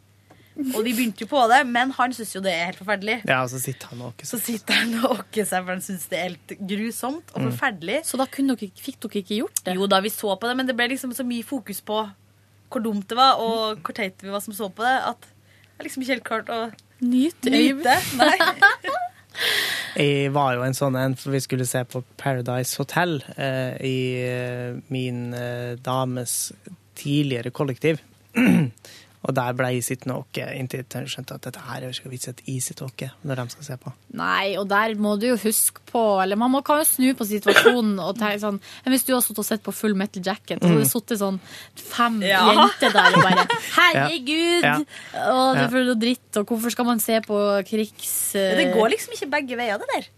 Og vi begynte jo på det, men han syns jo det er helt forferdelig. Ja, og så sitter han og åker sånn. Så sitter han og åker seg, for han syns det er helt grusomt og Mm. forferdelig. Så da fikk dere ikke gjort det? Jo da, vi så på det, men det ble liksom så mye fokus på hvor dumt det var, og hvor teit vi var som så på det, at jeg liksom ikke helt klarte å nyte. nyte. Nei. Jeg var jo en sånn en, for vi skulle se på Paradise Hotel eh, i eh, min eh, dames tidligere kollektiv. og der ble jeg sittende og åke inntil jeg skjønte at dette her er jo ikke vits i at jeg sitter og åker når de skal se på. Nei, og der må du jo huske på Eller man må, kan jo snu på situasjonen og tenke sånn Men hvis du har sittet og sett på Full Metal Jacket, og så har Mm. det sittet sånn fem Ja. jenter der og bare Herregud! Ja. Og Ja. det føler du dritt, og hvorfor skal man se på krigs... eh, Ja, Det går liksom ikke begge veier, det der.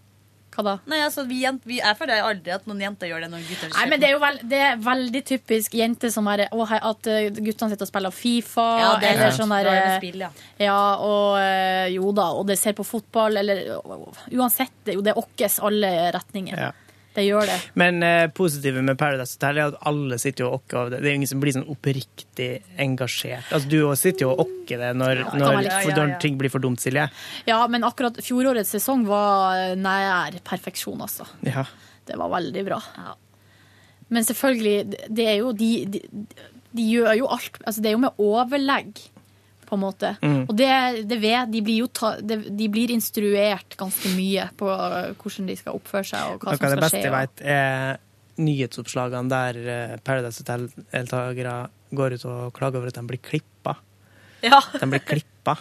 Hva da? Nei, altså, vi jent, vi, Jeg føler aldri at noen jenter gjør det når gutter Nei, men Det er jo vel, det er veldig typisk jenter som er å, hei, at eh, guttene sitter og spiller Fifa. Ja, det er eller sant. sånn der, Da er det eh, spill, ja. og eh, jo da, og de ser på fotball, eller Uansett, det, er jo, det åkkes alle retninger. Det gjør det. Men eh, positive med Paradise Hotel er at alle sitter jo og åkker over det. Det er jo ingen som blir sånn oppriktig engasjert. Altså, du også sitter jo og åkker det når, Ja, det kan når, være for- litt- Ja, ja, ja. når ting blir for dumt, Silje. Ja, men akkurat fjorårets sesong var nær perfeksjon, altså. Ja. Det var veldig bra. Men selvfølgelig, det er jo de, de, de gjør jo alt altså Det er jo med overlegg, på en måte. Mm. Og det, det vet, de blir jo ta, de, de blir instruert ganske mye på eh, hvordan de skal oppføre seg og hva Noe av som det skal beste skje. jeg og- vet, er nyhetsoppslagene der eh, Paradise Hotel-deltakere går ut og klager over at de blir klippa. Ja. De blir klippa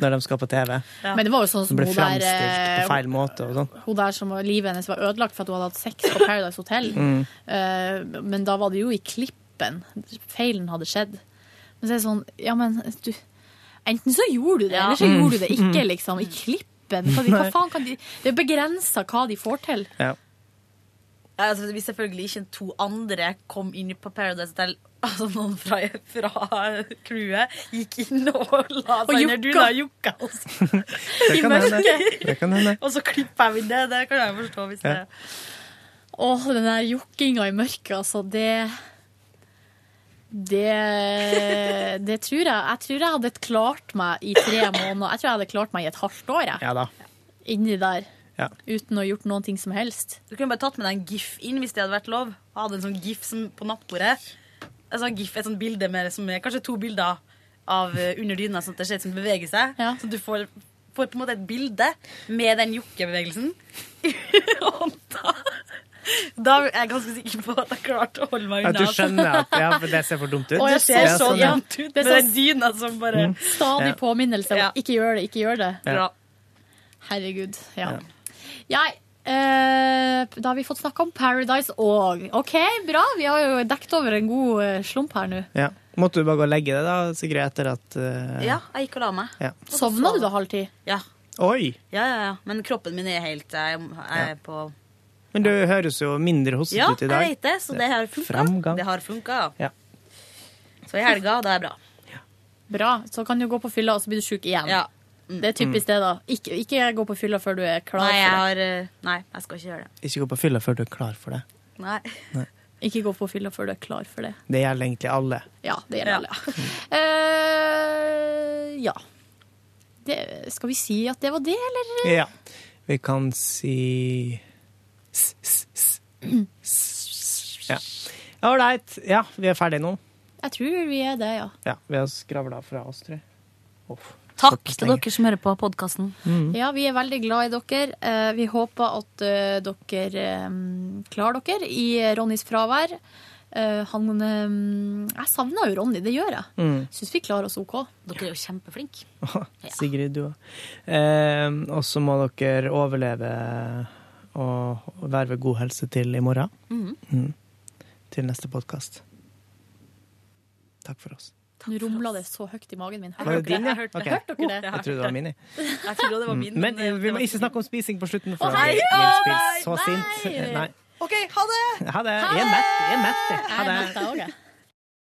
når de skal på TV. Men det var jo sånn som De blir hun der, framstilt eh, på feil måte og sånn. Hun der som var- livet hennes var ødelagt for at hun hadde hatt sex på Paradise Hotel. Mm. Eh, men da var det jo i klippen feilen hadde skjedd. Men så er det sånn, ja, men du Enten så gjorde du det, eller så Mm. gjorde du det ikke, Mm. liksom. I klippen. Hva, hva faen kan de Det er begrensa hva de får til. Ja. Altså, hvis selvfølgelig ikke to andre kom inn på Paradise Hotel Altså noen fra, fra crewet gikk inn og la Og seg under jukka. dyna og jukka oss. Det kan hende. Det kan hende. Og så klipper jeg inn det. Det kan jeg forstå. hvis Ja. det Åh, den der jokkinga i mørket, altså, det det, det tror jeg. Jeg tror jeg hadde klart meg i tre måneder. Jeg tror jeg hadde klart meg i et halvt år. Jeg. Ja da. Inni der. Ja. Uten å ha gjort noen ting som helst. Du kunne bare tatt med deg en gif inn hvis det hadde vært lov. Og hadde en sånn gif som, på nattbordet. En sånn gif, et sånt bilde med som er kanskje to bilder av eh, under dyna, sånn at det ser ut som beveger seg. Så du får, får på en måte et bilde med den jokkebevegelsen. Og da, da er jeg ganske sikker på at jeg klarte å holde meg Ja, unna. du altså. skjønner at ja, for det ser for dumt ut. Å, jeg ser Ja, så sånn, ja. dumt ut Det med ser- den dyna som bare Stadig Ja. påminnelse om ikke gjør det, ikke gjør det. Mm. Ja. Herregud. Ja. Jeg, eh, da har vi fått snakka om Paradise òg. OK, bra. Vi har jo dekket over en god eh, slump her nå. Ja. Måtte du bare gå og legge deg, da, Sigrid, etter at eh, Ja, jeg gikk og la meg. ja. Sovna du da halv ti? Ja. Oi! Ja, ja, ja. Men kroppen min er helt eh, Jeg, jeg er på Men du høres jo mindre hostet Ja, ut i jeg dag. vet det, så det har funka. Framgang. Det har funka. Ja. Så i helga, det er bra. Bra. Så kan du gå på fylla, og så blir du sjuk igjen. mm. Det er typisk det, da. Ikke, ikke gå på fylla før du er klar Nei, jeg for har eh, Nei, jeg skal ikke gjøre det. Ikke gå på fylla før du er klar for det. det. Ikke gå på fylla før du er klar for det. Det gjelder egentlig alle. Ja, det gjelder alle. Ja. Eh, ja. Det, skal vi si at det var det, eller? Ja. Vi kan si s, s, s. S- Ja. Ålreit. Ja, vi er ferdige nå. Jeg tror vi er det, ja. Ja, vi har skravla fra oss, tror jeg. Uff. Takk til dere som hører på podkasten. Mm. Ja, vi er veldig glad i dere. Eh, Vi håper at eh, dere eh, klarer dere i Ronnys fravær. Eh, Han eh, Jeg savner jo Ronny, det gjør jeg. Mm. Syns vi klarer oss OK. Dere er jo kjempeflinke. Sigrid, du òg. Eh, og så må dere overleve og være ved god helse til i morgen. Mm. Til neste podkast. Takk for oss. Nå rumla det så høyt i magen min. Var det din, ja? Ok. Hørte dere det? Jeg trodde det var min. jeg. Jeg trodde det var min. Mm. Men eh, vi må ikke snakke om spising på slutten, for Å, da nei! blir Å, Nils Pils nei! så sint. Eh, Nei! Nei. OK, ha det! Ha det. Jeg er mett. Jeg er mett. jeg. Jeg er mett, Ha jeg det. også, jeg.